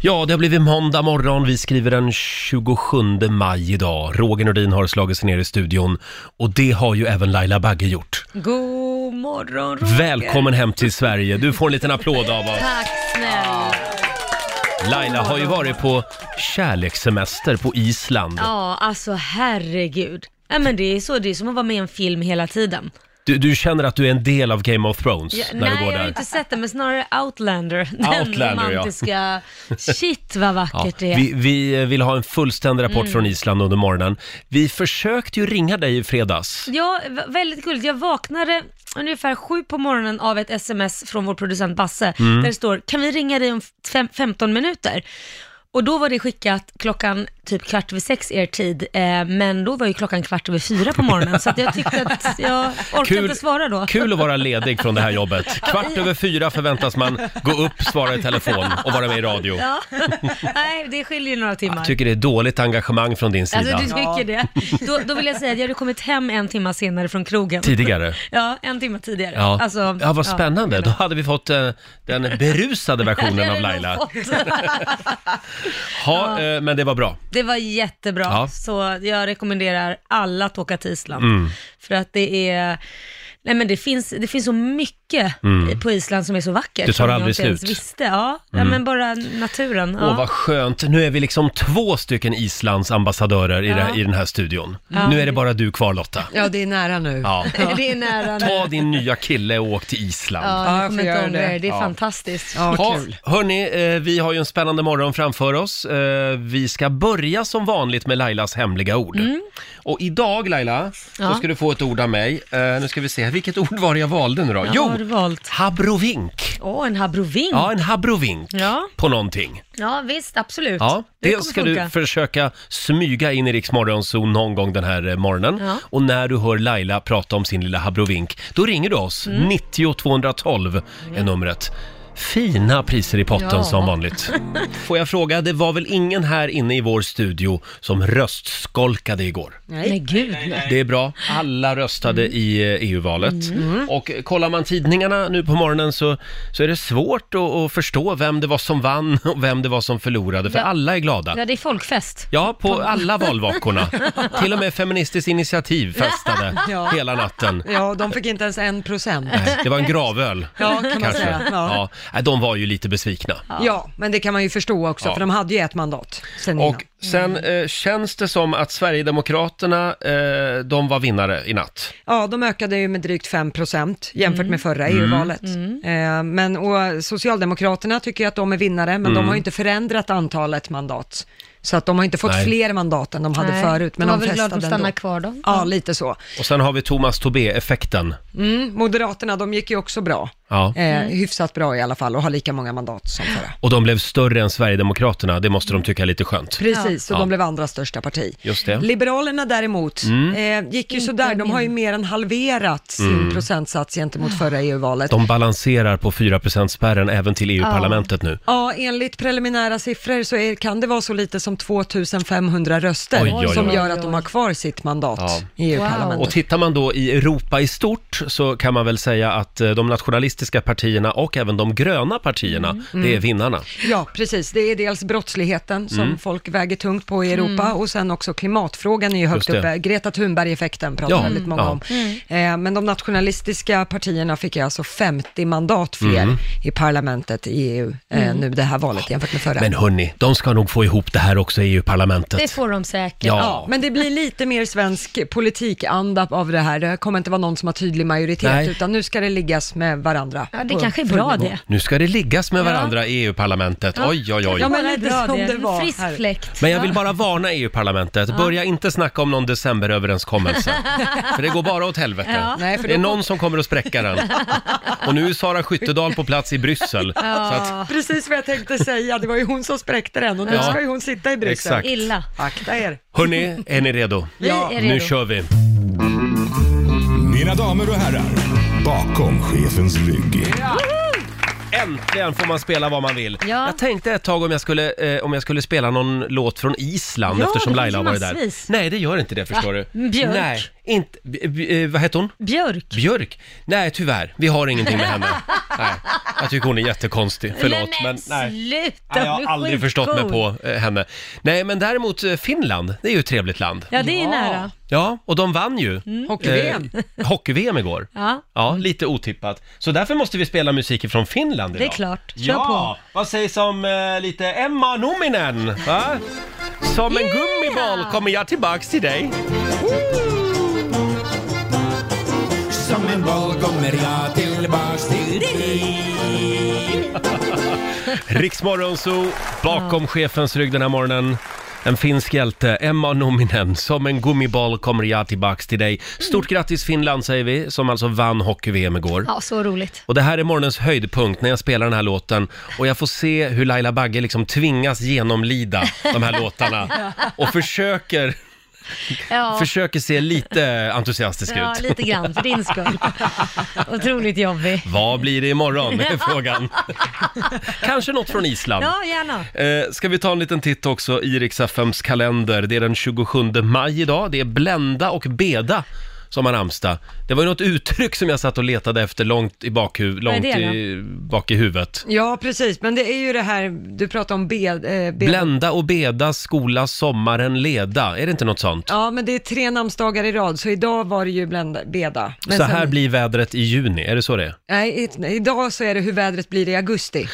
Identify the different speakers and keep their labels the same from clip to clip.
Speaker 1: Ja, det har blivit måndag morgon. Vi skriver den 27 maj idag. Roger Nordin har slagit sig ner i studion och det har ju även Laila Bagge gjort.
Speaker 2: God morgon Roger.
Speaker 1: Välkommen hem till Sverige. Du får en liten applåd av oss.
Speaker 2: Tack snälla.
Speaker 1: Laila har ju varit på kärlekssemester på Island.
Speaker 2: Ja, alltså herregud. Nej men det är så, det är som att vara med i en film hela tiden.
Speaker 1: Du, du känner att du är en del av Game of Thrones
Speaker 2: Ja,
Speaker 1: när
Speaker 2: nej,
Speaker 1: du går
Speaker 2: jag har
Speaker 1: där.
Speaker 2: inte sett den, men snarare Outlander. Den
Speaker 1: Outlander, ja.
Speaker 2: romantiska... Shit vad
Speaker 1: Ja,
Speaker 2: vackert det Mm. är.
Speaker 1: vi, vi eh, vill ha en fullständig rapport från Island under morgonen. Vi försökte ju ringa dig i fredags.
Speaker 2: Ja, v- väldigt gulligt. Jag vaknade ungefär sju på morgonen av ett sms från vår producent Basse,
Speaker 1: Mm.
Speaker 2: där det står “Kan vi ringa dig om fem, 15 minuter?” Och då var det skickat klockan typ kvart över sex er tid, eh, men då var ju klockan kvart över fyra på morgonen, så att jag tyckte att jag orkade inte svara då.
Speaker 1: kul att vara ledig från det här jobbet. Kvart över fyra förväntas man gå upp, svara i telefon och vara med i radio.
Speaker 2: Ja. Nej, det skiljer ju några timmar.
Speaker 1: Tycker det är dåligt engagemang från din
Speaker 2: Alltså
Speaker 1: sida.
Speaker 2: du tycker det? Då, då vill jag säga att jag hade kommit hem en timme senare från krogen.
Speaker 1: Tidigare.
Speaker 2: Ja, en timme tidigare.
Speaker 1: Ja,
Speaker 2: Alltså,
Speaker 1: ja vad spännande. Då hade vi fått eh, den berusade versionen av
Speaker 2: Det hade
Speaker 1: Laila.
Speaker 2: jag nog fått.
Speaker 1: Ha, eh, men det var bra.
Speaker 2: Det var jättebra,
Speaker 1: Ja. Mm.
Speaker 2: så jag rekommenderar alla att åka till Island. För att det är, nej men det finns, det finns så mycket i- på Island som är så vackert.
Speaker 1: Mm. Det tar
Speaker 2: som jag
Speaker 1: aldrig
Speaker 2: inte ens
Speaker 1: slut. Mm.
Speaker 2: Visste. Ja, nej men bara naturen.
Speaker 1: Åh,
Speaker 2: Ja.
Speaker 1: vad skönt. Nu är vi liksom två stycken Islands ambassadörer i, det här,
Speaker 2: Ja.
Speaker 1: i den här studion.
Speaker 2: Ja.
Speaker 1: Nu är det bara du kvar Lotta.
Speaker 3: Ja, det är nära nu.
Speaker 1: Ja.
Speaker 2: Det är nära nu.
Speaker 1: Ta din nya kille och åk till Island.
Speaker 2: Ja,
Speaker 3: Ja,
Speaker 2: jag kommer
Speaker 3: jag får
Speaker 2: inte
Speaker 3: göra
Speaker 2: ångra
Speaker 3: det.
Speaker 2: det. Det är
Speaker 1: Ja.
Speaker 2: fantastiskt.
Speaker 3: Ja,
Speaker 1: Ja,
Speaker 3: kul.
Speaker 1: hörni, eh, vi har ju en spännande morgon framför oss. Eh, Vi ska börja som vanligt med Lailas hemliga ord. Och idag Laila,
Speaker 2: Mm. Ja.
Speaker 1: så ska du få ett ord av mig. Eh, Nu ska vi se, vilket ord var det jag valde nu då?
Speaker 2: Ja,
Speaker 1: jo,
Speaker 2: vad har du valt?
Speaker 1: habrovink.
Speaker 2: Åh, en habrovink.
Speaker 1: Ja,
Speaker 2: Ja.
Speaker 1: en habrovink
Speaker 2: Ja.
Speaker 1: på någonting.
Speaker 2: visst, absolut.
Speaker 1: Ja,
Speaker 2: det
Speaker 1: det
Speaker 2: kommer
Speaker 1: ska
Speaker 2: funka.
Speaker 1: du försöka smyga in i Rix Morgonzoo någon gång den här eh, morgonen.
Speaker 2: Ja.
Speaker 1: Och när du hör Laila prata om sin lilla habrovink, då ringer du oss.
Speaker 2: Mm.
Speaker 1: 90 212 är numret. Fina priser i potten
Speaker 2: Ja.
Speaker 1: som vanligt. Får jag fråga, det var väl ingen här inne i vår studio som röstskolkade igår?
Speaker 2: Nej, gud.
Speaker 1: Det är bra. Alla röstade
Speaker 2: Mm.
Speaker 1: i eh, EU-valet. Och eh, kollar man tidningarna nu på morgonen så, så är det svårt att, att förstå vem det var som vann och vem det var som förlorade, för
Speaker 2: Ja.
Speaker 1: alla är glada.
Speaker 2: Ja, det är folkfest.
Speaker 1: Ja, på alla valvakorna. Till och med Feministiskt initiativ festade
Speaker 3: Ja.
Speaker 1: hela natten.
Speaker 3: Ja, de fick inte ens en procent.
Speaker 1: Det var en gravöl,
Speaker 3: Ja, kan man
Speaker 1: kanske.
Speaker 3: säga. Ja.
Speaker 1: Ja. Nej, de var ju lite besvikna.
Speaker 3: ja, men det kan man ju förstå också,
Speaker 1: Ja.
Speaker 3: för de hade ju ett mandat sen innan.
Speaker 1: Och sen
Speaker 3: Mm.
Speaker 1: eh, känns det som att Sverigedemokraterna, eh, de var vinnare i natt.
Speaker 3: Ja, de ökade ju med drygt 5 procent jämfört
Speaker 2: Mm.
Speaker 3: med förra EU-valet. Eh, men, och Socialdemokraterna tycker ju att de är vinnare, men
Speaker 2: Mm.
Speaker 3: de har ju inte förändrat antalet mandat. Så att de har inte fått
Speaker 1: Nej.
Speaker 3: fler mandat än de hade
Speaker 2: Nej,
Speaker 3: förut, men
Speaker 2: de
Speaker 3: de,
Speaker 2: var väl glada
Speaker 3: festade
Speaker 2: att de stannade
Speaker 3: ändå.
Speaker 2: kvar då?
Speaker 3: Ja, lite så.
Speaker 1: Och sen har vi Thomas Tobé-effekten.
Speaker 3: Mm, Moderaterna, de gick ju också bra.
Speaker 1: Ja.
Speaker 3: Eh,
Speaker 2: Mm.
Speaker 3: Hyfsat bra i alla fall och har lika många mandat som förra.
Speaker 1: Och de blev större än Sverigedemokraterna, det måste de tycka är lite skönt.
Speaker 3: Precis, och
Speaker 1: Ja.
Speaker 3: de blev andra största parti.
Speaker 1: Just det. Mm.
Speaker 3: Liberalerna däremot eh, gick ju sådär, de har ju mer än halverat sin procentsats gentemot förra EU-valet.
Speaker 1: De balanserar på 4%-spärren även till EU-parlamentet nu.
Speaker 3: Ja, enligt preliminära siffror så är, kan det vara så lite som 2500 röster
Speaker 1: Oj, oj, oj.
Speaker 3: som gör att de har kvar sitt mandat
Speaker 1: Ja.
Speaker 3: i
Speaker 1: Och
Speaker 3: EU-parlamentet.
Speaker 1: tittar man då i Europa i stort så kan man väl säga att eh, de nationalistiska partierna och även de gröna partierna,
Speaker 2: Mm.
Speaker 1: det är vinnarna.
Speaker 3: Ja, precis. Det är dels brottsligheten som
Speaker 1: Mm.
Speaker 3: folk väger tungt på i Europa
Speaker 2: Mm.
Speaker 3: och sen också klimatfrågan är ju högt
Speaker 1: Just det.
Speaker 3: uppe. Greta Thunberg-effekten pratar
Speaker 1: Ja,
Speaker 3: väldigt många
Speaker 1: ja.
Speaker 3: om. Eh, men de nationalistiska partierna fick ju alltså 50 mandat fler
Speaker 1: Mm.
Speaker 3: i parlamentet i EU eh,
Speaker 2: Mm.
Speaker 3: nu det här valet jämfört med förra.
Speaker 1: Men hörni, de ska nog få ihop det här också i
Speaker 2: Det
Speaker 1: EU-parlamentet.
Speaker 2: får de säkert.
Speaker 1: Ja.
Speaker 3: Ja, men det blir lite mer svensk politikanda av det här. Det kommer inte vara någon som har tydlig majoritet,
Speaker 1: Nej.
Speaker 3: utan nu ska det liggas med varandra.
Speaker 2: Ja, det
Speaker 3: på
Speaker 2: kanske är
Speaker 3: full
Speaker 2: bra
Speaker 3: nivå.
Speaker 2: det.
Speaker 1: Nu ska det liggas med
Speaker 2: Ja.
Speaker 1: varandra i EU-parlamentet. Oj, oj, oj.
Speaker 3: Ja, men
Speaker 2: Bara
Speaker 3: lite
Speaker 2: bra
Speaker 3: som det var
Speaker 2: Frisk
Speaker 3: här.
Speaker 2: fläkt.
Speaker 1: Men jag vill bara varna EU-parlamentet. Börja inte snacka om någon decemberöverenskommelse. För det går bara åt helvete.
Speaker 2: Ja.
Speaker 3: Nej, för
Speaker 1: det är
Speaker 3: då-
Speaker 1: någon som kommer att spräcka den. Och nu är Sara Skyttedal på plats i Bryssel. Så att,
Speaker 3: Precis vad jag tänkte säga, det var ju hon som spräckte den och nu
Speaker 1: Ja.
Speaker 3: ska ju hon sitta i Bryssel.
Speaker 1: Exakt.
Speaker 2: Illa.
Speaker 3: Akta er.
Speaker 1: hörni, är ni redo?
Speaker 2: Vi
Speaker 3: Ja.
Speaker 2: är
Speaker 1: Nu
Speaker 2: redo.
Speaker 1: kör vi.
Speaker 4: Mina damer och herrar, bakom chefens rygg.
Speaker 1: Äntligen får man spela vad man vill.
Speaker 2: Ja.
Speaker 1: Jag tänkte ett tag om jag skulle, eh, om jag skulle spela någon låt från Island
Speaker 2: Ja,
Speaker 1: eftersom
Speaker 2: det
Speaker 1: Laila har
Speaker 2: finns
Speaker 1: varit där.
Speaker 2: massvis.
Speaker 1: Nej, det gör inte det förstår
Speaker 2: Va?
Speaker 1: du.
Speaker 2: Mm, Björk?
Speaker 1: Nej, Inte, b- b- eh, vad heter hon?
Speaker 2: Björk.
Speaker 1: Björk? Nej, tyvärr. Vi har ingenting med henne. Nej, jag tycker hon är jättekonstig. Förlåt, men nej.
Speaker 2: sluta,
Speaker 1: Nej, jag
Speaker 2: du
Speaker 1: har
Speaker 2: är
Speaker 1: aldrig förstått mig
Speaker 2: skitcool.
Speaker 1: på eh, henne. Nej, men däremot eh, Finland, det är ju ett trevligt land.
Speaker 2: Ja, Mm. det är nära.
Speaker 1: Ja, och de vann ju.
Speaker 3: Hockey-VM.
Speaker 1: Eh, Hockey-VM igår.
Speaker 2: Ja.
Speaker 1: Ja, lite otippat. Så därför måste vi spela musik från Finland idag.
Speaker 2: Det är klart. Kör
Speaker 1: ja, vad sägs om eh, lite Emma Nominen? Va? Som en
Speaker 2: Yeah!
Speaker 1: gummiboll kommer jag tillbaks till dig.
Speaker 5: Som en boll kommer jag tillbaks till dig
Speaker 1: Riksmorgonzoo, bakom chefens rygg den här morgonen. En finsk hjälte, Emma Nominen. Som en gummiboll kommer jag tillbaks till dig. Stort grattis Finland säger vi, som alltså vann hockey-VM igår.
Speaker 2: Mm. Ja, så roligt.
Speaker 1: Och det här är morgonens höjdpunkt när jag spelar den här låten och jag får se hur Laila Bagge liksom tvingas genomlida de här låtarna och försöker,
Speaker 2: Ja,
Speaker 1: försöker se lite entusiastisk
Speaker 2: ja
Speaker 1: ut.
Speaker 2: lite grann för din skull. Otroligt jobbig.
Speaker 1: Vad blir det imorgon? är frågan. Kanske något från Island.
Speaker 2: Ja, gärna.
Speaker 1: Eh, ska vi ta en liten titt också i Rix FMs kalender. Det är den 27 maj idag. Det är blända och beda som har namnsdag. Det var ju något uttryck som jag satt och letade efter långt i, bakhu-
Speaker 2: är
Speaker 1: långt
Speaker 2: det
Speaker 1: i bak i huvudet.
Speaker 3: Ja, precis, men det är ju det här, du pratar om B... Eh, B
Speaker 1: Blända och beda, skola, sommaren, leda. Är det inte något sånt?
Speaker 3: Ja, men det är tre namnsdagar i rad, så idag var det ju blända, Beda. Men
Speaker 1: så här
Speaker 3: sen-
Speaker 1: blir vädret i juni, är det så det är?
Speaker 3: Nej, i- idag så är det hur vädret blir i augusti.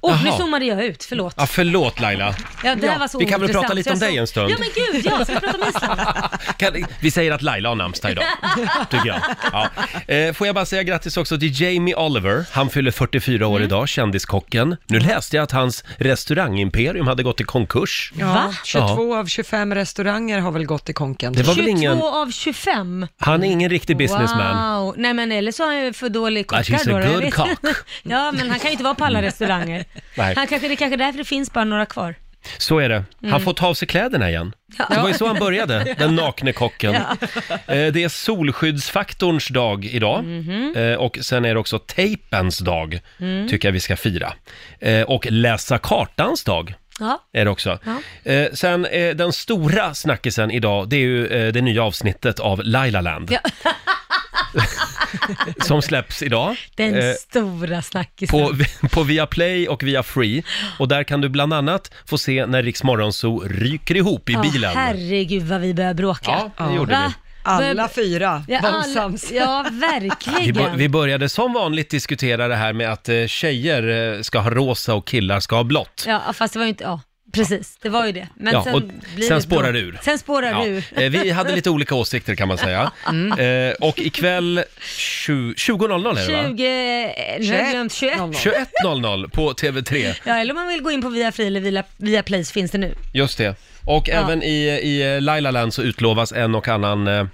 Speaker 2: Åh, nu
Speaker 1: Jaha.
Speaker 2: zoomade jag ut, förlåt.
Speaker 1: Ja, förlåt Laila.
Speaker 2: Ja, det här
Speaker 3: Ja,
Speaker 2: var så
Speaker 1: vi kan väl
Speaker 2: ointressant,
Speaker 1: prata lite
Speaker 2: så
Speaker 1: om
Speaker 2: jag
Speaker 1: dig
Speaker 2: så-
Speaker 1: en stund?
Speaker 2: Ja, men gud, ja, ska vi prata om Island?
Speaker 1: Kan, vi säger att Laila har namnsdag idag, tycker jag. Ja. Eh, får jag bara säga grattis också till Jamie Oliver. Han fyller 44
Speaker 3: Mm.
Speaker 1: år idag, kändiskocken. Nu läste jag att hans restaurangimperium hade gått i konkurs.
Speaker 3: Ja,
Speaker 2: Va?
Speaker 3: 22 av 25 restauranger har väl gått i konken.
Speaker 1: Det var väl
Speaker 2: 22
Speaker 1: ingen,
Speaker 2: av 25.
Speaker 1: han är ingen riktig businessman.
Speaker 2: Wow. Nej, men eller så är han ju för dålig
Speaker 1: But he's
Speaker 2: kockar då.
Speaker 1: a
Speaker 2: jag
Speaker 1: good
Speaker 2: vet.
Speaker 1: cock. Mm.
Speaker 2: ja, men han kan ju inte vara på alla restauranger.
Speaker 1: Nej.
Speaker 2: Han kanske, det är kanske är därför det finns bara några kvar.
Speaker 1: Så är det. Han får ta av sig kläderna igen. Det var ju så han började, den nakne kocken. Eh, Det är solskyddsfaktorns dag idag Eh, och sen är det också tejpens dag, tycker jag vi ska fira. Eh, Och läsa kartans dag
Speaker 2: Ja.
Speaker 1: är det också. Eh, Sen eh, den stora snackisen idag, det är ju eh, det nya avsnittet av Lailaland. Som släpps idag.
Speaker 2: Den
Speaker 1: Eh,
Speaker 2: stora snackisen.
Speaker 1: på, på Viaplay och via Free. Och där kan du bland annat få se när Rix Morgonzoo ryker ihop i
Speaker 2: Ja,
Speaker 1: bilen.
Speaker 2: herregud vad vi börjar bråka.
Speaker 1: Ja, det gjorde
Speaker 2: Va?
Speaker 3: Alla
Speaker 2: Börjar-
Speaker 3: fyra
Speaker 2: Ja, alla-
Speaker 3: våldsams.
Speaker 2: Ja,
Speaker 1: vi. Vi,
Speaker 2: verkligen.
Speaker 1: bör- vi började som vanligt diskutera det här med att eh, tjejer eh, ska ha rosa och killar ska ha blått.
Speaker 2: Ja, fast det var ju inte, ja, precis, det var ju det. Men
Speaker 1: Ja,
Speaker 2: sen,
Speaker 1: och
Speaker 2: blir
Speaker 1: sen
Speaker 2: det
Speaker 1: spårar
Speaker 2: bråk.
Speaker 1: det ur.
Speaker 2: Sen spårar
Speaker 1: Ja.
Speaker 2: det ur.
Speaker 1: Eh, Vi hade lite olika åsikter kan man säga. Eh, och ikväll tju- 20.00 är det va?
Speaker 2: 20, eh, nu har jag glömt 21.
Speaker 1: 21.00 på TV3.
Speaker 2: Ja, eller om man vill gå in på Viafree eller via, via Play så finns det nu.
Speaker 1: Just det. Och även i, i eh, Lailaland så utlovas en och annan eh,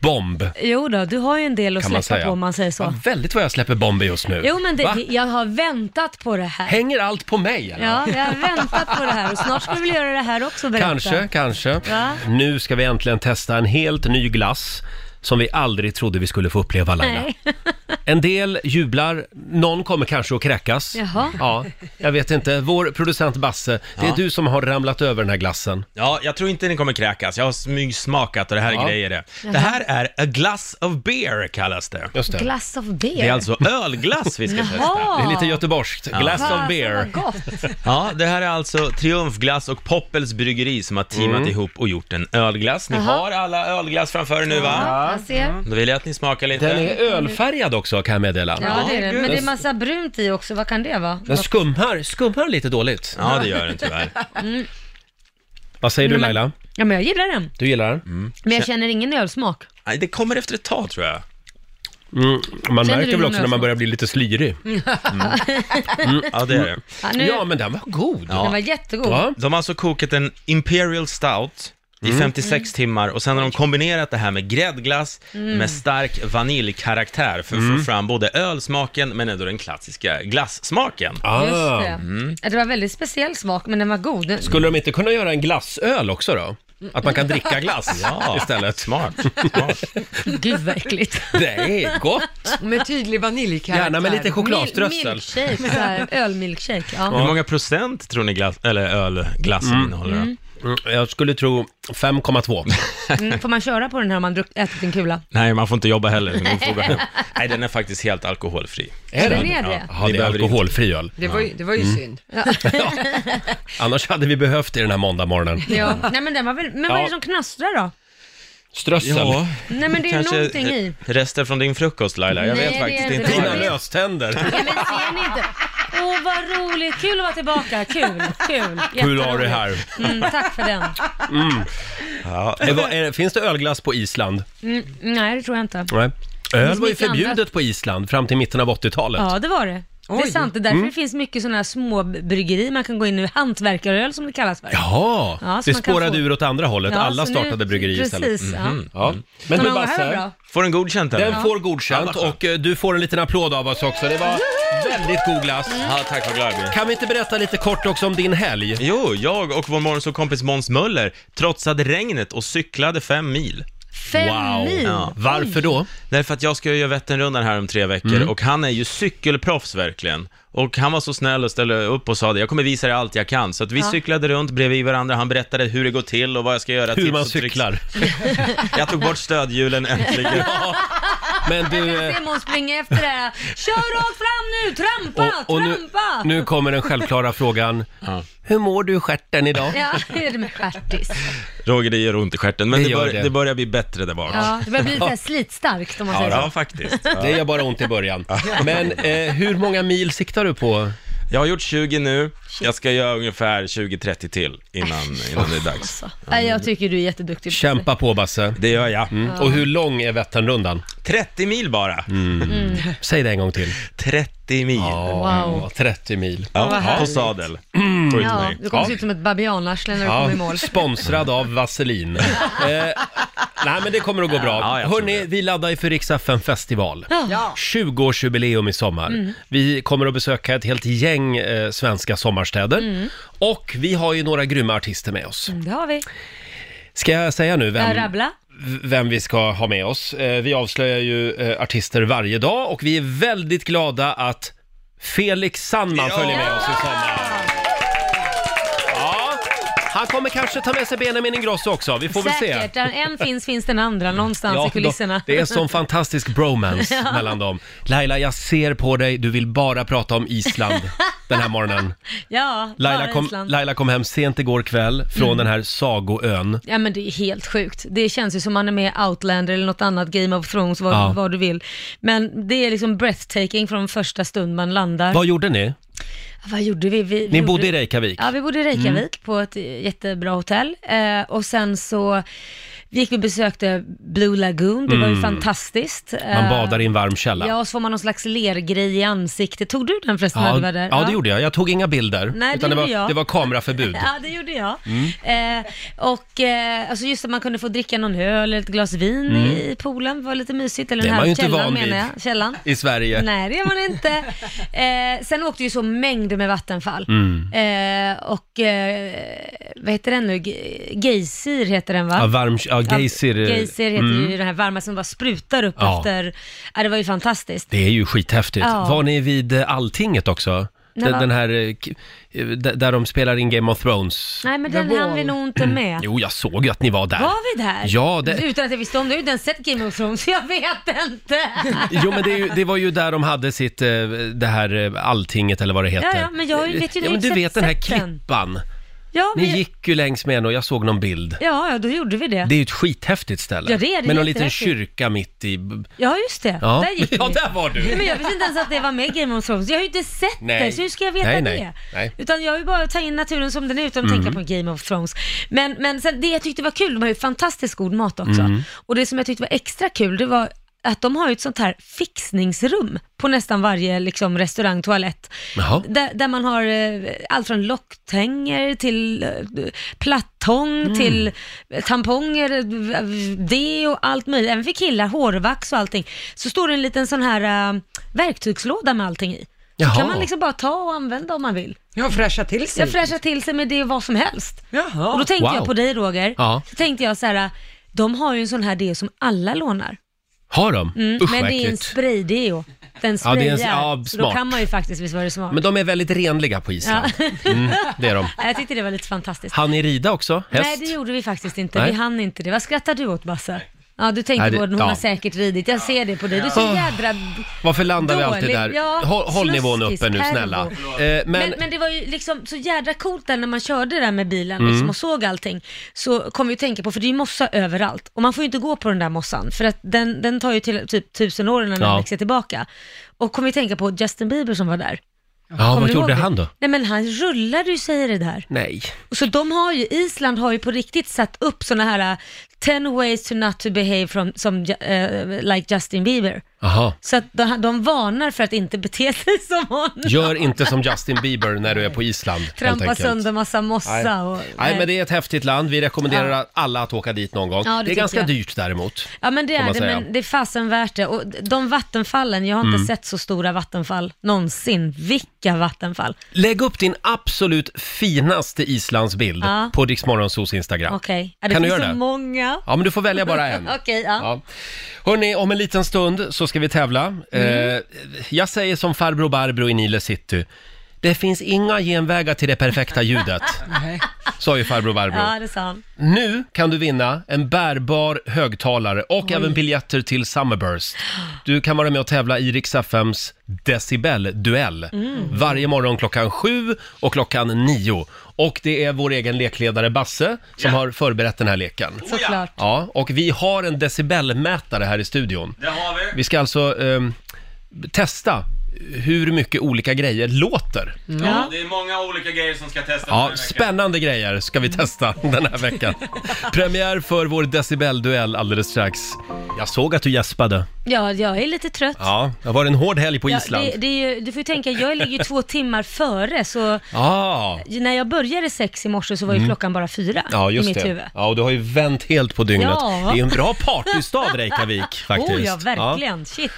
Speaker 1: bomb.
Speaker 2: Jo då, du har ju en del att
Speaker 1: Kan man
Speaker 2: släppa
Speaker 1: säga.
Speaker 2: på om man säger så.
Speaker 1: Ja, väldigt vad jag släpper bomber just nu.
Speaker 2: Jo men det,
Speaker 1: Va?
Speaker 2: det- jag har väntat på det här.
Speaker 1: Hänger allt på mig eller?
Speaker 2: Ja, jag har väntat på det här och snart ska vi väl göra det här också berätta.
Speaker 1: Kanske, kanske.
Speaker 2: Va?
Speaker 1: Nu ska vi äntligen testa en helt ny glass som vi aldrig trodde vi skulle få uppleva Laila.
Speaker 2: Nej.
Speaker 1: En del jublar, någon kommer kanske att kräkas.
Speaker 2: Jaha.
Speaker 1: Ja, jag vet inte. Vår producent Basse, det är du som har ramlat över den här glassen.
Speaker 6: Ja, jag tror inte ni kommer kräkas. Jag har smygsmakat och det här
Speaker 1: Ja.
Speaker 6: är grejer det. Det här är A Glass of Beer kallas det.
Speaker 1: Just det.
Speaker 2: Glass of beer.
Speaker 6: Det är alltså ölglass vi ska testa.
Speaker 1: Det är lite göteborgskt. Glass of beer.
Speaker 2: Alltså, Vad gott.
Speaker 6: Ja, det här är alltså Triumfglass och Poppels Bryggeri som har teamat
Speaker 1: Mm.
Speaker 6: ihop och gjort en ölglass. Ni har alla ölglass framför er nu va?
Speaker 2: Jag ser.
Speaker 6: Då vill jag att ni smakar
Speaker 1: Den
Speaker 6: lite.
Speaker 1: är ölfärgad också kan jag meddela.
Speaker 2: Ja, det är det. Men det är massa brunt i också, vad kan det vara?
Speaker 1: Den skummar, skummar lite dåligt.
Speaker 6: Ja, det gör den tyvärr.
Speaker 1: Vad säger du Laila?
Speaker 2: Ja, men jag gillar den.
Speaker 1: Du gillar den?
Speaker 6: Mm.
Speaker 2: Men jag känner ingen ölsmak.
Speaker 6: Nej, det kommer efter ett tag tror jag.
Speaker 1: Mm, man
Speaker 2: Känner du
Speaker 1: märker väl
Speaker 2: någon
Speaker 1: också när man
Speaker 2: ölsmak?
Speaker 1: börjar bli lite slyrig.
Speaker 6: Ja, det är det.
Speaker 2: Ja, nu,
Speaker 1: Ja, men den var god.
Speaker 6: Ja.
Speaker 2: Den var jättegod.
Speaker 1: Ja.
Speaker 6: De har alltså kokat en Imperial Stout i
Speaker 1: Mm.
Speaker 6: 56
Speaker 2: Mm.
Speaker 6: timmar och sen har de kombinerat det här med gräddglass med stark vaniljkaraktär för att
Speaker 1: Mm.
Speaker 6: få fram både ölsmaken men ändå den klassiska glassmaken.
Speaker 1: Ah.
Speaker 2: Just det. Ja, Det var väldigt speciell smak, men den var god. Den-
Speaker 1: Skulle de inte kunna göra en glassöl också då? Att man kan dricka glass
Speaker 6: Ja.
Speaker 1: istället?
Speaker 6: Smart, smart.
Speaker 2: Gud, vad äckligt.
Speaker 1: Det är gott!
Speaker 3: Med tydlig vaniljkaraktär.
Speaker 1: Gärna med lite
Speaker 2: Mil-
Speaker 1: chokladströssel.
Speaker 2: Milkshake, så här, ölmilkshake. Ja.
Speaker 6: Hur många procent tror ni glass, eller ölglassen innehåller då?
Speaker 1: Mm, jag skulle tro 5,2.
Speaker 2: Mm, får man köra på den här om man druck, ätit en kula?
Speaker 6: Nej, man får inte jobba heller. så ni får gå hem. Nej, den är faktiskt helt alkoholfri.
Speaker 2: Är
Speaker 1: det?
Speaker 2: den är det?
Speaker 1: Ja,
Speaker 6: ni
Speaker 1: det är
Speaker 6: behöver inte-
Speaker 1: alkoholfri öl.
Speaker 3: Det var ju, det var ju
Speaker 1: Mm.
Speaker 3: synd.
Speaker 1: Annars hade vi behövt det den här måndagmorgonen.
Speaker 2: Ja. Nej men den var väl, men vad
Speaker 1: Ja.
Speaker 2: är det som knastrar då?
Speaker 1: Strössel.
Speaker 6: Ja,
Speaker 2: Nej men det är
Speaker 6: kanske
Speaker 2: någonting i.
Speaker 6: rester från din frukost Laila. Jag
Speaker 2: Nej, det
Speaker 6: vet
Speaker 2: är
Speaker 6: faktiskt
Speaker 2: inte
Speaker 6: inte.
Speaker 2: det.
Speaker 6: vad det
Speaker 1: Dina
Speaker 6: är.
Speaker 1: löständer.
Speaker 2: Ja, men ser ni inte? Åh vad roligt, kul att vara tillbaka, kul, kul.
Speaker 1: Kul att ha dig
Speaker 2: Jätteroligt.
Speaker 1: här.
Speaker 2: Mm, tack för den.
Speaker 6: Ja,
Speaker 1: Eh, vad är- Finns det ölglass på Island?
Speaker 2: Mm, nej det tror jag inte.
Speaker 1: Nej.
Speaker 2: finns
Speaker 1: Öl var ju
Speaker 2: mycket
Speaker 1: förbjudet
Speaker 2: andra.
Speaker 1: på Island fram till mitten av 80-talet.
Speaker 2: Ja det var det. Det är
Speaker 3: Oj.
Speaker 2: sant, det är
Speaker 1: Mm.
Speaker 2: därför det finns mycket sådana här små bryggerier man kan gå in i, hantverkaröl som det kallas för.
Speaker 1: Jaha,
Speaker 2: Ja, så
Speaker 1: det
Speaker 2: man kan
Speaker 1: spårade
Speaker 2: få-
Speaker 1: ur åt andra hållet.
Speaker 2: Ja,
Speaker 1: Alla
Speaker 2: så
Speaker 1: startade bryggeri istället.
Speaker 2: Precis, ja.
Speaker 1: Ja. Men
Speaker 2: Men
Speaker 1: du
Speaker 2: det här var
Speaker 1: Basse,
Speaker 2: bra.
Speaker 6: får den godkänt eller?
Speaker 1: den får godkänt och eh, du får en liten applåd av oss också. Det var väldigt god glass.
Speaker 6: Ja, tack vad glad jag blir.
Speaker 1: Kan vi inte berätta lite kort också om din helg?
Speaker 6: Jo, jag och vår morgonsåkompis Måns Möller trotsade regnet och cyklade fem mil.
Speaker 2: Fem
Speaker 1: Wow.
Speaker 2: mil.
Speaker 6: Ja.
Speaker 1: Varför då?
Speaker 6: Därför att jag ska ju göra Vätternrundan här om tre veckor
Speaker 1: Mm.
Speaker 6: och han är ju cykelproffs verkligen. Och han var så snäll och ställde upp och sa det, jag kommer visa dig allt jag kan. Så att vi cyklade runt bredvid varandra, han berättade hur det går till och vad jag ska göra.
Speaker 1: Hur
Speaker 6: tips
Speaker 1: man
Speaker 6: och tricks.
Speaker 1: cyklar.
Speaker 6: Jag tog bort stödhjulen äntligen.
Speaker 1: Men du... eh,
Speaker 2: Jag ser Måns springa efter det här. Kör rakt fram nu, trampa,
Speaker 1: Och, och nu,
Speaker 2: trampa!
Speaker 1: nu kommer den självklara frågan. Hur mår du i stjärten idag?
Speaker 2: Ja, det är det med stjärtis.
Speaker 6: Roger, det gör ont i stjärten, men
Speaker 1: Det
Speaker 6: det,
Speaker 1: gör
Speaker 6: bör,
Speaker 1: det.
Speaker 6: det börjar bli bättre där bak.
Speaker 2: Ja, det börjar bli lite så här slitstarkt om man
Speaker 6: Ja,
Speaker 2: säger så.
Speaker 6: ja, faktiskt.
Speaker 1: Det gör bara ont i början. Men eh, hur många mil siktar du på?
Speaker 6: Jag har gjort 20 nu, jag ska göra ungefär 20-30 till innan, innan det är dags.
Speaker 2: Nej, jag tycker du är jätteduktig.
Speaker 1: Kämpa på Basse.
Speaker 6: Det gör jag.
Speaker 1: Och hur lång är Vätternrundan?
Speaker 6: 30 mil bara.
Speaker 1: Säg det en gång till.
Speaker 6: 30 mil.
Speaker 2: Wow.
Speaker 1: 30 mil.
Speaker 2: vad
Speaker 6: Ja, på
Speaker 2: härligt.
Speaker 6: sadel. Får ut
Speaker 2: Ja,
Speaker 6: mig.
Speaker 2: du kommer se ut som ett babianarsle när du
Speaker 1: Ja,
Speaker 2: kommer i mål.
Speaker 1: sponsrad av Vaselin. eh, nej, men det kommer att gå bra.
Speaker 6: Ja, jag tror
Speaker 1: Hörni, vi laddar ju för Rix FM festival.
Speaker 3: Ja.
Speaker 1: 20-årsjubileum i sommar. Vi kommer att besöka ett helt gäng eh, svenska sommarstäder. Och vi har ju några grymma artister med oss.
Speaker 2: Mm, Det har vi.
Speaker 1: Ska jag säga nu
Speaker 2: Äh,
Speaker 1: vem,
Speaker 2: rabbla.
Speaker 1: v- vem vi ska ha med oss? Eh, Vi avslöjar ju eh, artister varje dag och vi är väldigt glada att Felix Sandman
Speaker 6: Ja!
Speaker 1: följer med oss i sommar. Ja, han kommer kanske ta med sig Benjamin Ingrosso också, vi får väl se. Mm.
Speaker 2: Säkert. Där en finns, finns den andra någonstans i
Speaker 1: Ja,
Speaker 2: kulisserna.
Speaker 1: de- det är sån fantastisk bromance mellan dem. Laila, jag ser på dig, du vill bara prata om Island den här morgonen.
Speaker 2: Ja,
Speaker 1: Laila
Speaker 2: Laila
Speaker 1: kom, Laila kom hem sent igår kväll från
Speaker 2: Mm.
Speaker 1: den här sagoön.
Speaker 2: Ja men det är helt sjukt. Det känns ju som man är med i Outlander eller något annat Game of Thrones, vad,
Speaker 1: Ja.
Speaker 2: vad du vill. Men det är liksom breathtaking från första stund man landar.
Speaker 1: Vad gjorde ni?
Speaker 2: Vad gjorde vi? vi
Speaker 1: Ni
Speaker 2: gjorde...
Speaker 1: bodde i Reykjavik.
Speaker 2: Ja, vi bodde i Reykjavik
Speaker 1: Mm.
Speaker 2: på ett jättebra hotell eh, och sen så gick vi och besökte Blue Lagoon, det var ju fantastiskt.
Speaker 1: Mm. Man
Speaker 2: Eh,
Speaker 1: badar i en varm källa.
Speaker 2: Ja, och så får man någon slags lergrej i ansiktet. Tog du den förresten när du var där?
Speaker 1: ja, det gjorde jag. Jag tog inga bilder.
Speaker 2: Nej, det
Speaker 1: utan det,
Speaker 2: gjorde
Speaker 1: var,
Speaker 2: jag.
Speaker 1: det var kameraförbud.
Speaker 2: Ja, det gjorde jag.
Speaker 1: Mm.
Speaker 2: Eh, och eh, alltså just att man kunde få dricka någon öl eller ett glas vin i poolen var lite mysigt. Eller
Speaker 1: Mm. Det är
Speaker 2: den
Speaker 1: man ju inte
Speaker 2: här
Speaker 1: van
Speaker 2: källan
Speaker 1: vid.
Speaker 2: menar jag. Källan.
Speaker 1: I Sverige.
Speaker 2: Nej, det är man inte. Eh, sen åkte ju så mängder med vattenfall.
Speaker 1: Mm.
Speaker 2: Eh, och eh, vad heter den nu? Ge- Geysir heter den va?
Speaker 1: Ja, varm, ja, Geysir.
Speaker 2: Ja,
Speaker 1: eh,
Speaker 2: Geysir heter ju den här varma som bara sprutar upp
Speaker 1: Ja.
Speaker 2: efter. Ja, det var ju fantastiskt.
Speaker 1: Det är ju skithäftigt.
Speaker 2: Ja.
Speaker 1: Var ni vid eh, Alltinget också?
Speaker 2: Nej,
Speaker 1: Den,
Speaker 2: va?
Speaker 1: den här, eh, k- eh, d- där de spelar in Game of Thrones.
Speaker 2: Nej, men den hann vi nog inte med.
Speaker 1: Mm. Jo, jag såg ju att ni var där.
Speaker 2: Var vi där?
Speaker 1: Ja, det-
Speaker 2: Utan att jag visste om det. Jag har ju inte ens sett Game of Thrones, så jag vet inte.
Speaker 1: Jo, men det, är ju, det var ju där de hade sitt, eh, det här eh, Alltinget eller vad det heter. Eh,
Speaker 2: Ja, ja, men jag vet ju-
Speaker 1: ja,
Speaker 2: jag
Speaker 1: men
Speaker 2: har
Speaker 1: Du
Speaker 2: ju
Speaker 1: vet
Speaker 2: sett-
Speaker 1: den här
Speaker 2: sett den.
Speaker 1: klippan.
Speaker 2: Ja,
Speaker 1: Ni
Speaker 2: men jag-
Speaker 1: gick ju längs med den och jag såg någon bild.
Speaker 2: ja, ja, då gjorde vi det.
Speaker 1: Det är ju ett skithäftigt ställe.
Speaker 2: Ja, det är det.
Speaker 1: Med någon liten
Speaker 2: Jättehäftigt.
Speaker 1: kyrka mitt i...
Speaker 2: Ja, just det.
Speaker 1: Ja,
Speaker 2: Där gick
Speaker 1: ja
Speaker 2: vi.
Speaker 1: där var
Speaker 2: Nej,
Speaker 1: du!
Speaker 2: men jag visste inte ens att det var med i Game of Thrones. Jag har ju inte sett
Speaker 1: Nej.
Speaker 2: det, så hur ska jag veta
Speaker 1: Nej,
Speaker 2: det?
Speaker 1: nej, nej. Mhm.
Speaker 2: Utan jag har ju bara tagit in naturen som den är utan att tänka på Game of Thrones. Men, men sen, det jag tyckte var kul, de har ju fantastiskt god mat också.
Speaker 1: Mhm.
Speaker 2: Och det som jag tyckte var extra kul, det var att de har ju ett sånt här fixningsrum på nästan varje liksom, restaurang, toalett.
Speaker 1: Jaha.
Speaker 2: Där, där man har eh, allt från locktänger till eh, plattång
Speaker 1: Mm.
Speaker 2: till tamponger, eh, det och allt möjligt. Även för killar, hårvax och allting. Så står det en liten sån här eh, verktygslåda med allting i. Så
Speaker 1: Jaha.
Speaker 2: kan man liksom bara ta och använda om man vill.
Speaker 3: Jag fräscha till
Speaker 2: Jag
Speaker 3: sig.
Speaker 2: fräschar till sig med det och vad som helst. Och då
Speaker 3: Jaha.
Speaker 2: tänkte
Speaker 1: Wow.
Speaker 2: jag eh, på dig Roger,
Speaker 1: Ja.
Speaker 2: så tänkte jag så här, de har ju en sån här det som alla lånar.
Speaker 1: Har de?
Speaker 2: Mm,
Speaker 1: Usch,
Speaker 2: men
Speaker 1: vad
Speaker 2: det är en
Speaker 1: äckligt.
Speaker 2: spraydeo. Den
Speaker 1: Ja,
Speaker 2: sprayar.
Speaker 1: det är en- ja,
Speaker 2: så då
Speaker 1: smart.
Speaker 2: kan man ju faktiskt, visst var det smart?
Speaker 1: Men de är väldigt renliga på Island. Mm, det är de.
Speaker 2: Ja, Jag tyckte det var lite fantastiskt.
Speaker 1: Han i rida också? Häst?
Speaker 2: Nej, det gjorde vi faktiskt inte.
Speaker 1: Nej.
Speaker 2: Vi hann inte det. Vad skrattar du åt, Basse? Ja, du
Speaker 1: Nej,
Speaker 2: tänkte
Speaker 1: det-
Speaker 2: på den. Hon
Speaker 1: ja.
Speaker 2: har säkert ridit. Jag ser det på dig. Du är så
Speaker 1: Ja.
Speaker 2: jädra...
Speaker 1: Varför landar vi alltid
Speaker 2: Dålig-
Speaker 1: där?
Speaker 2: ja,
Speaker 1: håll håll
Speaker 2: sluskis,
Speaker 1: nivån uppe nu,
Speaker 2: pervo.
Speaker 1: snälla. Eh,
Speaker 2: Men,
Speaker 1: men,
Speaker 2: men det var ju liksom så jädra coolt där när man körde där med bilen
Speaker 1: Mm.
Speaker 2: liksom och såg allting. Så kom vi att tänka på, för det är ju mossa överallt. Och man får ju inte gå på den där mossan, för att den, den tar ju till typ tusen år innan
Speaker 1: Ja.
Speaker 2: den växer tillbaka. Och kom vi att tänka på Justin Bieber som var där.
Speaker 1: ja,
Speaker 2: Kommer
Speaker 1: vad
Speaker 2: du ihåg
Speaker 1: gjorde
Speaker 2: det?
Speaker 1: han då?
Speaker 2: Nej men han rullade ju sig i det där.
Speaker 1: Nej.
Speaker 2: Så de har ju, Island har ju på riktigt satt upp sådana här 10 ways to not to behave from, som, Ju- eh, like Justin Bieber.
Speaker 1: Aha.
Speaker 2: Så att de, de varnar för att inte bete sig som hon.
Speaker 1: Gör inte som Justin Bieber när du är på Island, helt
Speaker 2: Trampa
Speaker 1: enkelt.
Speaker 2: sönder massa mossa och...
Speaker 1: Nej, men det är ett häftigt land. Vi rekommenderar
Speaker 2: Ja.
Speaker 1: alla att åka dit någon gång.
Speaker 2: Ja, det
Speaker 1: det är
Speaker 2: tycker
Speaker 1: ganska
Speaker 2: jag.
Speaker 1: dyrt däremot.
Speaker 2: Ja men det
Speaker 1: får
Speaker 2: är
Speaker 1: man
Speaker 2: det,
Speaker 1: säga. Mm.
Speaker 2: men det är fasen värt det. Och de vattenfallen, jag har inte sett så stora vattenfall någonsin. Vilka vattenfall!
Speaker 1: Lägg upp din absolut finaste Islandsbild
Speaker 2: Ja.
Speaker 1: på Rix Morgonzos Instagram.
Speaker 2: Okej, ja, det
Speaker 1: Kan du
Speaker 2: finns
Speaker 1: göra
Speaker 2: så
Speaker 1: det?
Speaker 2: många.
Speaker 1: Ja, men du får välja bara en.
Speaker 2: Okej, ja.
Speaker 1: Ja. Hörni, om en liten stund så ska vi tävla.
Speaker 2: Mm.
Speaker 1: Eh, jag säger som farbror Barbro i Nile City. Det finns inga genvägar till det perfekta ljudet,
Speaker 3: Nej.
Speaker 1: sa ju farbror Barbro.
Speaker 2: Ja, det sa han.
Speaker 1: Nu kan du vinna en bärbar högtalare och även biljetter till Summerburst. Du kan vara med och tävla i Rix FMs decibel-duell.
Speaker 2: Mm.
Speaker 1: Varje morgon klockan sju och klockan nio. Och det är vår egen lekledare Basse som har förberett den här leken.
Speaker 2: Såklart.
Speaker 1: Ja, och vi har en decibelmätare här i studion.
Speaker 6: Det har vi.
Speaker 1: Vi ska alltså ehm, testa hur mycket olika grejer låter.
Speaker 2: Ja.
Speaker 6: Det är många olika grejer som ska testas
Speaker 1: Ja, spännande grejer ska vi testa den här veckan. Premiär för vår decibelduell alldeles strax. Jag såg att du gäspade.
Speaker 2: ja, jag är lite trött.
Speaker 1: Ja, det var en hård helg på
Speaker 2: Ja,
Speaker 1: Island.
Speaker 2: det, det är ju, du får ju tänka, jag ligger ju två timmar före, så
Speaker 1: Ja,
Speaker 2: när jag började sex i morse så var ju klockan bara fyra
Speaker 1: ja
Speaker 2: i
Speaker 1: just
Speaker 2: mitt
Speaker 1: det.
Speaker 2: huvud.
Speaker 1: Ja, och du har ju vänt helt på dygnet.
Speaker 2: Ja.
Speaker 1: Det är en bra partystad Reykjavik faktiskt.
Speaker 2: Oh ja,
Speaker 1: Ja.
Speaker 2: verkligen. Shit.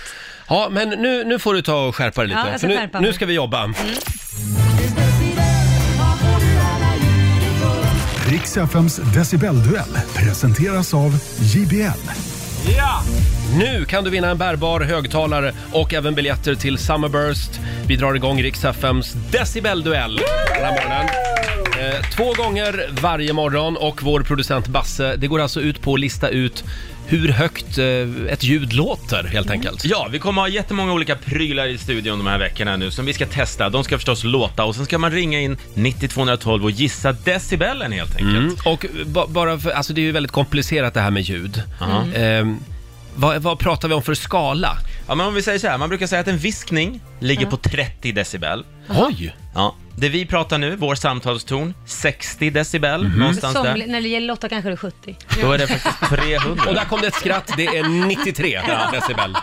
Speaker 1: Ja, men nu, nu får du ta och skärpa dig lite.
Speaker 2: Ja, jag
Speaker 1: för
Speaker 2: ska
Speaker 1: nu,
Speaker 2: skärpa
Speaker 1: nu
Speaker 2: mig.
Speaker 1: ska vi jobba.
Speaker 4: Rix FMs decibelduell presenteras av JBL.
Speaker 1: Nu kan du vinna en bärbar högtalare och även biljetter till Summerburst. Vi drar igång Rix FMs decibelduell den här morgonen. Eh, Två gånger varje morgon och vår producent Basse, det går alltså ut på att lista ut hur högt eh, ett ljud låter helt enkelt.
Speaker 6: Ja, vi kommer ha jättemånga olika prylar i studion de här veckorna nu som vi ska testa. De ska förstås låta och sen ska man ringa in 9212 och gissa decibelen helt enkelt.
Speaker 1: Mm. Och ba- bara för, alltså det är ju väldigt komplicerat det här med ljud. Eh, vad, vad pratar vi om för skala?
Speaker 6: Ja, men om vi säger så här, man brukar säga att en viskning ligger på 30 decibel.
Speaker 1: Oj!
Speaker 6: Ja, det vi pratar nu, vår samtalston, 60 decibel
Speaker 2: Mhm.
Speaker 6: någonstans
Speaker 2: Som,
Speaker 6: där.
Speaker 2: när det gäller Lotta kanske det är 70.
Speaker 6: Då är det faktiskt 300.
Speaker 1: Och där kom det ett skratt, det är 93 decibel.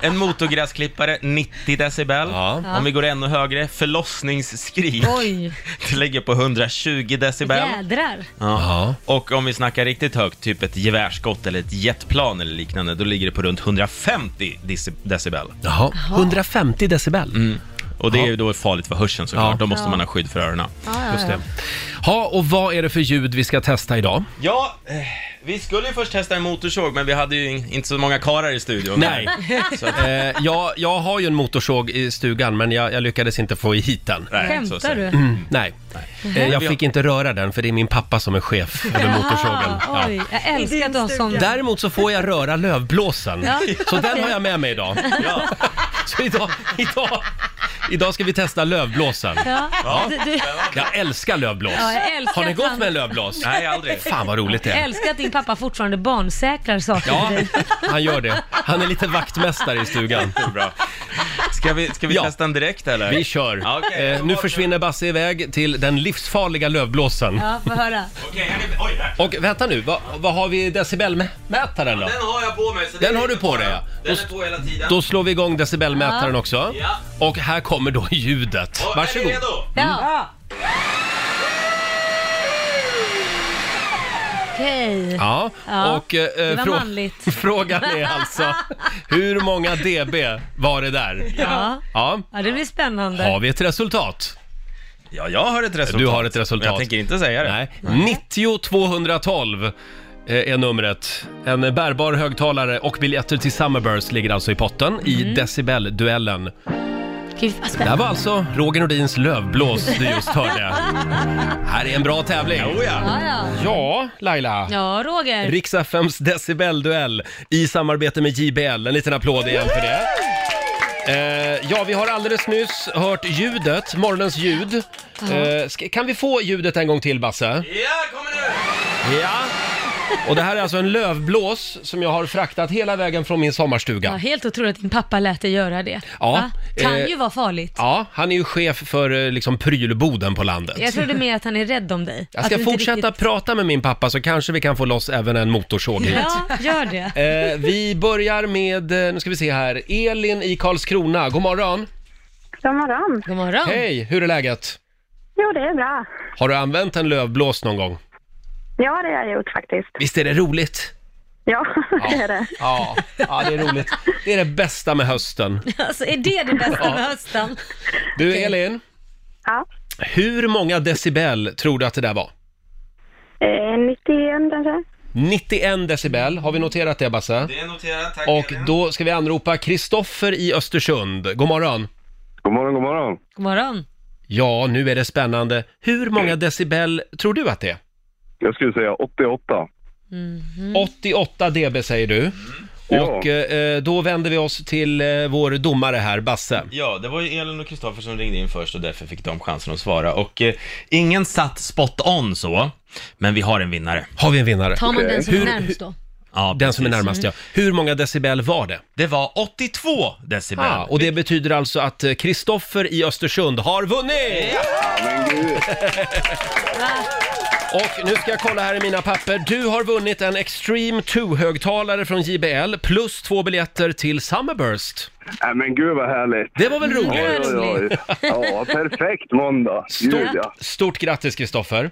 Speaker 6: En motorgräsklippare, 90 decibel.
Speaker 1: Ja.
Speaker 6: Om vi går ännu högre, förlossningsskrik.
Speaker 2: Oj,
Speaker 6: Det ligger på 120 decibel.
Speaker 2: jädrar.
Speaker 1: Ja.
Speaker 6: Och om vi snackar riktigt högt, typ ett gevärsskott eller ett jetplan eller liknande, då ligger det på runt 150 deci- decibel.
Speaker 1: Jaha, Mm, 150 decibel.
Speaker 6: Och det är ju då farligt för hörseln såklart,
Speaker 1: Ja.
Speaker 6: då måste
Speaker 2: Ja.
Speaker 6: man ha skydd för öronen.
Speaker 1: Just det. Ja, och vad är det för ljud vi ska testa idag?
Speaker 6: Ja, eh, vi skulle ju först testa en motorsåg, men vi hade ju in- inte så många karar i studion.
Speaker 1: Nej.
Speaker 6: Så att,
Speaker 1: Eh, jag, jag har ju en motorsåg i stugan, men jag, jag lyckades inte få hit den.
Speaker 6: nej, så att
Speaker 2: Skämtar
Speaker 6: säga.
Speaker 2: du?
Speaker 1: Mm, nej, eh,
Speaker 2: Mm.
Speaker 1: jag fick inte röra den för det är min pappa som är chef över motorsågen.
Speaker 2: Ah,
Speaker 1: Ja.
Speaker 2: Oj, jag älskar att du har sån.
Speaker 1: Däremot så får jag röra lövblåsen,
Speaker 2: Ja.
Speaker 1: så den har jag med mig idag.
Speaker 6: Ja.
Speaker 1: Så idag, idag, idag ska vi testa lövblåsen.
Speaker 2: Ja. Du, du,
Speaker 1: Jag älskar lövblås.
Speaker 2: ja, jag älskar
Speaker 1: Har ni
Speaker 2: att
Speaker 1: gått
Speaker 2: han-
Speaker 1: med en lövblås?
Speaker 6: Nej, aldrig.
Speaker 1: Fan vad roligt det
Speaker 2: Jag
Speaker 1: är.
Speaker 2: älskar att din pappa fortfarande barnsäkrar saker
Speaker 1: Ja,
Speaker 2: för dig.
Speaker 1: han gör det. Han är lite vaktmästare i stugan.
Speaker 6: Det är Bra. Ska vi, ska vi
Speaker 1: Ja.
Speaker 6: testa den direkt eller?
Speaker 1: Vi kör.
Speaker 6: Ja, okej.
Speaker 1: eh, nu försvinner Basse iväg till den livsfarliga lövblåsen.
Speaker 2: Ja, få höra.
Speaker 6: Okej, här är- oj, där.
Speaker 1: Och vänta nu, vad, vad har vi i decibelmätaren då?
Speaker 6: Den har jag på mig. Så
Speaker 1: Den
Speaker 6: det är
Speaker 1: har du
Speaker 6: ingen
Speaker 1: på
Speaker 6: fara.
Speaker 1: dig, ja.
Speaker 6: Den
Speaker 1: Då-
Speaker 6: är på hela tiden.
Speaker 1: Då slår vi igång decibelmätaren
Speaker 2: Ja.
Speaker 1: också.
Speaker 6: Ja.
Speaker 1: Och här kommer då ljudet.
Speaker 6: Och, Är
Speaker 1: Varsågod.
Speaker 6: ni redo?
Speaker 3: Mm.
Speaker 2: Ja. Okej.
Speaker 1: Ja,
Speaker 2: Ja,
Speaker 1: och eh,
Speaker 2: var
Speaker 1: frå-
Speaker 2: manligt.
Speaker 1: frågan är alltså hur många dB var det där?
Speaker 2: Ja.
Speaker 1: Ja,
Speaker 2: ja, det blir spännande.
Speaker 1: har vi ett resultat?
Speaker 6: Ja, jag har ett resultat.
Speaker 1: Du har ett resultat.
Speaker 6: Men Jag tänker inte säga det.
Speaker 1: Nej, 90 212 eh, är numret. En bärbar högtalare och biljetter till Summerburst ligger alltså i potten i decibelduellen.
Speaker 2: Gud, vad
Speaker 1: Det här
Speaker 2: spännande.
Speaker 1: var alltså Roger Nordins lövblås du just hörde. här är en bra tävling.
Speaker 2: Ja, ja.
Speaker 1: Ja, Laila.
Speaker 2: ja, Roger.
Speaker 1: Rix FMs decibelduell i samarbete med JBL. En liten applåd igen för det. Eh, ja, vi har alldeles nyss hört ljudet, morgonens ljud. Eh, ska, kan vi få ljudet en gång till, Basse?
Speaker 6: Ja, kommer nu!
Speaker 1: Ja. Och det här är alltså en lövblås som jag har fraktat hela vägen från min
Speaker 2: Ja,
Speaker 1: sommarstuga.
Speaker 2: helt otroligt att din pappa lät dig göra det.
Speaker 1: Ja,
Speaker 2: Va? Kan
Speaker 1: eh,
Speaker 2: ju vara farligt.
Speaker 1: Ja, han är ju chef för eh, liksom prylboden på landet.
Speaker 2: Jag trodde mer att han är rädd om dig.
Speaker 1: Jag
Speaker 2: Att
Speaker 1: ska
Speaker 2: du inte
Speaker 1: fortsätta
Speaker 2: Riktigt...
Speaker 1: prata med min pappa så kanske vi kan få loss även en motorsåg hit.
Speaker 2: Ja, gör det.
Speaker 1: Eh, vi börjar med, eh, nu ska vi se här, Elin i Karlskrona. God morgon!
Speaker 7: God morgon.
Speaker 2: God morgon.
Speaker 1: Hej, hur är läget?
Speaker 7: Jo, det är bra.
Speaker 1: Har du använt en lövblås någon gång?
Speaker 7: Ja, det har jag gjort faktiskt.
Speaker 1: Visst är det roligt?
Speaker 7: Ja, det är det.
Speaker 1: Ja, ja det är roligt. Det är det bästa med hösten.
Speaker 2: Alltså, är det det bästa med hösten?
Speaker 1: Du Elin,
Speaker 7: Ja.
Speaker 1: hur många decibel tror du att det där var?
Speaker 7: Eh, 91 kanske?
Speaker 1: 91 decibel, har vi noterat det Basse?
Speaker 6: Det är noterat, tack
Speaker 1: Och
Speaker 6: Elin.
Speaker 1: då ska vi anropa Kristoffer i Östersund. God morgon!
Speaker 8: God morgon, god morgon.
Speaker 2: God morgon.
Speaker 1: Ja, nu är det spännande. Hur många decibel tror du att det är?
Speaker 8: Jag skulle säga 88.
Speaker 6: Mm.
Speaker 1: 88 dB säger du.
Speaker 8: Ja.
Speaker 1: Och eh, då vänder vi oss till eh, vår domare här, Basse.
Speaker 6: Ja, det var ju Elin och Kristoffer som ringde in först och därför fick de chansen att svara. Och eh, ingen satt spot on så, men vi har en vinnare.
Speaker 1: Har vi en vinnare?
Speaker 2: Tar man den som är
Speaker 1: Hur-
Speaker 2: närmst då?
Speaker 6: Ja,
Speaker 1: Den som är
Speaker 6: precis.
Speaker 1: närmast ja. Hur många decibel var det?
Speaker 6: Det var 82 decibel.
Speaker 1: Ah, och det betyder alltså att eh, Kristoffer i Östersund har vunnit!
Speaker 8: Men gud,
Speaker 1: Och nu ska jag kolla här i mina papper. Du har vunnit en Extreme 2-högtalare från JBL plus två biljetter till Summerburst.
Speaker 8: nej, äh, men gud vad härligt.
Speaker 1: Det var väl
Speaker 8: Oj,
Speaker 1: roligt?
Speaker 8: oj, oj. Ja, perfekt måndag. Gud,
Speaker 1: Stort,
Speaker 8: ja.
Speaker 1: stort grattis Kristoffer!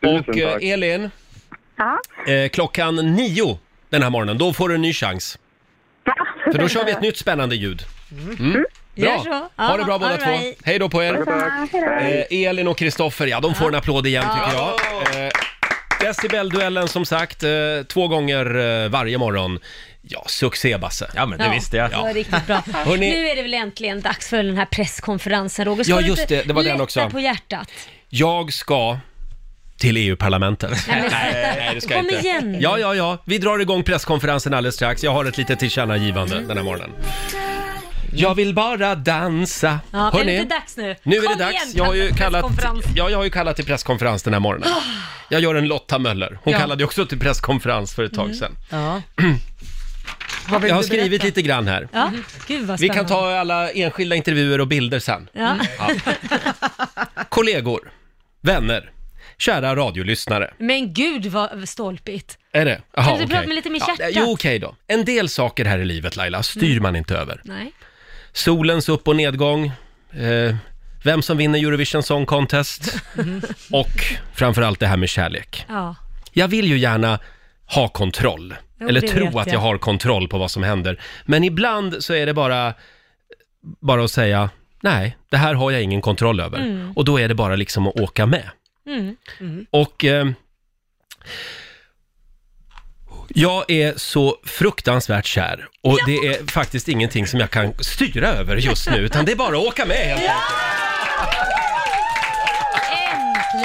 Speaker 8: Tusen
Speaker 1: Och eh,
Speaker 8: tack.
Speaker 1: Elin,
Speaker 7: Ja.
Speaker 1: eh, klockan nio den här morgonen, då får du en ny chans. För då kör vi ett nytt spännande ljud.
Speaker 2: Gör
Speaker 1: Mm.
Speaker 2: så.
Speaker 1: Bra!
Speaker 2: Ja,
Speaker 1: Ha det bra båda
Speaker 2: all
Speaker 1: två.
Speaker 2: right.
Speaker 1: Hej då på er!
Speaker 7: Detsamma. Hej då.
Speaker 1: Eh, Elin och Kristoffer, ja de får en applåd igen tycker jag. Eh, Decibelduellen som sagt, eh, två gånger eh, varje morgon. Ja, succé Basse.
Speaker 6: Ja, men det visste jag.
Speaker 2: Det var riktigt bra.
Speaker 1: Hörrni-
Speaker 2: Nu är det väl äntligen dags för den här presskonferensen, Roger. Ska
Speaker 1: Ja,
Speaker 2: du
Speaker 1: just
Speaker 2: inte
Speaker 1: det. Det var den
Speaker 2: lätta
Speaker 1: också.
Speaker 2: på hjärtat.
Speaker 1: Jag ska till EU-parlamentet.
Speaker 2: Nej, men sluta. Kom igen.
Speaker 1: Ja, ja, ja. Vi drar igång presskonferensen alldeles strax. Jag har ett litet tillkännagivande den här morgonen. Jag vill bara dansa.
Speaker 2: Ja, är
Speaker 1: Hörrni,
Speaker 2: det inte dags nu?
Speaker 1: Nu är
Speaker 2: Kom
Speaker 1: det dags.
Speaker 2: Igen,
Speaker 1: jag, har ju kallat,
Speaker 2: presskonferens. Ah.
Speaker 1: ja, jag har ju kallat till presskonferens den här morgonen. Jag gör en Lotta Möller. Hon
Speaker 3: Ja.
Speaker 1: kallade ju också till presskonferens för ett
Speaker 2: Mm.
Speaker 1: tag sedan.
Speaker 3: Ja.
Speaker 1: Jag har skrivit lite grann här.
Speaker 2: Ja, gud vad spännande.
Speaker 1: Vi kan ta alla enskilda intervjuer och bilder sen.
Speaker 2: Ja. Mm.
Speaker 1: Kollegor, vänner, kära radiolyssnare.
Speaker 2: Men gud vad stolpigt.
Speaker 1: Är det? Aha,
Speaker 2: Kan du prata med lite mer hjärta?
Speaker 1: jo, okej då. En del saker här i livet, Laila, styr
Speaker 2: Mm.
Speaker 1: man inte över.
Speaker 2: Nej.
Speaker 1: Solens upp och nedgång, eh, vem som vinner Eurovision Song Contest
Speaker 2: Mm.
Speaker 1: och framförallt det här med kärlek.
Speaker 2: Ja.
Speaker 1: Jag vill ju gärna ha kontroll,
Speaker 2: Jo,
Speaker 1: eller
Speaker 2: det vet
Speaker 1: tro att jag.
Speaker 2: jag.
Speaker 1: har kontroll på vad som händer. Men ibland så är det bara, bara att säga, nej, det här har jag ingen kontroll över. Och då är det bara liksom att åka med.
Speaker 2: Mm.
Speaker 1: Och eh, jag är så fruktansvärt kär och det är faktiskt ingenting som jag kan styra över just nu, utan det är bara att åka med helt enkelt.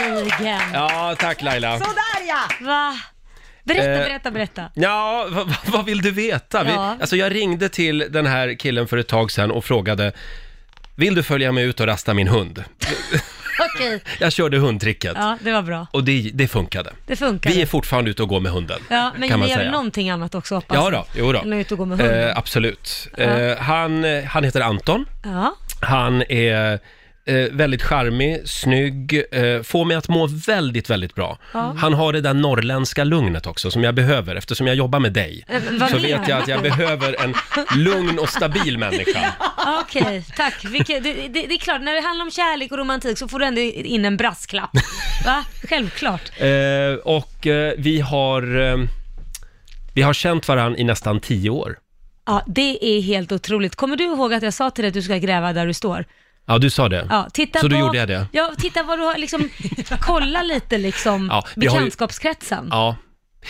Speaker 2: Äntligen!
Speaker 1: Ja, tack Laila.
Speaker 2: Va? Berätta,
Speaker 1: Eh,
Speaker 2: berätta, berätta.
Speaker 1: Ja, vad, vad vill du veta? Vi,
Speaker 2: Ja.
Speaker 1: Alltså jag ringde till den här killen för ett tag sedan och frågade Vill du följa med ut och rasta min hund?
Speaker 2: Okej.
Speaker 1: Jag körde hundtricket
Speaker 2: Ja, det var bra.
Speaker 1: och det, det funkade.
Speaker 2: Det funkar.
Speaker 1: Vi är fortfarande ute och går med hunden.
Speaker 2: Ja, men
Speaker 1: kan
Speaker 2: ni
Speaker 1: man
Speaker 2: gör väl
Speaker 1: säga.
Speaker 2: någonting annat också hoppas
Speaker 1: Ja
Speaker 2: jag.
Speaker 1: då, jo då.
Speaker 2: Än att ut och gå med hunden.
Speaker 1: Eh, absolut. Eh, han, eh, han heter Anton.
Speaker 2: Ja.
Speaker 1: Han är eh, väldigt charmig, snygg, eh, får mig att må väldigt, väldigt bra. Han har det där norrländska lugnet också som jag behöver eftersom jag jobbar med dig.
Speaker 2: Eh, vad
Speaker 1: så
Speaker 2: menar
Speaker 1: vet jag att jag behöver en lugn och stabil människa.
Speaker 2: Ja, Okej, tack. Vilket, det, det, det är klart, när det handlar om kärlek och romantik så får du ändå in en brasklapp. Va? Självklart.
Speaker 1: Eh, och eh, vi har... Eh, vi har känt varandra i nästan tio år.
Speaker 2: Ja, det är helt otroligt. Kommer du ihåg att jag sa till dig att du ska gräva där du står?
Speaker 1: Ja, du sa det.
Speaker 2: Ja, titta
Speaker 1: Så då
Speaker 2: vad-
Speaker 1: gjorde jag det?
Speaker 2: Ja, titta vad du har liksom, kolla lite liksom
Speaker 1: Ja, vi har ju-
Speaker 2: bekantskapskretsen.
Speaker 1: Ja.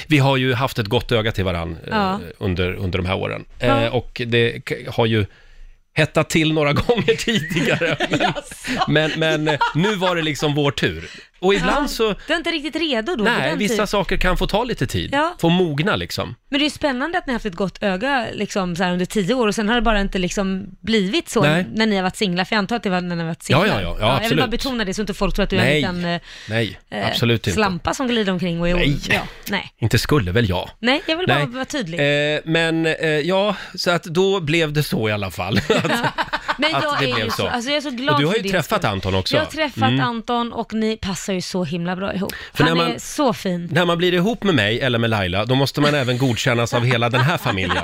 Speaker 1: vi har ju haft ett gott öga till varann eh,
Speaker 2: Ja.
Speaker 1: under, under de här åren.
Speaker 2: Ja.
Speaker 1: Eh, och det k- har ju hettat till några gånger tidigare. Men, men, men eh, nu var det liksom vår tur. Och ibland så...
Speaker 2: Du är inte riktigt redo då? för
Speaker 1: Nej,
Speaker 2: den
Speaker 1: vissa
Speaker 2: typen.
Speaker 1: saker kan få ta lite tid.
Speaker 2: Ja.
Speaker 1: Få mogna liksom.
Speaker 2: Men det är ju spännande att ni har haft ett gott öga liksom, så här, under tio år och sen har det bara inte liksom, blivit så
Speaker 1: Nej.
Speaker 2: när ni har varit singlar, för jag antar att det var när ni har varit singlar.
Speaker 1: Ja, ja, ja, ja,
Speaker 2: Jag vill
Speaker 1: absolut.
Speaker 2: bara betona det så inte folk tror att du
Speaker 1: Nej.
Speaker 2: är en liten
Speaker 1: Nej,
Speaker 2: eh,
Speaker 1: absolut inte.
Speaker 2: slampa som glider omkring och är
Speaker 1: Nej.
Speaker 2: Ja, nej.
Speaker 1: Inte skulle väl jag?
Speaker 2: nej, jag vill bara
Speaker 1: Nej.
Speaker 2: vara tydlig.
Speaker 1: Eh, men eh, ja, så att då blev det så i alla fall.
Speaker 2: Men
Speaker 1: att
Speaker 2: jag
Speaker 1: det
Speaker 2: är
Speaker 1: blev
Speaker 2: ju så,
Speaker 1: så.
Speaker 2: alltså jag är så glad
Speaker 1: och du har
Speaker 2: för
Speaker 1: ju
Speaker 2: din
Speaker 1: träffat
Speaker 2: skull.
Speaker 1: Anton också. Mm.
Speaker 2: Jag har träffat Anton och ni passar ju så himla bra ihop.
Speaker 1: För när
Speaker 2: Han
Speaker 1: man-
Speaker 2: är så fin.
Speaker 1: När man blir ihop med mig eller med Laila, då måste man även godkännas av hela den här familjen.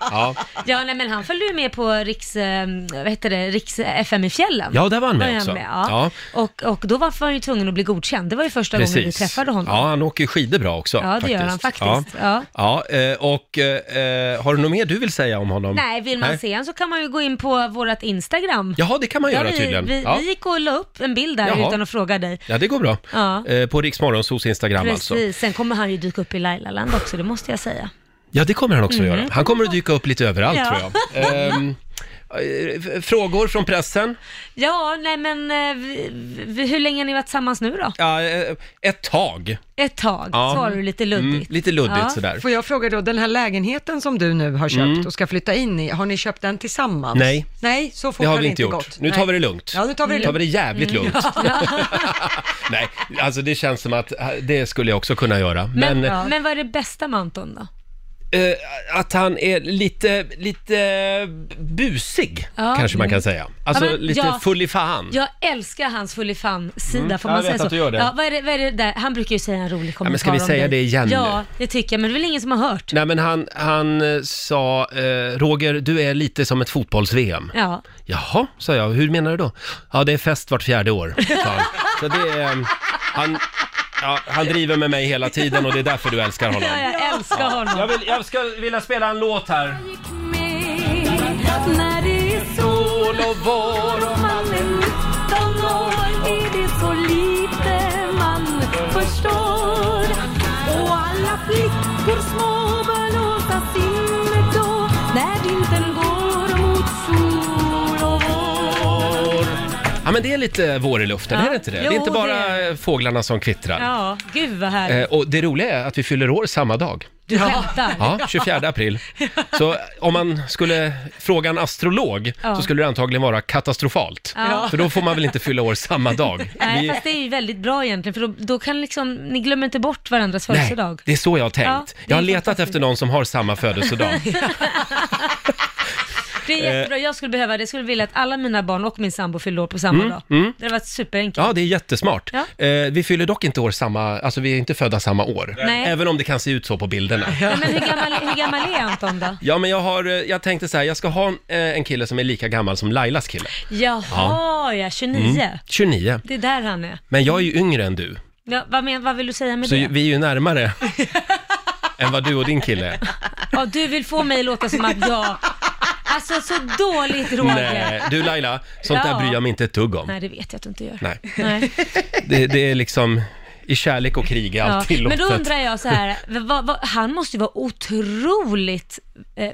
Speaker 1: Ja,
Speaker 2: Ja, nej, men han följde ju med på Riks, eh, vad heter det, Riks FM i fjällen.
Speaker 1: ja där var han
Speaker 2: Var
Speaker 1: med
Speaker 2: jag
Speaker 1: också.
Speaker 2: med, ja. Och, och då var han ju tvungen att bli godkänd. Det var ju första gången vi träffade honom.
Speaker 1: Ja, han åker ju skidor bra också.
Speaker 2: Ja, det gör han faktiskt. Ja.
Speaker 1: Ja, eh, och eh, har du något mer du vill säga om honom?
Speaker 2: Nej, vill man se han så kan man ju gå in på vårt Instagram.
Speaker 1: Jaha, det kan man göra
Speaker 2: vi,
Speaker 1: tydligen.
Speaker 2: Vi,
Speaker 1: ja.
Speaker 2: vi gick och la upp en bild där
Speaker 1: Jaha.
Speaker 2: utan att fråga dig.
Speaker 1: ja, det går bra.
Speaker 2: Ja.
Speaker 1: Eh, på Riksmorgonsos Instagram
Speaker 2: Precis,
Speaker 1: alltså.
Speaker 2: sen kommer han ju dyka upp i Lailaland också, det måste jag säga.
Speaker 1: Ja, det kommer han också göra. Han kommer att dyka upp lite överallt
Speaker 2: Mhm. Ja.
Speaker 1: tror jag. Ehm, eh, f- frågor från pressen?
Speaker 2: Ja, nej men eh, vi, vi, hur länge har ni varit tillsammans nu då?
Speaker 1: Ja, eh, ett tag.
Speaker 2: Ett tag,
Speaker 1: Ja.
Speaker 2: svarar du lite luddigt.
Speaker 1: Mm, lite luddigt
Speaker 2: Ja.
Speaker 1: sådär.
Speaker 3: Får jag fråga då, den här lägenheten som du nu har köpt och ska flytta in i, har ni köpt den tillsammans?
Speaker 1: Mm. Nej.
Speaker 3: Nej, så fort
Speaker 1: Det har
Speaker 3: har
Speaker 1: vi
Speaker 3: det
Speaker 1: inte gjort.
Speaker 3: gått.
Speaker 1: Nu tar
Speaker 3: Nej.
Speaker 1: vi det lugnt. Mm.
Speaker 3: Ja, nu tar vi det
Speaker 1: Nu tar vi
Speaker 3: lugnt.
Speaker 1: det jävligt
Speaker 2: Mm.
Speaker 1: lugnt. Nej, alltså det känns som att eh, det skulle jag också kunna göra. Men,
Speaker 2: Men, men vad är det bästa med Anton då?
Speaker 1: eh, att han är lite, lite busig,
Speaker 2: Ja. Mm.
Speaker 1: kanske man kan säga. Alltså
Speaker 2: Ja, men
Speaker 1: lite
Speaker 2: jag-
Speaker 1: full i fan.
Speaker 2: Jag älskar hans fullifan-sida, får
Speaker 1: Mm. jag
Speaker 2: man
Speaker 1: vet
Speaker 2: säga så?
Speaker 1: att du gör det.
Speaker 2: Ja, vad är det, vad är det där? Han brukar ju säga en rolig kommentar
Speaker 1: men ska vi
Speaker 2: om
Speaker 1: säga
Speaker 2: dig.
Speaker 1: det igen nu?
Speaker 2: Ja, det tycker jag, men det är väl ingen som har hört?
Speaker 1: Nej men han, han eh, sa, eh, Roger du är lite som ett fotbolls-VM.
Speaker 2: Ja.
Speaker 1: Jaha, sa jag, hur menar du då? Ja det är fest vart fjärde år, sa han. Så det är, eh, han, ja, han driver med mig hela tiden och det är därför du älskar honom.
Speaker 2: Ja, jag älskar honom.
Speaker 1: Jag, vill, jag ska vilja spela en låt här.
Speaker 9: När det är sol
Speaker 1: Sol och vår.
Speaker 9: och man är 19 år är det så lite man förstår Och alla flickor små bör låta sinnet då när vintern går mot sol och vår
Speaker 1: Ja men det är lite vår i luften,
Speaker 2: Ja.
Speaker 1: är det inte det? det
Speaker 2: Jo,
Speaker 1: är inte bara
Speaker 2: det är
Speaker 1: fåglarna som kvittrar.
Speaker 2: Ja, gud vad härligt.
Speaker 1: Eh, och det roliga är att vi fyller år samma dag.
Speaker 2: Du skämtar.
Speaker 1: Ja, 24 april. Så eh, om man skulle fråga en astrolog
Speaker 2: Ja.
Speaker 1: så skulle det antagligen vara katastrofalt.
Speaker 2: Ja.
Speaker 1: För då får man väl inte fylla år samma dag.
Speaker 2: Nej,
Speaker 1: Vi-
Speaker 2: fast det är ju väldigt bra egentligen, för då, då kan liksom, ni glömmer inte bort varandras
Speaker 1: Nej,
Speaker 2: födelsedag.
Speaker 1: det är så jag har tänkt.
Speaker 2: Ja, det
Speaker 1: jag har
Speaker 2: är
Speaker 1: letat
Speaker 2: fantastiskt.
Speaker 1: efter någon som har samma födelsedag.
Speaker 2: Det
Speaker 1: eh.
Speaker 2: är jättebra, jag skulle behöva det, jag skulle vilja att alla mina barn och min sambo fyllde år på samma
Speaker 1: Mm,
Speaker 2: dag. Det hade varit superenkelt.
Speaker 1: Ja, det är jättesmart.
Speaker 2: Ja.
Speaker 1: Eh, vi fyller dock inte år samma, alltså vi är inte födda samma år.
Speaker 2: Nej.
Speaker 1: Även om det kan se ut så på bilderna.
Speaker 2: Nej, men hur gammal, hur gammal är Anton då?
Speaker 1: Ja, men jag, har, eh, jag tänkte så här, jag ska ha en, eh, en kille som är lika gammal som Lailas kille.
Speaker 2: Jaha, ja, 29.
Speaker 1: 29.
Speaker 2: Det är där han är.
Speaker 1: Men jag är ju yngre än du,
Speaker 2: Ja, vad, men, vad vill du säga med
Speaker 1: så
Speaker 2: det?
Speaker 1: ju- vi är ju närmare än vad du och din kille är.
Speaker 2: Ja, du vill få mig att låta som att jag... Alltså så dåligt Roger.
Speaker 1: Nej, eh, du Laila, sånt där
Speaker 2: Ja.
Speaker 1: bryr jag mig inte ett dugg om.
Speaker 2: Nej, det vet jag att du inte gör.
Speaker 1: Nej.
Speaker 2: Nej.
Speaker 1: Det, det är liksom i kärlek och krig är
Speaker 2: Ja.
Speaker 1: allt
Speaker 2: Men då
Speaker 1: tillåtet.
Speaker 2: undrar jag så här, vad, vad, han måste ju vara otroligt eh,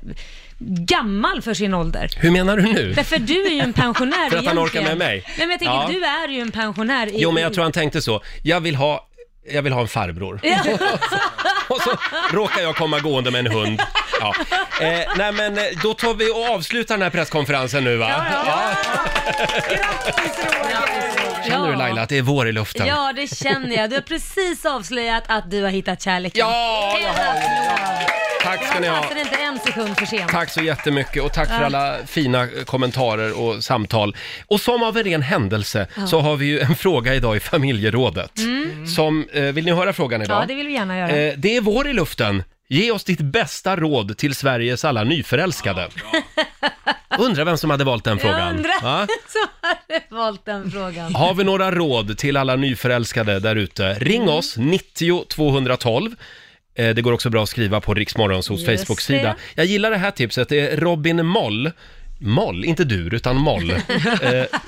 Speaker 2: gammal för sin ålder.
Speaker 1: Hur menar du nu?
Speaker 2: Därför du är ju en pensionär
Speaker 1: För att han
Speaker 2: egentligen.
Speaker 1: orkar med mig.
Speaker 2: Nej, men jag tänker,
Speaker 1: Ja.
Speaker 2: du är ju en pensionär. I,
Speaker 1: Jo, men jag tror han tänkte så. Jag vill ha, jag vill ha en farbror. och så råkar jag komma gående med en hund. Ja. Eh, nej, men eh, då tar vi och avslutar den här presskonferensen nu va? Känner du Laila att det är vår i luften?
Speaker 2: Ja, det känner jag. Du har precis avslöjat att du har hittat kärleken.
Speaker 1: Ja, jag har ju. Tack ska ni
Speaker 2: Jag
Speaker 1: ha.
Speaker 2: passade inte en sekund för sent.
Speaker 1: Tack så jättemycket och tack för alla fina eh, kommentarer och samtal. Och som av en ren händelse så har vi ju en fråga idag i familjerådet. Som, eh, vill ni höra frågan idag?
Speaker 2: Mm. Ja, det vill vi gärna göra.
Speaker 1: Eh, det är vår i luften. Ge oss ditt bästa råd till Sveriges alla nyförälskade. Undrar vem som hade valt den
Speaker 2: Jag
Speaker 1: frågan.
Speaker 2: undrar
Speaker 1: Va?
Speaker 2: som hade valt den frågan.
Speaker 1: Har vi några råd till alla nyförälskade där ute? Ring oss,
Speaker 2: Mm.
Speaker 1: 90 212. Eh, Det går också bra att skriva på Riksmorgonsos
Speaker 2: Just
Speaker 1: Facebook-sida.
Speaker 2: det.
Speaker 1: Jag gillar det här tipset. Det är Robin Moll, Moll, inte dur, utan Moll, eh,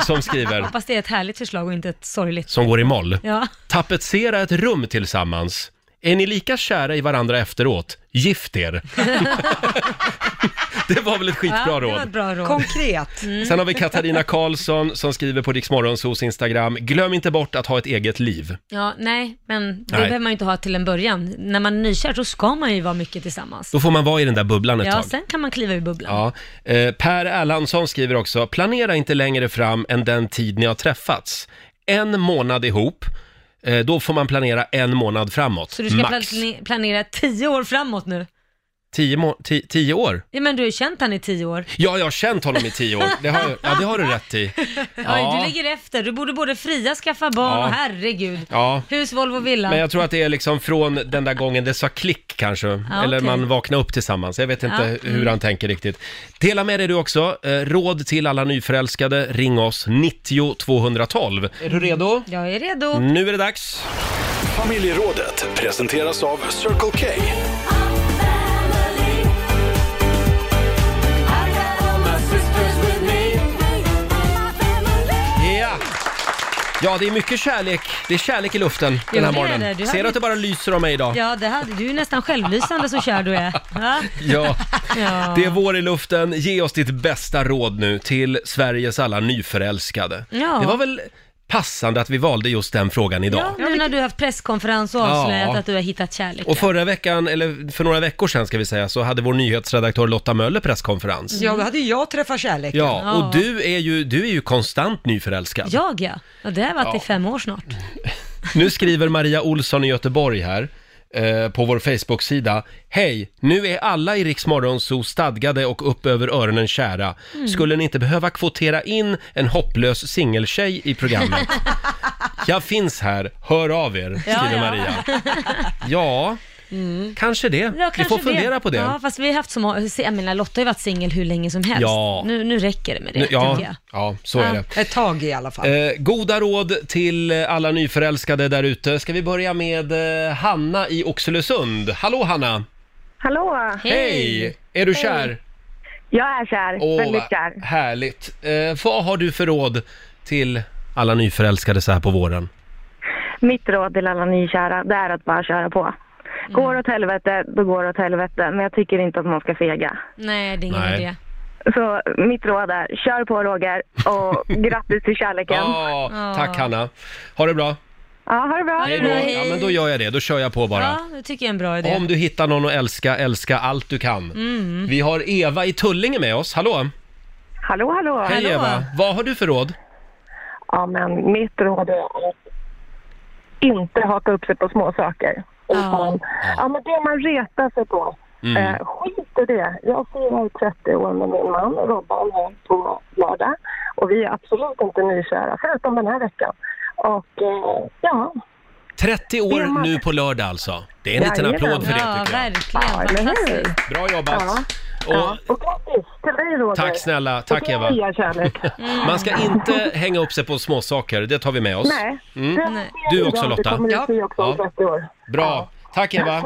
Speaker 1: som skriver,
Speaker 2: Hoppas det är ett härligt förslag och inte ett sorgligt.
Speaker 1: som går i moll.
Speaker 2: Ja.
Speaker 1: Tapetsera ett rum tillsammans. Är ni lika kära i varandra efteråt? Gift er! det var väl ett skitbra
Speaker 2: ja, Det var mm. ett
Speaker 1: råd.
Speaker 2: bra råd.
Speaker 3: Konkret.
Speaker 1: Sen har vi Katarina Karlsson som skriver på Riksmorgonsos Instagram. Glöm inte bort att ha ett eget liv.
Speaker 2: Ja, nej, men det
Speaker 1: Nej.
Speaker 2: behöver man ju inte ha till en början. När man är nykär så ska man ju vara mycket tillsammans.
Speaker 1: Då får man vara i den där bubblan ett
Speaker 2: Ja,
Speaker 1: tag.
Speaker 2: sen kan man kliva ur bubblan.
Speaker 1: Ja. Eh, per Erlandsson skriver också, planera inte längre fram än den tid ni har träffats. En månad ihop, eh, då får man planera en månad framåt.
Speaker 2: Så du ska
Speaker 1: Max.
Speaker 2: plane- planera tio år framåt nu?
Speaker 1: Tio, må- ti- tio år?
Speaker 2: Ja, men du har ju känt han i tio år.
Speaker 1: Ja, jag har känt honom i tio år. Det har, ja, det har du rätt i.
Speaker 2: Oj,
Speaker 1: Ja.
Speaker 2: du ligger efter. Du borde både fria, skaffa barn
Speaker 1: Ja.
Speaker 2: och herregud.
Speaker 1: Ja.
Speaker 2: Hus, Volvo, villa.
Speaker 1: Men jag tror att det är liksom från den där gången det sa klick kanske. Eller
Speaker 2: okej. Mm.
Speaker 1: man vaknade upp tillsammans. Jag vet inte hur han tänker riktigt. Dela med dig du också. Eh, Råd till alla nyförälskade. Ring oss 90 212. Är du redo?
Speaker 2: Jag är redo.
Speaker 1: Nu är det dags.
Speaker 4: Familjerådet presenteras av Circle K.
Speaker 1: Ja! Ja, det är mycket kärlek. Det är kärlek i luften den här
Speaker 2: det är
Speaker 1: morgonen.
Speaker 2: det. Du har
Speaker 1: Ser du
Speaker 2: lite-
Speaker 1: att det bara lyser om mig idag?
Speaker 2: Ja, det hade, du är nästan självlysande så kär du är. Va?
Speaker 1: Ja.
Speaker 2: Ja.
Speaker 1: Det är vår i luften. Ge oss ditt bästa råd nu till Sveriges alla nyförälskade.
Speaker 2: Ja.
Speaker 1: Det var väl passande att vi valde just den frågan idag.
Speaker 2: Ja, nu när du har haft presskonferens och
Speaker 1: Ja.
Speaker 2: avslöjat att du har hittat kärleken.
Speaker 1: Och förra veckan, eller för några veckor sedan ska vi säga, så hade vår nyhetsredaktör Lotta Möller presskonferens.
Speaker 3: Ja, då hade ju jag träffat kärlek.
Speaker 1: Ja, och
Speaker 2: Mm.
Speaker 1: du
Speaker 2: Ja.
Speaker 1: är ju, du är ju konstant nyförälskad.
Speaker 2: Jag ja. ja, det har varit i
Speaker 1: Ja.
Speaker 2: fem år snart.
Speaker 1: Nu skriver Maria Olsson i Göteborg här, eh, på vår Facebook-sida. Hej, nu är alla i Rix Morgonzoo stadgade och upp över öronen kära.
Speaker 2: Mm.
Speaker 1: Skulle ni inte behöva kvotera in en hopplös singeltjej i programmet? Jag finns här, hör av er, skriver
Speaker 2: ja. Mm.
Speaker 1: Maria. Ja, kanske det.
Speaker 2: Ja,
Speaker 1: vi
Speaker 2: kanske
Speaker 1: får fundera på det.
Speaker 2: Ja, fast vi har haft så många, jag menar Lotta har ju varit singel hur länge som helst.
Speaker 1: Ja.
Speaker 2: Nu, nu räcker det med det,
Speaker 1: Nu- ja,
Speaker 2: tycker jag.
Speaker 1: ja, så är det.
Speaker 3: Ett tag i alla fall.
Speaker 1: Eh, goda råd till eh, alla nyförälskade där ute. Ska vi börja med eh, Hanna i Oxelösund? Hallå Hanna!
Speaker 7: Hallå!
Speaker 1: Är du kär?
Speaker 7: Jag är kär. Väldigt
Speaker 1: vad
Speaker 7: kär.
Speaker 1: härligt. Eh, vad har du för råd till alla nyförälskade så här på våren?
Speaker 7: Mitt råd till alla nykära, det är att bara köra på. Går
Speaker 1: Mm.
Speaker 7: det åt helvete, då går det åt helvete. Men jag tycker inte att man ska fega.
Speaker 2: Nej, det är ingen
Speaker 1: Nej.
Speaker 2: idé.
Speaker 7: Så mitt råd är, kör på Roger och grattis till kärleken.
Speaker 1: Ja,
Speaker 2: Ja.
Speaker 1: Ah, tack Hanna. Ha det bra.
Speaker 7: Ja, ha det bra.
Speaker 2: Hej
Speaker 1: Då,
Speaker 2: då.
Speaker 1: ja, men då gör jag det. Då kör jag på bara.
Speaker 2: Ja, det tycker jag är en bra idé.
Speaker 1: Om du hittar någon att älska, älska allt du kan. Vi har Eva i Tullinge med oss. Hallå!
Speaker 7: Hallå, hallå.
Speaker 1: Hej
Speaker 2: Hallå.
Speaker 1: Eva! Vad har du för råd?
Speaker 7: Ja, men mitt råd är att inte haka upp sig på små saker. Utan, ja. men det man retar sig på,
Speaker 1: Mm.
Speaker 7: eh, skit i det. Jag firar 30 år med min man Robban här på lördag och vi är absolut inte nykära, förutom den här veckan. Och eh, ja,
Speaker 1: 30 år nu på lördag alltså. Det är en liten
Speaker 7: Jajamän.
Speaker 1: applåd för det
Speaker 2: ja,
Speaker 1: tycker jag.
Speaker 2: verkligen.
Speaker 7: Ja, eller hur?
Speaker 2: Fantastiskt.
Speaker 1: Bra jobbat!
Speaker 7: ja.
Speaker 1: Och
Speaker 7: och grattis till dig Roger.
Speaker 1: tack snälla,
Speaker 7: Och
Speaker 1: tack
Speaker 7: till
Speaker 1: Eva.
Speaker 7: Maria, kärlek.
Speaker 1: Man ska inte hänga upp sig på småsaker, det tar vi med oss.
Speaker 7: Nej.
Speaker 2: Nej.
Speaker 1: Mm. Du också, Lotta.
Speaker 7: Det kommer du
Speaker 3: Ja.
Speaker 7: se också om
Speaker 1: Ja.
Speaker 7: 30 år.
Speaker 1: Bra, tack Eva.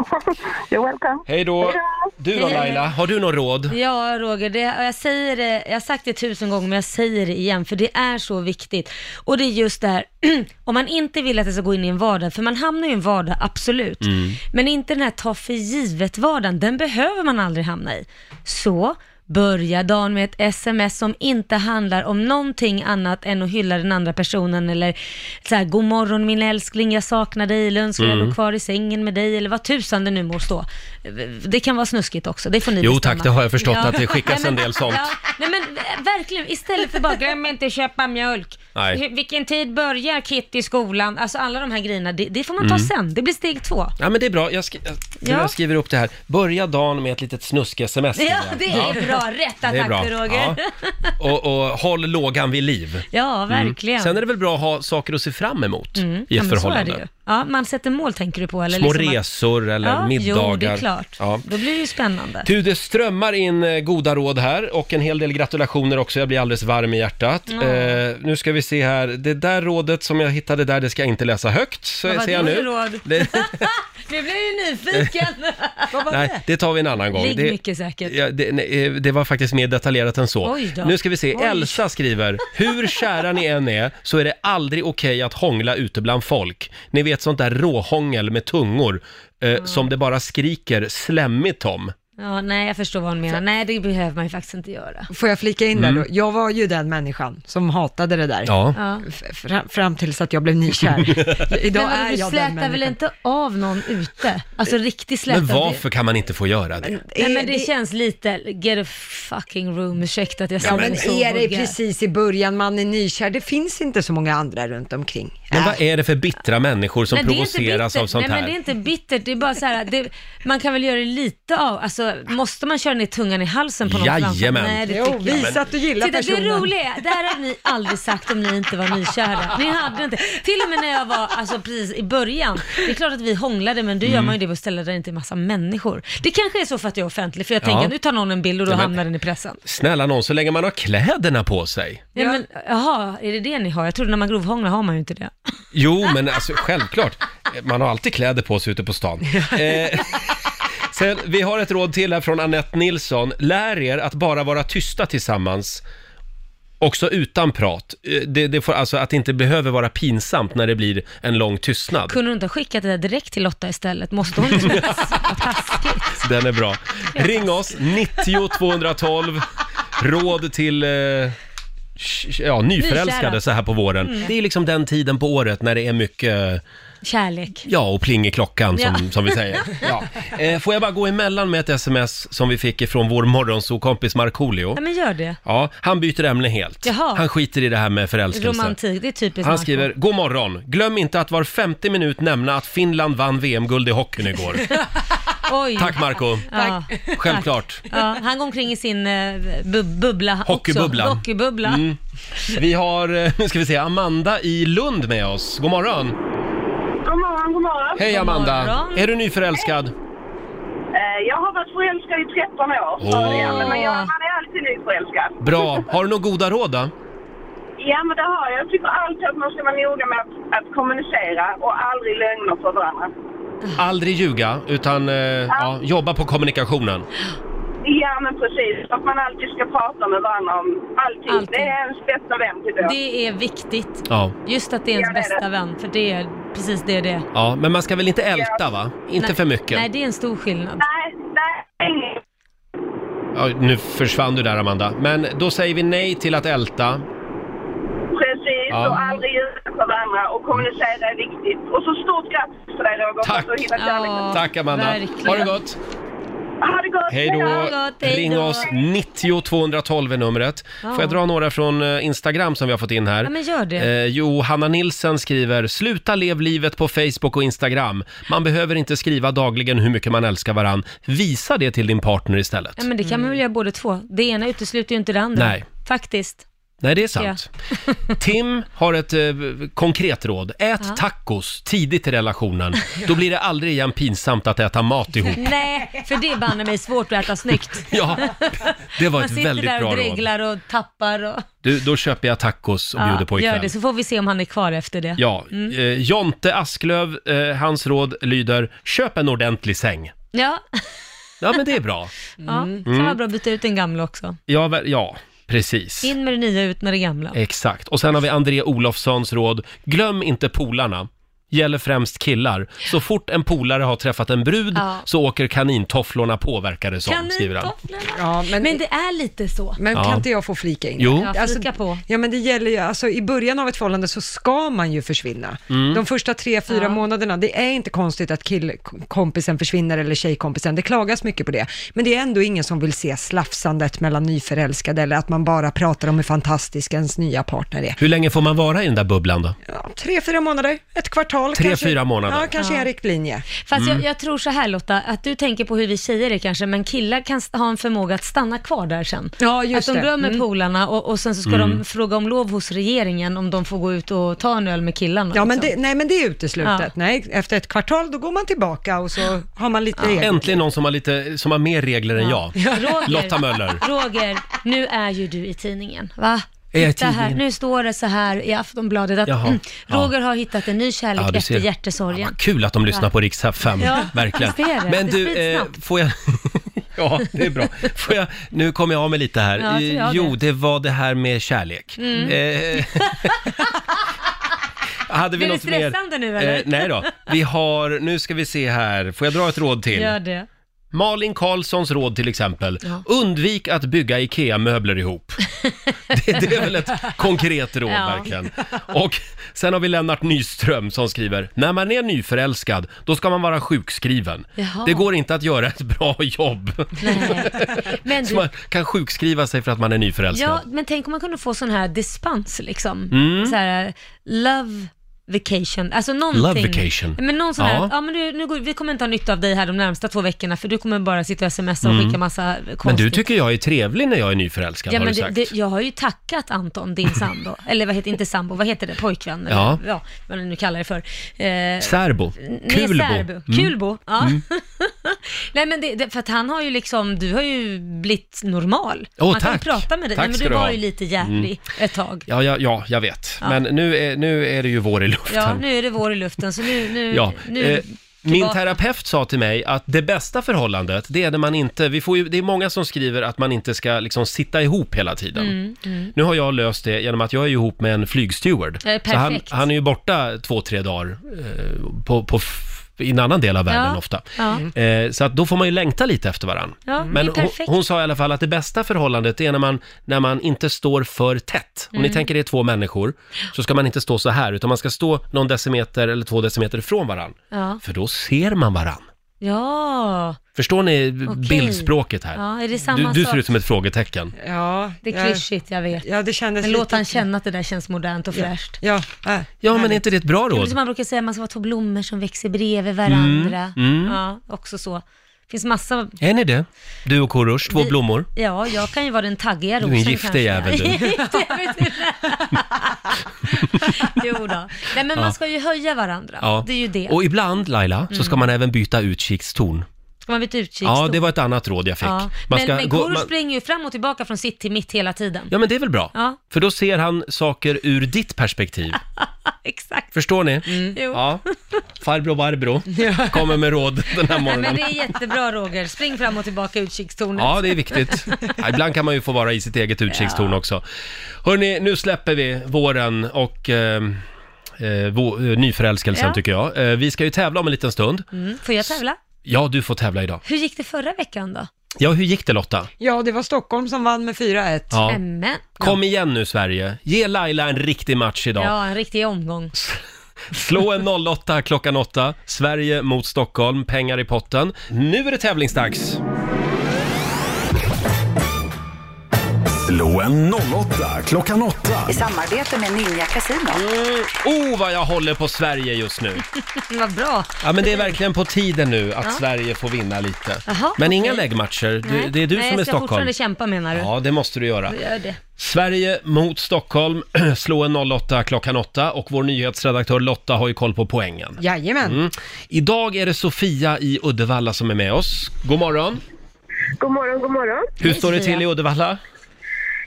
Speaker 7: You're welcome.
Speaker 1: Hej då. Du då
Speaker 2: Hej.
Speaker 1: Laila, har du något råd?
Speaker 2: Ja, Roger, det, jag, säger det, jag har sagt det tusen gånger, men jag säger det igen, för det är så viktigt. Och det är just det här, om man inte vill att det ska gå in i en vardag, för man hamnar ju i en vardag, absolut. Men inte den här ta för givet-vardagen, den behöver man aldrig hamna i. Så, börja dagen med ett sms som inte handlar om någonting annat än att hylla den andra personen, eller så här, god morgon min älskling, jag saknar dig, eller önskar jag låg kvar i sängen med dig, eller vad tusan det nu må stå. Det kan vara snuskigt också, det får ni
Speaker 1: Jo,
Speaker 2: bestämma.
Speaker 1: tack, det har jag förstått att det skickas en del sånt.
Speaker 2: nej men eh, verkligen, istället för bara glöm inte att köpa mjölk.
Speaker 1: Nej.
Speaker 2: Hur- Vilken tid börjar Kitty i skolan? Alltså alla de här grejerna, det, det får man ta
Speaker 1: Mm.
Speaker 2: sen. Det blir steg två.
Speaker 1: Ja men det är bra, jag, skri-
Speaker 2: Ja.
Speaker 1: jag skriver upp det här. Börja dagen med ett litet snusk-sms.
Speaker 2: Ja,
Speaker 1: skriver jag.
Speaker 2: det är bra. Rätt
Speaker 1: det är
Speaker 2: attack
Speaker 1: bra.
Speaker 2: Roger. Ja,
Speaker 1: Ja. Och, och håll lågan vid liv.
Speaker 2: verkligen.
Speaker 1: Sen är det väl bra att ha saker att se fram emot i
Speaker 2: Mm. ja,
Speaker 1: ett
Speaker 2: men så är det
Speaker 1: förhållande.
Speaker 2: ju. Ja, man sätter mål tänker du på? Eller
Speaker 1: Små
Speaker 2: liksom att-
Speaker 1: resor eller
Speaker 2: ja,
Speaker 1: middagar.
Speaker 2: Jo, det är klart.
Speaker 1: Ja.
Speaker 2: Då blir det ju spännande.
Speaker 1: Du, det strömmar in eh, goda råd här och en hel del gratulationer också. Jag blir alldeles varm i hjärtat. Eh, nu ska vi se här. Det där rådet som jag hittade där, det ska jag inte läsa högt. Så
Speaker 2: Vad var
Speaker 1: ser jag
Speaker 2: det
Speaker 1: nu.
Speaker 2: för råd?
Speaker 1: Det,
Speaker 2: Nu blir jag ju nyfiken. Vad var
Speaker 1: Nej, det tar vi en annan gång.
Speaker 2: Ligg
Speaker 1: Det,
Speaker 2: mycket säkert.
Speaker 1: ja, det, nej, eh, det var faktiskt mer detaljerat än så.
Speaker 2: Oj då.
Speaker 1: Nu ska vi se.
Speaker 2: Oj.
Speaker 1: Elsa skriver, hur kära ni än är så är det aldrig okej att hångla ute bland folk. Ni vet sånt där råhångel med tungor eh, som det bara skriker slemmigt om.
Speaker 2: Ja, nej, jag förstår vad hon menar. Nej, det behöver man ju faktiskt inte göra.
Speaker 3: Får jag flika in där då? Jag var ju den människan som hatade det där.
Speaker 1: Mm. Ja. Mm.
Speaker 2: Ja.
Speaker 3: F- Fram, fram tills att jag blev nykär. Idag
Speaker 2: men
Speaker 3: är
Speaker 2: du
Speaker 3: jag den
Speaker 2: slätar väl
Speaker 3: människan.
Speaker 2: inte av någon ute? Alltså riktigt slätar.
Speaker 1: Men varför kan man inte få göra det?
Speaker 2: Nej,
Speaker 3: Eh,
Speaker 2: men det känns lite, get a fucking room, ursäkta att jag
Speaker 3: Ja,
Speaker 2: säger
Speaker 3: men
Speaker 2: det så
Speaker 3: är det
Speaker 2: vulgärt.
Speaker 3: precis i början, man är nykär, det finns inte så många andra runt omkring.
Speaker 1: Men vad är det för bittra människor som
Speaker 2: Nej, det är inte
Speaker 1: provoceras
Speaker 2: bittert.
Speaker 1: av sånt
Speaker 2: Nej, men det är
Speaker 1: här?
Speaker 2: inte bittert. Det är bara så här, det, man kan väl göra det lite av, alltså måste man köra ner tungan i halsen på någon
Speaker 1: Jajamän.
Speaker 2: framför? Nej, det
Speaker 3: Jo,
Speaker 2: tycker jag.
Speaker 3: visa att du gillar
Speaker 2: Titta, det
Speaker 3: personen.
Speaker 2: roliga är, det här hade ni aldrig sagt om ni inte var nykära. Ni hade inte. Till och med när jag var, alltså precis i början. Det är klart att vi hånglade, men då gör
Speaker 1: Mm.
Speaker 2: man ju det på ställen där det inte är massa människor. Det kanske är så för att jag är offentlig, för jag tänker nu tar någon en bild och då
Speaker 1: Ja, men-
Speaker 2: hamnar den i pressen.
Speaker 1: Snälla någon, så länge man har kläderna på sig.
Speaker 2: Ja. men, jaha, är det det ni har? Jag trodde när man grovhånglar har man ju inte det.
Speaker 1: Jo, men alltså självklart. Man har alltid kläder på sig ute på stan. Eh, sen, vi har ett råd till här från Annette Nilsson. Lär er att bara vara tysta tillsammans. Också utan prat. Eh, Det, det får, alltså att det inte behöver vara pinsamt när det blir en lång tystnad.
Speaker 2: Kunde du inte ha skickat det där direkt till Lotta istället? Måste hon inte Vad taskigt.
Speaker 1: Den är bra. Ring oss, 90 212. Råd till eh, sh- ja, nyförälskade
Speaker 2: Nykära.
Speaker 1: så här på våren. Det är liksom den tiden på året när det är mycket,
Speaker 2: Kärlek.
Speaker 1: ja, och pling i klockan som,
Speaker 2: Ja.
Speaker 1: som vi säger. Ja. Eh, får jag bara gå emellan med ett sms som vi fick ifrån vår morgonsokompis Markoolio.
Speaker 2: Ja, men gör det.
Speaker 1: Ja, han byter ämne helt.
Speaker 2: Jaha.
Speaker 1: Han skiter i det här med förälskelse.
Speaker 2: Romantik, det är typiskt
Speaker 1: Han
Speaker 2: Marco.
Speaker 1: skriver, God morgon! Glöm inte att var 50 minut nämna att Finland vann VM-guld i hockeyn igår.
Speaker 2: Oj.
Speaker 1: Tack Marco
Speaker 2: Ja.
Speaker 1: Självklart.
Speaker 2: Ja, han går omkring i sin eh, bub- bubbla också.
Speaker 1: Hockeybubblan. Mm.
Speaker 2: Hockeybubbla.
Speaker 1: Vi har, eh, nu ska vi se, Amanda i Lund med oss. God morgon!
Speaker 7: God morgon, god morgon.
Speaker 1: Hej Amanda!
Speaker 2: God morgon.
Speaker 1: Är du nyförälskad?
Speaker 7: Eh, Jag har varit förälskad i 13 år. sa
Speaker 1: Åh.
Speaker 7: jag, Men man, gör, man är alltid nyförälskad.
Speaker 1: Bra. Har du några goda råd då?
Speaker 7: Ja, men det har jag. Jag tycker alltid att man ska vara noga med att, att kommunicera och aldrig lögner för varandra.
Speaker 1: Aldrig ljuga, utan eh, ja, jobba på kommunikationen.
Speaker 7: Ja, men precis. Att man alltid ska prata med varandra om allting.
Speaker 2: Allting.
Speaker 7: Det är ens bästa vän till då.
Speaker 2: Det är viktigt.
Speaker 1: Ja.
Speaker 2: Just att det är ens
Speaker 7: Ja, det är det.
Speaker 2: bästa vän, för det är precis det det är.
Speaker 1: ja, men man ska väl inte älta va? Inte
Speaker 2: Nej.
Speaker 1: för mycket.
Speaker 2: Nej, det är en stor skillnad.
Speaker 7: Nej, nej, inget.
Speaker 1: Ja, nu försvann du där Amanda. Men då säger vi nej till att älta.
Speaker 7: Precis,
Speaker 1: Ja.
Speaker 7: och aldrig ljuga för varandra och kommunicera är viktigt. Och så stort grattis för dig Roger, för
Speaker 1: Tack.
Speaker 7: att du hittat kärleken.
Speaker 1: Tack Amanda.
Speaker 2: verkligen.
Speaker 1: Ha det gott!
Speaker 7: Ha det gott!
Speaker 1: Hej då!
Speaker 2: Ha det gott, hej
Speaker 1: Ring
Speaker 2: då.
Speaker 1: oss, 90 212 är numret. Får jag dra några från eh, Instagram som vi har fått in här?
Speaker 2: Ja, men gör det.
Speaker 1: Eh, jo, Hanna Nilsen skriver, sluta lev livet på Facebook och Instagram. Man behöver inte skriva dagligen hur mycket man älskar varann. Visa det till din partner istället.
Speaker 2: Ja, men det kan man väl göra båda två. Det ena utesluter ju inte det andra.
Speaker 1: Nej.
Speaker 2: Faktiskt.
Speaker 1: Nej, det är sant. Tim har ett eh, konkret råd. Ät tacos tidigt i relationen. Då blir det aldrig igen pinsamt att äta mat ihop.
Speaker 2: Nej, för det är banne mig svårt att äta snyggt.
Speaker 1: Ja, det var
Speaker 2: Man
Speaker 1: ett
Speaker 2: sitter
Speaker 1: väldigt
Speaker 2: där
Speaker 1: bra
Speaker 2: och
Speaker 1: råd.
Speaker 2: dreglar och tappar och...
Speaker 1: Du, då köper jag tacos och bjuder på ikväll.
Speaker 2: gör det, så Mm. får vi se om han är kvar efter det.
Speaker 1: Ja, eh, Jonte Asklöv, eh, hans råd lyder köp en ordentlig säng.
Speaker 2: Ja,
Speaker 1: Ja, men det är bra.
Speaker 2: ja.
Speaker 7: Mm.
Speaker 1: Mm.
Speaker 2: kan vara bra att byta ut den gamla också.
Speaker 1: Ja, ver- ja precis.
Speaker 2: In med det nya, ut med det gamla.
Speaker 1: Exakt. Och sen har vi André Olofssons råd, glöm inte polarna. Gäller främst killar. Så fort en polare har träffat en brud
Speaker 2: Ja.
Speaker 1: så åker kanintofflorna på, verkar det som, skriver han.
Speaker 2: Kanintofflorna.
Speaker 3: Ja, men,
Speaker 2: Men
Speaker 3: men,
Speaker 2: det är lite så.
Speaker 1: Ja.
Speaker 3: kan inte jag få flika in?
Speaker 1: Jo,
Speaker 2: Ja,
Speaker 3: Alltså,
Speaker 2: flika på.
Speaker 3: Ja men det gäller ju, alltså i början av ett förhållande så ska man ju försvinna.
Speaker 1: Mm.
Speaker 3: De första tre, fyra
Speaker 2: Ja.
Speaker 3: månaderna, det är inte konstigt att killkompisen försvinner eller tjejkompisen, det klagas mycket på det. Men det är ändå ingen som vill se slafsandet mellan nyförälskade eller att man bara pratar om hur fantastisk ens nya partner är.
Speaker 1: hur länge får man vara i den där bubblan då?
Speaker 3: Ja, tre, fyra månader, ett kvartal
Speaker 1: Tre,
Speaker 3: kanske.
Speaker 1: fyra månader.
Speaker 3: Ja, kanske en riktlinje.
Speaker 2: Fast
Speaker 1: Mm.
Speaker 2: jag, jag tror så här Lotta, att du tänker på hur vi tjejer är kanske, men killar kan st- ha en förmåga att stanna kvar där sen.
Speaker 3: Ja, just
Speaker 2: att de
Speaker 3: det.
Speaker 2: glömmer
Speaker 3: Mm.
Speaker 2: polarna och, och sen så ska
Speaker 1: Mm.
Speaker 2: de fråga om lov hos regeringen om de får gå ut och ta en öl med killarna.
Speaker 3: Ja, men
Speaker 2: liksom.
Speaker 3: det, nej men det är uteslutet.
Speaker 2: Ja.
Speaker 3: Nej, efter ett kvartal då går man tillbaka och så har man lite eget.
Speaker 1: Äntligen någon som har, lite, som har mer regler än jag.
Speaker 2: Roger,
Speaker 1: Lotta Möller.
Speaker 2: Roger, nu är ju du i tidningen, va?
Speaker 1: Är jag i
Speaker 2: Titta här,
Speaker 1: tidningen?
Speaker 2: nu står det så här i Aftonbladet att
Speaker 1: Jaha,
Speaker 2: mm,
Speaker 1: ja.
Speaker 2: Roger har hittat en ny kärlek
Speaker 1: Ja, du
Speaker 2: efter
Speaker 1: ser.
Speaker 2: hjärtesorgen.
Speaker 1: Vad kul att de lyssnar på Rix 5,
Speaker 2: Ja,
Speaker 1: verkligen.
Speaker 2: visst är det.
Speaker 1: Men
Speaker 2: Det
Speaker 1: du,
Speaker 2: sprids
Speaker 1: eh,
Speaker 2: snabbt.
Speaker 1: får jag... ja, det är bra. Får jag... Nu kommer jag av mig lite här.
Speaker 2: Ja, jag tror jag Mm.
Speaker 1: jo,
Speaker 2: det.
Speaker 1: det var det här med kärlek. Eh, Hade vi
Speaker 2: Blir det
Speaker 1: något mer? Eh,
Speaker 2: stressande nu, eller?
Speaker 1: nej då. Vi har, nu ska vi se här, får jag dra ett råd till?
Speaker 2: Gör det.
Speaker 1: Malin Karlssons råd till exempel.
Speaker 2: Ja.
Speaker 1: Undvik att bygga IKEA-möbler ihop. Det, det är väl ett konkret råd
Speaker 2: Ja.
Speaker 1: verkligen. Och sen har vi Lennart Nyström som skriver, när man är nyförälskad, då ska man vara sjukskriven.
Speaker 2: Jaha.
Speaker 1: Det går inte att göra ett bra jobb.
Speaker 2: Nej. Men
Speaker 1: Så man
Speaker 2: du,
Speaker 1: kan sjukskriva sig för att man är nyförälskad.
Speaker 2: ja, men tänk om man kunde få sån här dispens liksom. Så här, love vacation, alltså någonting.
Speaker 1: Mm. Love vacation.
Speaker 2: Men någon sån
Speaker 1: Ja.
Speaker 2: här, ja men du, nu går, vi kommer inte ha nytta av dig här de närmsta två veckorna för du kommer bara sitta och smsa och skicka massa konstigt.
Speaker 1: Mm. Men du tycker jag är trevlig när jag är nyförälskad,
Speaker 2: Ja,
Speaker 1: har
Speaker 2: men
Speaker 1: du
Speaker 2: det,
Speaker 1: sagt.
Speaker 2: det, jag har ju tackat Anton, din sambo, eller vad heter, inte sambo, vad heter det, pojkvän, eller,
Speaker 1: Ja.
Speaker 2: ja. vad ni nu kallar det för. Eh,
Speaker 1: Särbo.
Speaker 2: nej,
Speaker 1: Kulbo. Mm.
Speaker 2: särbo. Kulbo, ja. nej men det, det, för att han har ju liksom, du har ju blivit normal.
Speaker 1: Åh,
Speaker 2: Man kan ju
Speaker 1: tack.
Speaker 2: prata med dig,
Speaker 1: Tack
Speaker 2: men
Speaker 1: ska
Speaker 2: du
Speaker 1: du
Speaker 2: var
Speaker 1: ha. Mm.
Speaker 2: ju lite jävlig ett tag.
Speaker 1: Ja, ja, ja, jag vet. Men nu är, nu är det ju vår i luften.
Speaker 2: Ja, nu är det vår i luften, så nu, nu,
Speaker 1: Ja.
Speaker 2: nu
Speaker 1: eh, min
Speaker 2: tillbaka.
Speaker 1: terapeut sa till mig att det bästa förhållandet, det är när man inte, vi får ju, det är många som skriver att man inte ska liksom sitta ihop hela tiden.
Speaker 2: Mm,
Speaker 1: Nu har jag löst det genom att jag är ihop med en flygsteward.
Speaker 2: Eh,
Speaker 1: Så han,
Speaker 2: perfekt.
Speaker 1: han är ju borta två, tre dagar eh, på, på f- i en annan del av världen
Speaker 2: Ja.
Speaker 1: ofta.
Speaker 2: Ja.
Speaker 1: Eh, så att då får man ju längta lite efter varann.
Speaker 2: Ja, det
Speaker 1: Men
Speaker 2: är
Speaker 1: hon,
Speaker 2: perfekt.
Speaker 1: hon sa i alla fall att det bästa förhållandet är när man, när man inte står för tätt. Om
Speaker 2: Mm.
Speaker 1: ni tänker er två människor så ska man inte stå så här utan man ska stå någon decimeter eller två decimeter ifrån varann.
Speaker 2: Ja.
Speaker 1: För då ser man varann.
Speaker 2: ja.
Speaker 1: Förstår ni
Speaker 2: Okej.
Speaker 1: bildspråket här?
Speaker 2: ja, är det samma
Speaker 1: Du, du ser
Speaker 2: sak?
Speaker 1: ut som ett frågetecken.
Speaker 3: Ja,
Speaker 2: Det är
Speaker 3: jag-
Speaker 2: klyschigt, jag vet.
Speaker 3: Ja, det kändes
Speaker 2: Men låt
Speaker 3: lite-
Speaker 2: han känna att det där känns modernt och fräscht.
Speaker 3: Ja, äh,
Speaker 1: Ja, men är inte det ett bra
Speaker 2: Det är som
Speaker 1: råd?
Speaker 2: man brukar säga, man ska vara två blommor som växer bredvid
Speaker 1: Mm.
Speaker 2: varandra. Ja, också så. Det finns massa,
Speaker 1: Är ni det? Du och Korosh, två
Speaker 2: Vi-
Speaker 1: blommor.
Speaker 2: ja, jag kan ju vara den taggiga
Speaker 1: är en
Speaker 2: rosen
Speaker 1: giftig
Speaker 2: kanske.
Speaker 1: jävel, du.
Speaker 2: Giftig jävel, du. jo då. Nej, men man ska ju höja varandra.
Speaker 1: Ja.
Speaker 2: Det är ju det. Mm.
Speaker 1: Och ibland, Laila, så ska man även byta utkikstorn.
Speaker 2: Ska man byta utkik?
Speaker 1: Ja, det var ett annat råd jag fick.
Speaker 2: ja.
Speaker 1: Man
Speaker 2: Men,
Speaker 1: ska
Speaker 2: men
Speaker 1: gå-
Speaker 2: Korosh
Speaker 1: man-
Speaker 2: springer ju fram och tillbaka från sitt till mitt hela tiden.
Speaker 1: Ja, men det är väl bra?
Speaker 2: Ja.
Speaker 1: För då ser han saker ur ditt perspektiv.
Speaker 2: Exakt.
Speaker 1: Förstår ni?
Speaker 2: Jo.
Speaker 1: Ja. Farbror Barbro kommer med råd den här
Speaker 2: Nej, men
Speaker 1: morgonen.
Speaker 2: det är jättebra Roger, spring fram och tillbaka i utkikstornet.
Speaker 1: Ja, det är viktigt. Ja, Ibland kan man ju få vara i sitt eget utkikstorn också. Hörni, nu släpper vi våren och eh, eh, vå- eh, nyförälskelsen
Speaker 2: Ja.
Speaker 1: tycker jag. Eh, vi ska ju tävla om en liten stund.
Speaker 2: Mm. Får jag tävla?
Speaker 1: Ja, du får tävla idag.
Speaker 2: Hur gick det förra veckan då?
Speaker 1: Ja, hur gick det Lotta?
Speaker 3: ja, det var Stockholm som vann med 4-1.
Speaker 1: Ja.
Speaker 2: Nämen.
Speaker 1: Kom igen nu Sverige. Ge Laila en riktig match idag.
Speaker 2: Ja, en riktig omgång.
Speaker 1: Slå en 08 klockan 8. Sverige mot Stockholm. Pengar i potten. Nu är det tävlingsdags.
Speaker 4: Slå en 08 klockan 8.
Speaker 10: I samarbete med Ninja Casino.
Speaker 1: Mm. Oh, vad jag håller på Sverige just nu.
Speaker 2: Vad bra.
Speaker 1: Ja, men det är verkligen på tiden nu att Sverige får vinna lite.
Speaker 2: Jaha,
Speaker 1: men inga
Speaker 2: okej.
Speaker 1: läggmatcher. Du,
Speaker 2: Nej.
Speaker 1: det är du
Speaker 2: Nej,
Speaker 1: som är
Speaker 2: jag ska
Speaker 1: Stockholm.
Speaker 2: fortfarande kämpa menar du?
Speaker 1: Ja, det måste du göra.
Speaker 2: Jag Gör det.
Speaker 1: Sverige mot Stockholm. Slå en 08 klockan 8 och vår nyhetsredaktör Lotta har ju koll på poängen.
Speaker 3: Jajamän.
Speaker 1: Mm. Idag är det Sofia i Uddevalla som är med oss. God morgon!
Speaker 7: God morgon, god morgon.
Speaker 1: Hur står det
Speaker 2: Sofia.
Speaker 1: till i Uddevalla?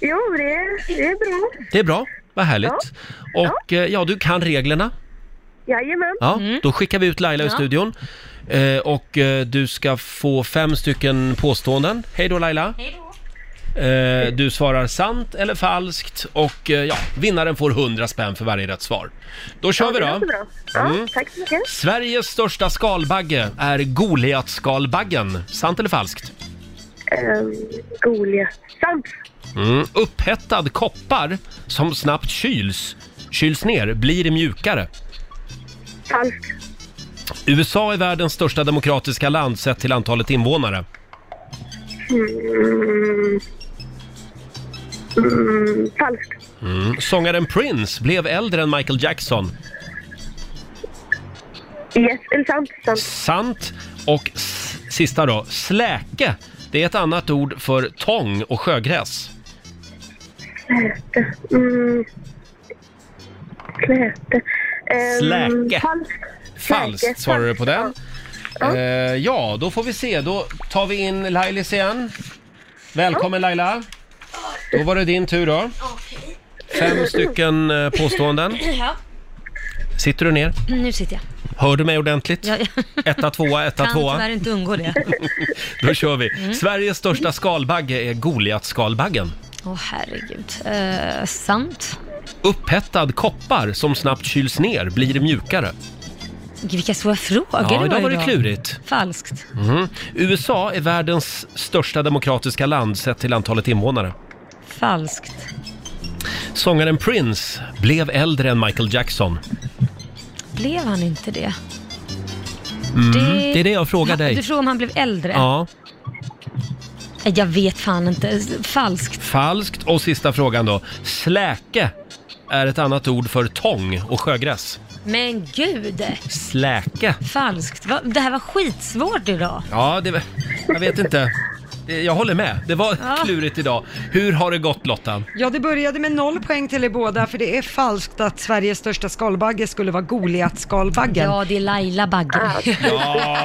Speaker 7: Jo, det är, det är bra.
Speaker 1: Det är bra, vad härligt. Och eh, ja, du kan reglerna.
Speaker 7: Jajamän.
Speaker 1: Ja, då skickar vi ut Laila ur
Speaker 2: Ja.
Speaker 1: studion. Eh, och eh, du ska få fem stycken påståenden. Hej då Laila!
Speaker 2: Hej då.
Speaker 1: Eh, du svarar sant eller falskt och eh, ja, vinnaren får 100 spänn för varje rätt svar. Då kör vi
Speaker 7: Det
Speaker 1: då! Mm.
Speaker 7: låter bra. Ja, Tack så mycket.
Speaker 1: Sveriges största skalbagge är Goliatskalbaggen. Sant eller falskt?
Speaker 7: Ehm, Goliat. Sant.
Speaker 1: Mm. Upphettad koppar som snabbt kyls, kyls ner, blir mjukare.
Speaker 7: Falskt.
Speaker 1: USA är världens största demokratiska land sett till antalet invånare.
Speaker 7: Mm, falskt.
Speaker 1: Mm. Sångaren Prince blev äldre än Michael Jackson.
Speaker 7: Yes, eller sant. Sant.
Speaker 1: Sant. Och s- sista då, släke. Det är ett annat ord för tång och sjögräs.
Speaker 7: Mm. Släte. Ehm,
Speaker 1: Släke.
Speaker 7: Falskt.
Speaker 1: Falskt
Speaker 7: Släke,
Speaker 1: svarar du på den.
Speaker 7: sant.
Speaker 1: Ja. ja, då får vi se. Då tar vi in Lailis igen. Välkommen Laila. Då var det din tur då. Fem stycken eh, påståenden.
Speaker 2: Ja,
Speaker 1: Sitter du ner?
Speaker 2: Mm, nu sitter jag.
Speaker 1: Hör du mig ordentligt?
Speaker 2: Jag, jag
Speaker 1: Etta, tvåa, etta,
Speaker 2: kan tyvärr
Speaker 1: tvåa.
Speaker 2: inte undgå det.
Speaker 1: Då kör vi. Sveriges största skalbagge är Goliatskalbaggen.
Speaker 2: Åh herregud. Eh, sant.
Speaker 1: Upphettad koppar som snabbt kyls ner blir mjukare.
Speaker 2: Gud, vilka svåra frågor det
Speaker 1: Ja,
Speaker 2: var
Speaker 1: idag var det
Speaker 2: idag.
Speaker 1: klurigt.
Speaker 2: Falskt.
Speaker 1: Mhm. USA är världens största demokratiska land sett till antalet invånare.
Speaker 2: Falskt.
Speaker 1: Sångaren Prince blev äldre än Michael Jackson.
Speaker 2: Blev han inte det?
Speaker 1: Mm. Det... är det jag frågar
Speaker 2: Du
Speaker 1: dig.
Speaker 2: frågade om han blev äldre?
Speaker 1: Ja,
Speaker 2: Nej, Jag vet fan inte. Falskt.
Speaker 1: falskt. Och sista frågan då. Släke är ett annat ord för tång och sjögräs.
Speaker 2: Men gud!
Speaker 1: Släke.
Speaker 2: Falskt. Va- Det här var skitsvårt idag.
Speaker 1: Ja, det... jag vet inte. Det- Jag håller med. Det var
Speaker 3: Ja.
Speaker 1: klurigt idag. Hur har det gått Lotta?
Speaker 3: Ja, det började med noll poäng till er båda, för det är falskt att Sveriges största skalbagge skulle vara Goliat-skalbaggen.
Speaker 2: Ja, det är Laila Bagge.
Speaker 1: Ja.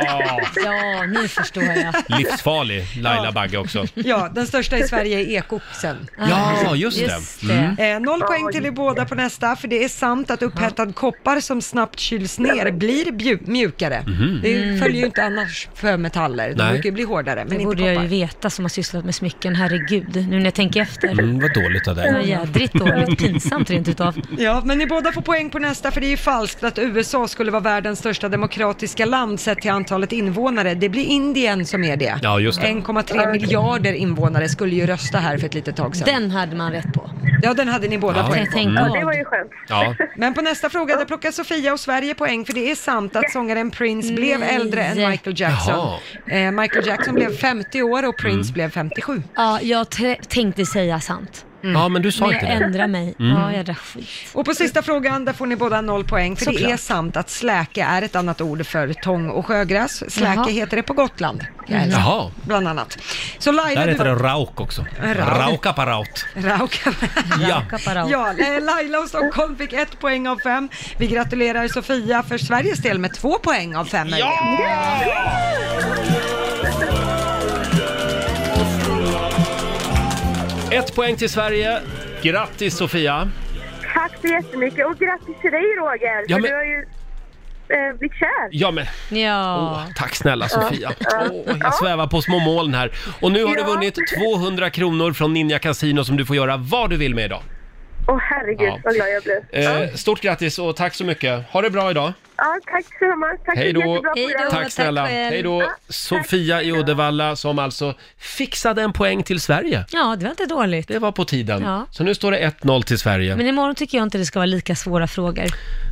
Speaker 2: ja, nu förstår jag.
Speaker 1: Livsfarlig Laila Bagge också.
Speaker 3: Ja, den största i Sverige är ekoxen.
Speaker 1: Ja, just det. Just det. Mm.
Speaker 3: Eh, noll poäng till er båda på nästa, för det är sant att upphettad koppar som snabbt kyls ner blir bju- mjukare.
Speaker 1: Mhm.
Speaker 3: Det
Speaker 2: Mm.
Speaker 3: följer ju inte annars för metaller, de
Speaker 1: Nej.
Speaker 3: brukar ju bli hårdare, men
Speaker 1: Mm.
Speaker 2: Det
Speaker 3: inte
Speaker 2: borde jag ju
Speaker 3: koppar.
Speaker 2: veta som har sysslat med smycken, herregud, nu när jag tänker efter.
Speaker 1: Mm, vad dåligt av
Speaker 2: Det var
Speaker 1: dig.
Speaker 2: jädrigt dåligt, pinsamt rent utav.
Speaker 3: Ja, men ni båda får poäng på nästa, för det är ju falskt att USA skulle vara världens största demokratiska land sett till antalet invånare. Det blir Indien som är det.
Speaker 1: Ja, just det.
Speaker 3: 1,3 miljarder invånare skulle ju rösta här för ett litet tag
Speaker 1: Liksom.
Speaker 3: sedan.
Speaker 2: Den hade man rätt på.
Speaker 3: Ja, den hade ni båda
Speaker 1: Ja.
Speaker 3: poäng
Speaker 1: Jag tänkte, Ja, det var ju
Speaker 7: skönt.
Speaker 1: Ja.
Speaker 3: Men på nästa fråga, där plockar Sofia och Sverige poäng, för det är sant att sångaren Prince blev
Speaker 1: Mm.
Speaker 2: Nej.
Speaker 3: äldre än Michael Jackson. Eh, Michael Jackson blev 50 år och Prince
Speaker 1: Mm.
Speaker 3: blev 57.
Speaker 2: Ja, jag tre- tänkte säga sant.
Speaker 1: Ja, men du sa
Speaker 2: men
Speaker 1: inte
Speaker 2: jag
Speaker 1: det.
Speaker 2: ändrar mig.
Speaker 1: Mm.
Speaker 2: Ja, jädra skit.
Speaker 3: Och på sista frågan, där får ni båda noll poäng, för det
Speaker 2: Såklart.
Speaker 3: är sant att släke är ett annat ord för tång och sjögräs. Släke
Speaker 2: Jaha.
Speaker 3: heter det på Gotland,
Speaker 1: Mm. Jaha.
Speaker 3: bland annat. Så Laila,
Speaker 1: Där
Speaker 3: du
Speaker 1: heter det
Speaker 3: var...
Speaker 1: rauk också.
Speaker 3: Rauk.
Speaker 1: Raukaparaut.
Speaker 3: Rauka.
Speaker 1: Ja.
Speaker 3: Ja, eh, Laila och Stockholm fick ett poäng av fem. Vi gratulerar Sofia för Sveriges del med två poäng av fem möjligen.
Speaker 1: Ett poäng till Sverige. Grattis Sofia!
Speaker 7: Tack så jättemycket och grattis till dig Roger,
Speaker 1: Ja,
Speaker 7: för
Speaker 1: men-
Speaker 7: du har ju eh, blivit kär.
Speaker 1: Ja men,
Speaker 2: Ja.
Speaker 1: tack snälla Sofia.
Speaker 7: Ja.
Speaker 1: Åh, jag svävar på små moln här. Och nu har du
Speaker 7: Ja.
Speaker 1: vunnit 200 kronor från Ninja Casino som du får göra vad du vill med idag.
Speaker 7: Åh herregud
Speaker 1: Ja.
Speaker 7: vad glad jag blev. Ja.
Speaker 1: Eh, stort grattis och tack så mycket. Ha det bra idag.
Speaker 7: Ja, tack så Tack för
Speaker 1: Hej
Speaker 7: ett
Speaker 1: då.
Speaker 7: jättebra program.
Speaker 1: Tack snälla. Hej då. Sofia i Uddevalla som alltså fixade en poäng till Sverige.
Speaker 2: Ja, det var inte dåligt.
Speaker 1: Det var på tiden.
Speaker 2: Ja.
Speaker 1: Så nu står det 1-0 till Sverige.
Speaker 2: Men imorgon tycker jag inte det ska vara lika svåra frågor.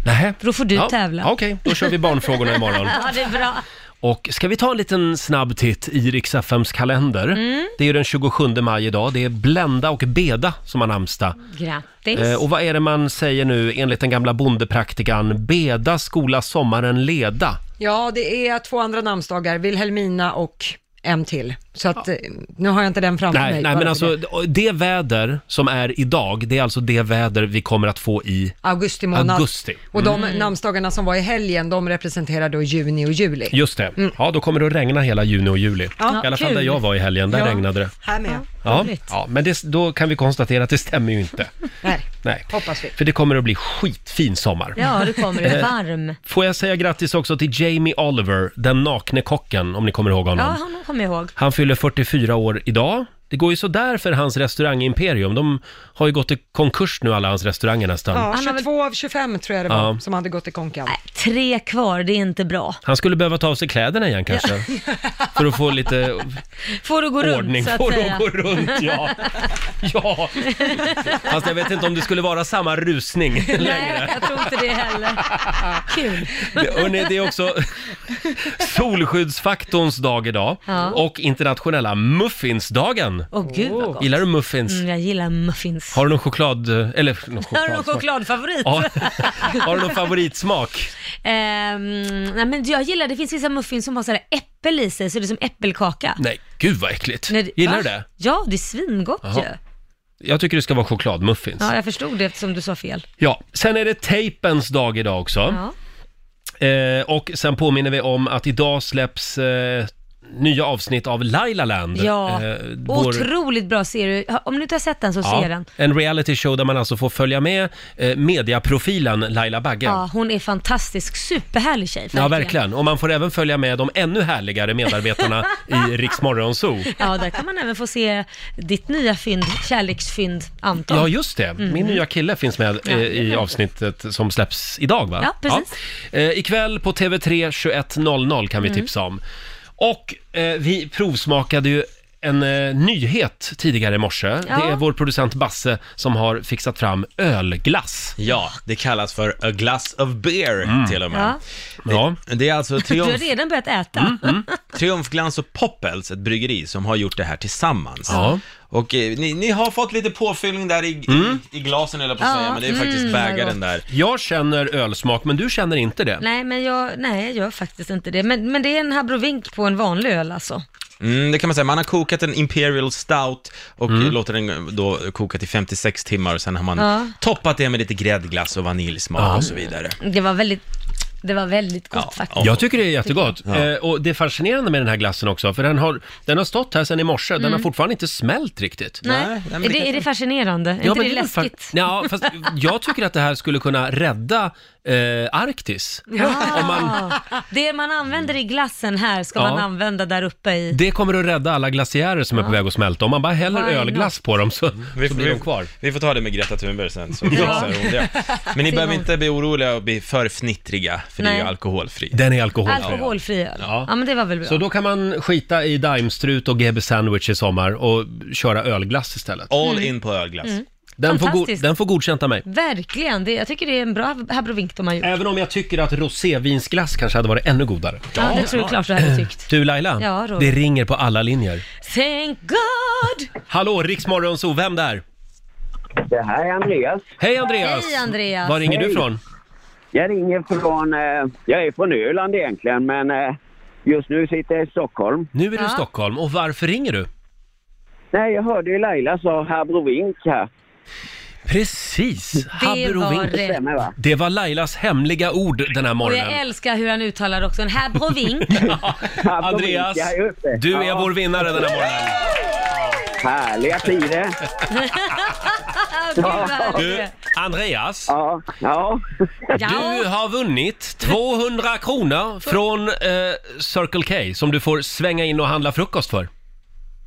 Speaker 1: Nähä.
Speaker 2: Då får du
Speaker 1: ja.
Speaker 2: tävla.
Speaker 1: Ja, Okej, då kör vi barnfrågorna imorgon.
Speaker 2: Ja, det är bra.
Speaker 1: Och ska vi ta en liten snabb titt i Riks-FMs kalender?
Speaker 2: Mm.
Speaker 1: Det är ju den 27 maj idag. Det är Blenda och Beda som har namnsdag.
Speaker 2: Grattis.
Speaker 1: Eh, och vad är det man säger nu enligt den gamla bondepraktikan? Beda skola sommaren leda.
Speaker 3: Ja, det är två andra namnsdagar, Wilhelmina och en till. Så att, eh, nu har jag inte den framför
Speaker 1: Nej,
Speaker 3: mig.
Speaker 1: nej men
Speaker 3: bara för
Speaker 1: alltså
Speaker 3: det.
Speaker 1: det. väder som är idag, det är alltså det väder vi kommer att få i...
Speaker 3: Augusti månad.
Speaker 1: Augusti. Mm.
Speaker 3: Och de namnsdagarna som var i helgen, de representerar då juni och juli.
Speaker 1: Just det. Ja, då kommer det att regna hela juni och juli.
Speaker 3: Mm. Ja,
Speaker 1: I alla fall där
Speaker 3: kul.
Speaker 1: jag var i helgen, där
Speaker 3: Ja.
Speaker 1: regnade det.
Speaker 3: Här med.
Speaker 1: Ja, ja men det, då kan vi konstatera att det stämmer ju inte.
Speaker 3: Nej,
Speaker 1: Nej.
Speaker 3: hoppas vi.
Speaker 1: För det kommer att bli skitfin sommar.
Speaker 2: Ja, det kommer det.
Speaker 1: Eh,
Speaker 2: Varm.
Speaker 1: Får jag säga grattis också till Jamie Oliver, den nakne kocken, om ni kommer ihåg
Speaker 2: Ja,
Speaker 1: honom.
Speaker 2: honom kommer jag ihåg.
Speaker 1: Han fyller 44 år idag. Det går ju sådär för hans restaurangimperium. De har ju gått i konkurs nu, alla hans restauranger nästan.
Speaker 3: Ja, 22 av 25 tror jag det var,
Speaker 1: Ja.
Speaker 3: som hade gått i konkan.
Speaker 2: Tre kvar, det är inte bra.
Speaker 1: Han skulle behöva ta av sig kläderna igen kanske. För att få lite
Speaker 2: Får du gå
Speaker 1: ordning.
Speaker 2: runt så att
Speaker 1: Får
Speaker 2: säga.
Speaker 1: att gå runt, ja. Ja. Fast jag vet inte om det skulle vara samma rusning längre.
Speaker 2: Nej, jag tror inte det heller. Kul.
Speaker 1: Det- Hörrni, det är också solskyddsfaktorns dag idag
Speaker 2: Ja.
Speaker 1: och internationella muffinsdagen.
Speaker 2: Åh gud vad gott.
Speaker 1: Gillar du muffins?
Speaker 2: Mm, jag gillar muffins.
Speaker 1: Har du någon choklad... Eller någon
Speaker 2: Har du någon
Speaker 1: choklad?
Speaker 2: chokladfavorit?
Speaker 1: Ja. Har du någon favoritsmak?
Speaker 2: Ehm, nej men jag gillar, det finns vissa muffins som har sådär äppel i sig, så det är som äppelkaka.
Speaker 1: Nej, gud vad äckligt.
Speaker 2: Nej, det-
Speaker 1: Gillar du
Speaker 2: va?
Speaker 1: det?
Speaker 2: Ja, det är svingott
Speaker 1: Jaha.
Speaker 2: ju.
Speaker 1: Jag tycker det ska vara chokladmuffins.
Speaker 2: Ja, jag förstod det eftersom du sa fel.
Speaker 1: Ja, sen är det tejpens dag idag också.
Speaker 2: Ja.
Speaker 1: Eh, och sen påminner vi om att idag släpps eh, nya avsnitt av Laila Land.
Speaker 2: Ja,
Speaker 1: Eh, vår-
Speaker 2: otroligt bra serie. Ha- Om du inte har sett den så
Speaker 1: Ja,
Speaker 2: se den.
Speaker 1: En reality show där man alltså får följa med eh, mediaprofilen Laila Bagge.
Speaker 2: Ja, hon är fantastisk, superhärlig tjej.
Speaker 1: Ja, verkligen. Och man får även följa med de ännu härligare medarbetarna i Rix Morgon Zoo.
Speaker 2: Ja, där kan man även få se ditt nya fynd, kärleksfynd, Anton.
Speaker 1: Ja, just det. Min
Speaker 2: Mm.
Speaker 1: nya kille finns med eh, i avsnittet som släpps idag, va?
Speaker 2: Ja, precis.
Speaker 1: Ja. Eh, ikväll på TV3 21.00 kan vi
Speaker 2: Mm.
Speaker 1: tipsa om. Och eh, vi provsmakade ju en eh, nyhet tidigare i morse.
Speaker 6: Ja.
Speaker 1: Det är vår producent Basse som har fixat fram ölglass.
Speaker 6: Ja, det kallas för a glass of beer
Speaker 1: Mm.
Speaker 6: till och med.
Speaker 2: Ja.
Speaker 1: Ja. Mm,
Speaker 6: Det, det är alltså
Speaker 2: Du har
Speaker 6: triumf,
Speaker 2: redan börjat äta.
Speaker 6: Triumfglans och Poppels, ett bryggeri som har gjort det här tillsammans.
Speaker 2: Ja.
Speaker 6: Och eh, ni, ni har fått lite påfyllning där i,
Speaker 1: Mm.
Speaker 6: i, i glasen eller på att
Speaker 2: Ja.
Speaker 6: säga, men det är faktiskt
Speaker 2: Mm,
Speaker 6: bägaren
Speaker 2: vad
Speaker 6: där.
Speaker 1: Jag känner ölsmak, men du känner inte det?
Speaker 2: Nej, men jag, nej, jag gör faktiskt inte det. Men, men det är en habrovink på en vanlig öl alltså.
Speaker 6: Mm, det kan man säga. Man har kokat en Imperial Stout och
Speaker 1: Mm.
Speaker 6: låter den då koka till 56 timmar och sen har man
Speaker 2: Ja.
Speaker 6: toppat det med lite gräddglass och vaniljsmak
Speaker 1: Ja.
Speaker 6: och så vidare.
Speaker 2: Det var väldigt, det var väldigt gott faktiskt.
Speaker 1: Jag tycker det är jättegott.
Speaker 6: Ja.
Speaker 1: Eh, och det är fascinerande med den här glassen också, för den har, den har stått här sedan i morse, den har
Speaker 2: Mm.
Speaker 1: fortfarande inte smält riktigt.
Speaker 2: Nej, är, det, är det fascinerande? Är
Speaker 1: Ja,
Speaker 2: inte
Speaker 1: men
Speaker 2: det
Speaker 1: är väl fa-
Speaker 2: läskigt?
Speaker 1: Ja, fast jag tycker att det här skulle kunna rädda eh, Arktis.
Speaker 2: Ja,
Speaker 1: Om man,
Speaker 2: det man använder i glassen här ska
Speaker 1: Ja.
Speaker 2: man använda där uppe i...
Speaker 1: det kommer att rädda alla glaciärer som är på väg att smälta. Om man bara häller
Speaker 2: Why
Speaker 1: ölglass
Speaker 2: not?
Speaker 1: på dem så,
Speaker 6: Vi,
Speaker 1: så blir de
Speaker 6: vi,
Speaker 1: kvar.
Speaker 6: vi får ta det med Greta Thunberg sen, så
Speaker 1: Ja.
Speaker 6: fixar hon det. Men ni
Speaker 1: Simon.
Speaker 6: behöver inte bli oroliga och bli för fnittriga, för det är ju
Speaker 2: Nej.
Speaker 6: alkoholfri.
Speaker 1: Den är alkoholfri.
Speaker 2: Alkoholfri öl.
Speaker 1: Ja.
Speaker 2: Ja. men det var väl bra.
Speaker 1: Så då kan man skita i daimstrut och GB sandwich i sommar och köra ölglass istället.
Speaker 6: All Mm. in på ölglass.
Speaker 2: Mm.
Speaker 1: Den, får, go-
Speaker 2: Fantastiskt.
Speaker 1: den får godkänt av mig.
Speaker 2: Verkligen, det, jag tycker det är en bra abrovink de har gjort.
Speaker 1: Även om jag tycker att rosévinsglass kanske hade varit ännu godare.
Speaker 2: Ja, det tror jag klart du hade tyckt.
Speaker 1: Du Laila,
Speaker 2: Ja, Roger.
Speaker 1: det ringer på alla linjer.
Speaker 2: Thank God!
Speaker 1: Hallå, Riksmorgonzoo, vem där?
Speaker 11: Det här är Andreas.
Speaker 1: Hej Andreas!
Speaker 2: Hej Andreas!
Speaker 1: Var ringer du
Speaker 11: Hej.
Speaker 1: ifrån?
Speaker 11: Jag ringer från... Eh, jag är från Öland egentligen, men eh, just nu sitter jag i Stockholm.
Speaker 1: Nu är du i Stockholm och varför ringer du?
Speaker 11: Nej, jag hörde ju Laila sa Habrovink här.
Speaker 1: Precis!
Speaker 2: var
Speaker 1: Habrovink.
Speaker 2: rätt. Det stämmer, va?
Speaker 1: Det var Lailas hemliga ord den här
Speaker 2: Och jag
Speaker 1: morgonen.
Speaker 2: älskar hur han uttalar också, en habrovink.
Speaker 1: Andreas,
Speaker 11: ja, just det.
Speaker 1: du är
Speaker 11: Ja.
Speaker 1: vår vinnare den här morgonen.
Speaker 11: Härliga tider!
Speaker 2: Gud, vad härligt.
Speaker 1: Du, Andreas.
Speaker 11: Ja, ja.
Speaker 1: Du har vunnit 200 kronor från eh, Circle K som du får svänga in och handla frukost för.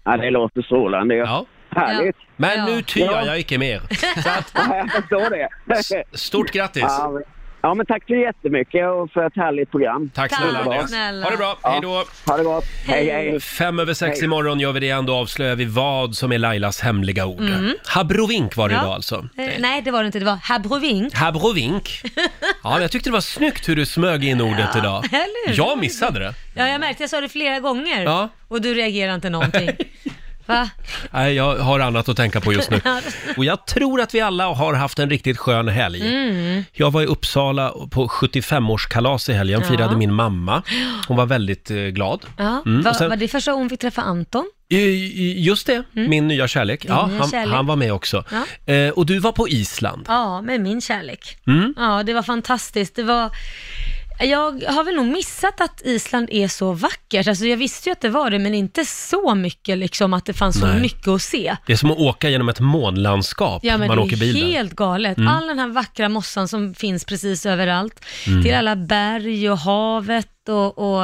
Speaker 11: Ja, det låter strålande.
Speaker 1: Ja.
Speaker 11: Härligt!
Speaker 1: Men nu tyr
Speaker 11: Ja.
Speaker 1: jag icke mer.
Speaker 11: Ja, jag förstår det.
Speaker 1: Stort grattis!
Speaker 11: Ja, men- ja, men tack så jättemycket och för ett härligt program.
Speaker 1: Tack snälla Andreas. Ha det bra, hej då!
Speaker 11: Ha det bra. Hej, hej.
Speaker 1: Fem över sex
Speaker 11: Hej.
Speaker 1: imorgon gör vi det igen, då avslöjar vi vad som är Lailas hemliga ord.
Speaker 2: Mm.
Speaker 1: Habrovink var det
Speaker 2: Ja.
Speaker 1: idag alltså.
Speaker 2: Eh, Nej, det var det inte, det var habrovink.
Speaker 1: Habrovink. Ja, men jag tyckte det var snyggt hur du smög in ordet
Speaker 2: Ja,
Speaker 1: idag.
Speaker 2: eller hur?
Speaker 1: Jag missade det.
Speaker 2: Ja, jag märkte, jag sa det flera gånger
Speaker 1: Ja.
Speaker 2: och du reagerade inte någonting. Va?
Speaker 1: Nej, jag har annat att tänka på just nu. Och jag tror att vi alla har haft en riktigt skön helg.
Speaker 2: Mm.
Speaker 1: Jag var i Uppsala på 75-årskalas i helgen,
Speaker 2: Ja.
Speaker 1: firade min mamma. Hon var väldigt eh, glad.
Speaker 2: Ja,
Speaker 1: Mm,
Speaker 2: var,
Speaker 1: och sen-
Speaker 2: var det första gången vi träffade Anton?
Speaker 1: I- i- Just det, min nya kärlek.
Speaker 2: Mm. Din
Speaker 1: Ja,
Speaker 2: nya
Speaker 1: han,
Speaker 2: kärlek.
Speaker 1: han var med också.
Speaker 2: Ja.
Speaker 1: Eh, och du var på Island.
Speaker 2: Ja, med min kärlek.
Speaker 1: Mm.
Speaker 2: Ja, det var fantastiskt. Det var... Jag har väl nog missat att Island är så vackert. Alltså jag visste ju att det var det, men inte så mycket liksom att det fanns
Speaker 1: Nej.
Speaker 2: så mycket att se.
Speaker 1: Det är som att åka genom ett månlandskap.
Speaker 2: Ja, men
Speaker 1: man
Speaker 2: det
Speaker 1: åker bil
Speaker 2: är
Speaker 1: där.
Speaker 2: helt galet.
Speaker 1: Mm.
Speaker 2: All den här vackra mossan som finns precis överallt.
Speaker 1: Mm.
Speaker 2: Till alla berg och havet och, och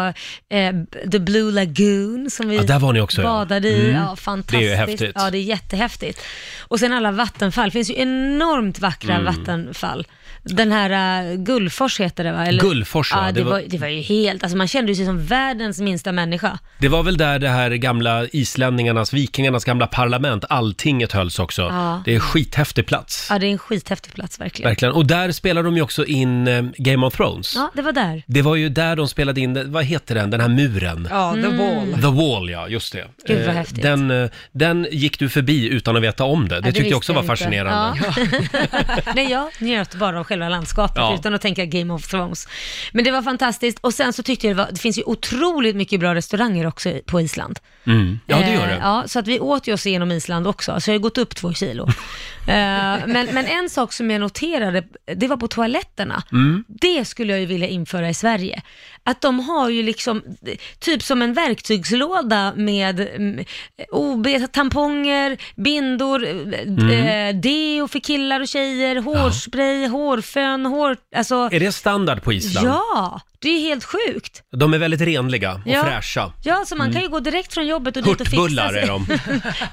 Speaker 2: eh, The Blue Lagoon som vi
Speaker 1: Ja, där var ni också, ja.
Speaker 2: badade i.
Speaker 1: Mm.
Speaker 2: Ja, fantastiskt.
Speaker 1: Det är ju häftigt.
Speaker 2: Ja, det är jättehäftigt. Och sen alla vattenfall. Det finns ju enormt vackra
Speaker 1: Mm.
Speaker 2: vattenfall. Den här uh, Gullfors heter det va? Eller?
Speaker 1: Gullfors, ja.
Speaker 2: ja.
Speaker 1: Det
Speaker 2: Det
Speaker 1: var-
Speaker 2: var, det var ju helt, alltså man kände sig som världens minsta människa.
Speaker 1: Det var väl där det här gamla islänningarnas, vikingarnas gamla parlament, alltinget hölls också.
Speaker 2: Ja.
Speaker 1: Det är en skithäftig plats.
Speaker 2: Ja, det är en skithäftig plats verkligen.
Speaker 1: Verkligen. Och där spelar de ju också in eh, Game of Thrones.
Speaker 2: Ja, det var där.
Speaker 1: Det var ju där de spelade in, vad heter den, den här muren?
Speaker 3: Ja, The Mm. Wall.
Speaker 1: The Wall, ja, just det.
Speaker 2: Gud, vad
Speaker 1: Eh,
Speaker 2: häftigt.
Speaker 1: Den, eh, den gick du förbi utan att veta om det. Det
Speaker 2: Ja,
Speaker 1: tyckte jag
Speaker 2: visste
Speaker 1: också var
Speaker 2: inte.
Speaker 1: fascinerande.
Speaker 2: Ja. Nej, jag njöt bara av själva landskapet
Speaker 1: Ja.
Speaker 2: utan att tänka Game of Thrones. Men det var fantastiskt och sen så tyckte jag det, var, det finns ju otroligt mycket bra restauranger också i- på Island.
Speaker 1: Ja, mm. ja det gör
Speaker 2: Eh,
Speaker 1: det.
Speaker 2: Ja, så att vi åt ju oss igenom Island också, så jag har ju gått upp två kilo. eh, men, men en sak som jag noterade, det var på toaletterna.
Speaker 9: Mm.
Speaker 2: Det skulle jag ju vilja införa i Sverige. Att att de har ju liksom, eh, typ som en verktygslåda med mm, OB, tamponger, bindor, mm.
Speaker 1: Mm.
Speaker 2: eh, deo för killar och tjejer, hårspray, hårfön, hår... Alltså,
Speaker 1: Är det standard på Island?
Speaker 2: ja, det är helt sjukt.
Speaker 1: De är väldigt renliga och
Speaker 2: Ja.
Speaker 1: fräscha. Mm.
Speaker 2: Ja, så man kan ju gå direkt från jobbet och dit och fixa
Speaker 1: Hurtbullar
Speaker 2: sig.
Speaker 1: är de.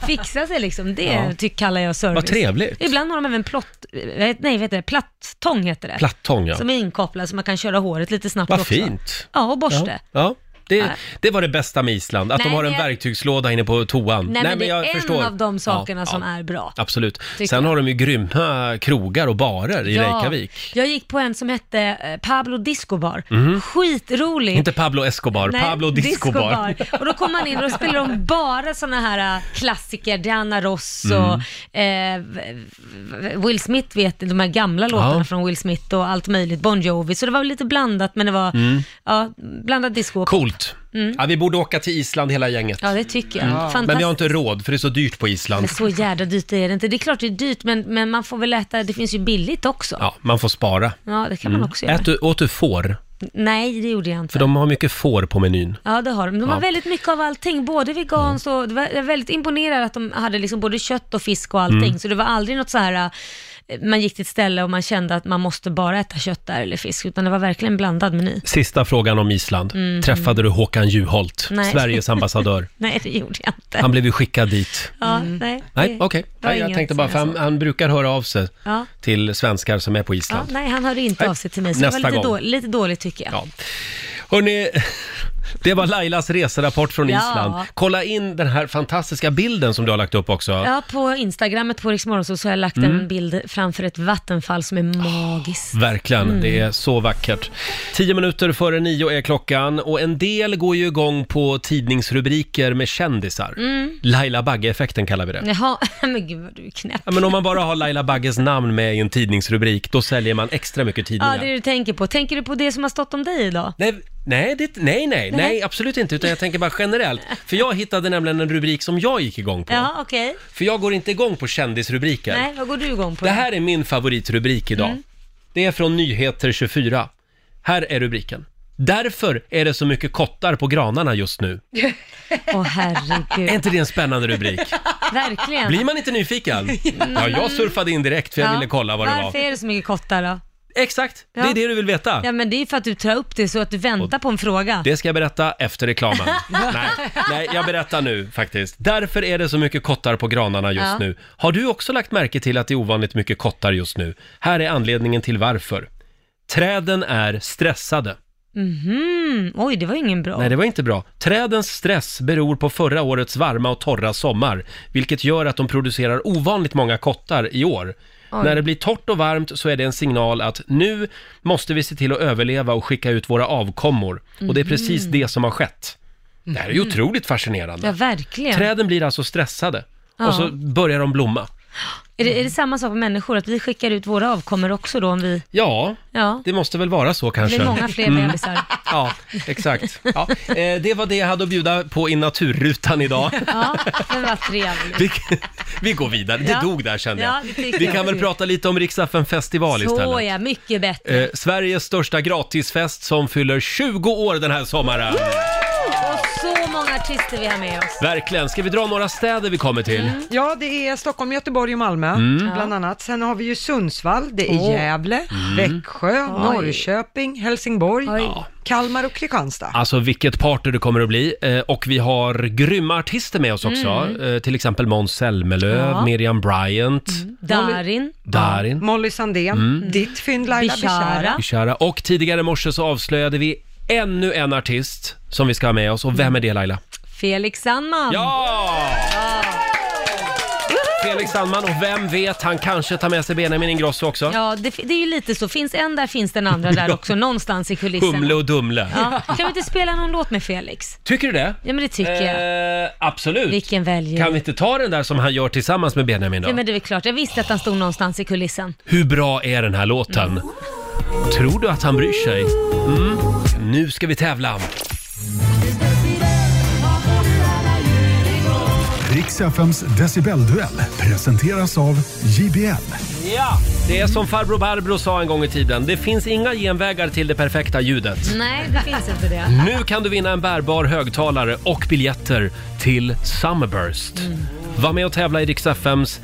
Speaker 2: fixa sig liksom, det
Speaker 1: Ja.
Speaker 2: ty- kallar jag service.
Speaker 1: Vad trevligt.
Speaker 2: Ibland har de även plott, eh, nej vad heter det, plattång heter det.
Speaker 1: Plattång, ja.
Speaker 2: Som är inkopplad så man kan köra håret lite snabbt
Speaker 1: Vad
Speaker 2: också.
Speaker 1: fint.
Speaker 2: Ja, och borste.
Speaker 1: Ja. ja.
Speaker 2: Nej.
Speaker 1: Det, det var det bästa med Island, att
Speaker 2: Nej,
Speaker 1: de har en
Speaker 2: men jag-
Speaker 1: verktygslåda inne på toan.
Speaker 2: Nej, men det är en av de sakerna
Speaker 1: Ja,
Speaker 2: som
Speaker 1: ja.
Speaker 2: är bra.
Speaker 1: Absolut.
Speaker 2: Tycker
Speaker 1: Sen
Speaker 2: jag.
Speaker 1: har de ju grymma krogar och barer i Reykjavik.
Speaker 2: Jag gick på en som hette eh, Pablo Disco Bar.
Speaker 1: Mhm.
Speaker 2: Skitrolig.
Speaker 1: Inte Pablo Escobar,
Speaker 2: Nej,
Speaker 1: Pablo Disco Bar.
Speaker 2: Disco Bar. Och då kom man in och då spelade de bara sådana här äh, klassiker, Diana Ross och eh, v- v- Will Smith vet de här gamla låtarna
Speaker 1: Mm. Ja.
Speaker 2: från Will Smith och allt möjligt, Bon Jovi. Så det var lite blandat, men det var
Speaker 1: Mm.
Speaker 2: ja, blandat disco. och pop.
Speaker 1: Coolt.
Speaker 2: Mm.
Speaker 1: Ja, vi borde åka till Island hela gänget.
Speaker 2: Ja, det tycker jag.
Speaker 1: Mm.
Speaker 2: Fantastiskt.
Speaker 1: Men vi har inte råd för det är så dyrt på
Speaker 2: Men
Speaker 1: Island.
Speaker 2: så jädra dyrt är det inte. Det är klart det är dyrt, men, men man får väl äta, det finns ju billigt också.
Speaker 1: Ja, man får spara.
Speaker 2: Ja, det kan man också göra.
Speaker 1: Ät du, åt du får?
Speaker 2: Nej, det gjorde jag inte.
Speaker 1: För de har mycket får på menyn.
Speaker 2: Ja, det har de. De har
Speaker 1: Ja.
Speaker 2: väldigt mycket av allting, både veganskt och... det var- Jag är väldigt imponerad att de hade liksom både kött och fisk och allting,
Speaker 1: Mm.
Speaker 2: så det var aldrig något så här... eh, Man gick till ett ställe och man kände att man måste bara äta kött där eller fisk, utan det var verkligen en blandad meny.
Speaker 1: Sista frågan om Island.
Speaker 2: Mm.
Speaker 1: Träffade du Håkan Juholt,
Speaker 2: Nej.
Speaker 1: Sveriges ambassadör?
Speaker 2: Nej, det gjorde jag inte.
Speaker 1: Han blev ju skickad dit.
Speaker 2: Ja, nej.
Speaker 1: Nej,
Speaker 2: det
Speaker 1: okej.
Speaker 2: var
Speaker 1: Nej, Jag
Speaker 2: inget
Speaker 1: tänkte bara, för
Speaker 2: som
Speaker 1: han,
Speaker 2: jag
Speaker 1: han brukar höra av sig
Speaker 2: sa. Ja.
Speaker 1: till svenskar som är på
Speaker 2: Ja,
Speaker 1: Island.
Speaker 2: nej, han hörde inte
Speaker 1: Nej.
Speaker 2: av sig till mig, så det
Speaker 1: Nästa
Speaker 2: var lite,
Speaker 1: gång.
Speaker 2: då, lite dåligt tycker jag.
Speaker 1: Ja. Hörni, det var Lailas reserapport från
Speaker 2: Ja.
Speaker 1: Island. Kolla in den här fantastiska bilden som du har lagt upp också.
Speaker 2: Ja, på Instagrammet på Rix Morgon så har jag lagt
Speaker 1: Mm.
Speaker 2: en bild framför ett vattenfall som är magiskt.
Speaker 1: Verkligen,
Speaker 2: Mm.
Speaker 1: det är så vackert. Tio minuter före nio är klockan och en del går ju igång på tidningsrubriker med kändisar.
Speaker 2: Mm.
Speaker 1: Laila Bagge-effekten kallar vi det.
Speaker 2: Jaha, men gud vad du är knäpp.
Speaker 1: Ja, men om man bara har Laila Bagges namn med i en tidningsrubrik, då säljer man extra mycket
Speaker 2: Ja,
Speaker 1: tidningar.
Speaker 2: det är det du tänker på. Tänker du på det som har stått om dig idag?
Speaker 1: Nej, nej, det, nej, nej, nej, absolut inte, utan jag tänker bara generellt. För jag hittade nämligen en rubrik som jag gick igång på.
Speaker 2: Ja, okej.
Speaker 1: För jag går inte igång på kändisrubriker.
Speaker 2: Nej, Mm. vad går du igång på?
Speaker 1: Det här är min favoritrubrik idag. Det är från Nyheter 24. Här är rubriken. Därför är det så mycket kottar på granarna just nu.
Speaker 2: Åh herregud.
Speaker 1: Är inte det en spännande rubrik?
Speaker 2: Verkligen.
Speaker 1: Blir man inte nyfiken? Ja, jag surfade in direkt för jag
Speaker 2: Ja.
Speaker 1: ville kolla vad det
Speaker 2: Varför är
Speaker 1: var.
Speaker 2: det så mycket kottar då?
Speaker 1: Exakt, Det är det du vill veta.
Speaker 2: Ja, men det är för att du tar upp det så att du väntar på en fråga.
Speaker 1: Det ska jag berätta efter reklamen. Nej, nej, jag berättar nu faktiskt. Därför är det så mycket kottar på granarna just
Speaker 2: Ja.
Speaker 1: nu. Har du också lagt märke till att det är ovanligt mycket kottar just nu? Här är anledningen till varför. Träden är stressade.
Speaker 2: Mhm. Oj, det var ingen bra.
Speaker 1: Nej, det var inte bra. Trädens stress beror på förra årets varma och torra sommar, vilket gör att de producerar ovanligt många kottar i år.
Speaker 2: Oj.
Speaker 1: När det blir torrt och varmt så är det en signal att nu måste vi se till att överleva och skicka ut våra avkommor. Och det är precis
Speaker 2: Mhm.
Speaker 1: det som har skett. Det här är ju
Speaker 2: Mhm.
Speaker 1: otroligt fascinerande.
Speaker 2: Ja, verkligen.
Speaker 1: Träden blir alltså stressade
Speaker 2: Ja.
Speaker 1: och så börjar de blomma.
Speaker 2: Är, det, är det samma sak med människor? Att vi skickar ut våra avkommor också då om vi...
Speaker 1: Ja,
Speaker 2: Ja.
Speaker 1: det måste väl vara så
Speaker 2: Det
Speaker 1: kanske.
Speaker 2: blir många fler
Speaker 1: Mm.
Speaker 2: bebisar.
Speaker 1: Ja, exakt. Ja. Eh, det var det jag hade att bjuda på i naturrutan idag.
Speaker 2: Ja, men vad trevligt.
Speaker 1: Vi, vi går vidare, det
Speaker 2: Ja.
Speaker 1: dog där kände
Speaker 2: Ja, det
Speaker 1: jag.
Speaker 2: tycker
Speaker 1: vi
Speaker 2: jag
Speaker 1: kan väl
Speaker 2: också.
Speaker 1: prata lite om Riksdagen festival
Speaker 2: Så
Speaker 1: istället.
Speaker 2: ja, mycket bättre.
Speaker 1: Eh, Sveriges största gratisfest som fyller 20 år den här sommaren.
Speaker 2: Och så många artister vi har med oss.
Speaker 1: Verkligen. Ska vi dra några städer vi kommer till?
Speaker 2: Mm.
Speaker 3: Ja, det är Stockholm, Göteborg och Malmö,
Speaker 1: Mm.
Speaker 3: bland annat. Sen har vi ju Sundsvall, det är
Speaker 1: Åh.
Speaker 3: Gävle,
Speaker 1: Mm.
Speaker 3: Växjö,
Speaker 1: Oj.
Speaker 3: Norrköping, Helsingborg, Kalmar och Kristianstad.
Speaker 1: Alltså vilket party det kommer att bli. Eh, och vi har grymma artister med oss också.
Speaker 3: Mm.
Speaker 1: Eh, till exempel Måns Zelmerlöw,
Speaker 3: Ja.
Speaker 1: Miriam Bryant,
Speaker 2: Mm. Darin.
Speaker 1: Darin.
Speaker 3: Molly Sandén,
Speaker 1: Mm.
Speaker 3: ditt fynd Laila
Speaker 2: Bishara.
Speaker 3: Bishara.
Speaker 1: Bishara. Och tidigare i morse så avslöjade vi ännu en artist som vi ska ha med oss. Och
Speaker 2: Mm.
Speaker 1: vem är det Laila?
Speaker 2: Felix Sandman.
Speaker 1: Ja! Felix Sandman och vem vet, han kanske tar med sig Benjamin Ingrosso också.
Speaker 2: Ja, det, det är ju lite så. Finns en där finns den andra där
Speaker 1: Ja.
Speaker 2: också, någonstans i kulisserna.
Speaker 1: Humle och Dumle.
Speaker 2: Ja. Kan vi inte spela någon låt med Felix?
Speaker 1: Tycker du det?
Speaker 2: Ja, men det tycker jag.
Speaker 1: Eh, absolut.
Speaker 2: Vilken väljer
Speaker 1: Kan vi inte ta den där som han gör tillsammans med Benjamin då?
Speaker 2: Ja, men det är väl klart. Jag visste att han stod någonstans i kulissen.
Speaker 1: Hur bra är den här låten? Tror du att han bryr sig? Mm. Nu ska vi tävla.
Speaker 4: Riks Riks-FMs decibelduell presenteras av JBL.
Speaker 1: Ja! Det är som farbror Barbro sa en gång i tiden, det finns inga genvägar till det perfekta ljudet.
Speaker 2: Nej, det finns inte det.
Speaker 1: Nu kan du vinna en bärbar högtalare och biljetter till Summerburst. Var med och tävla i Rix FMs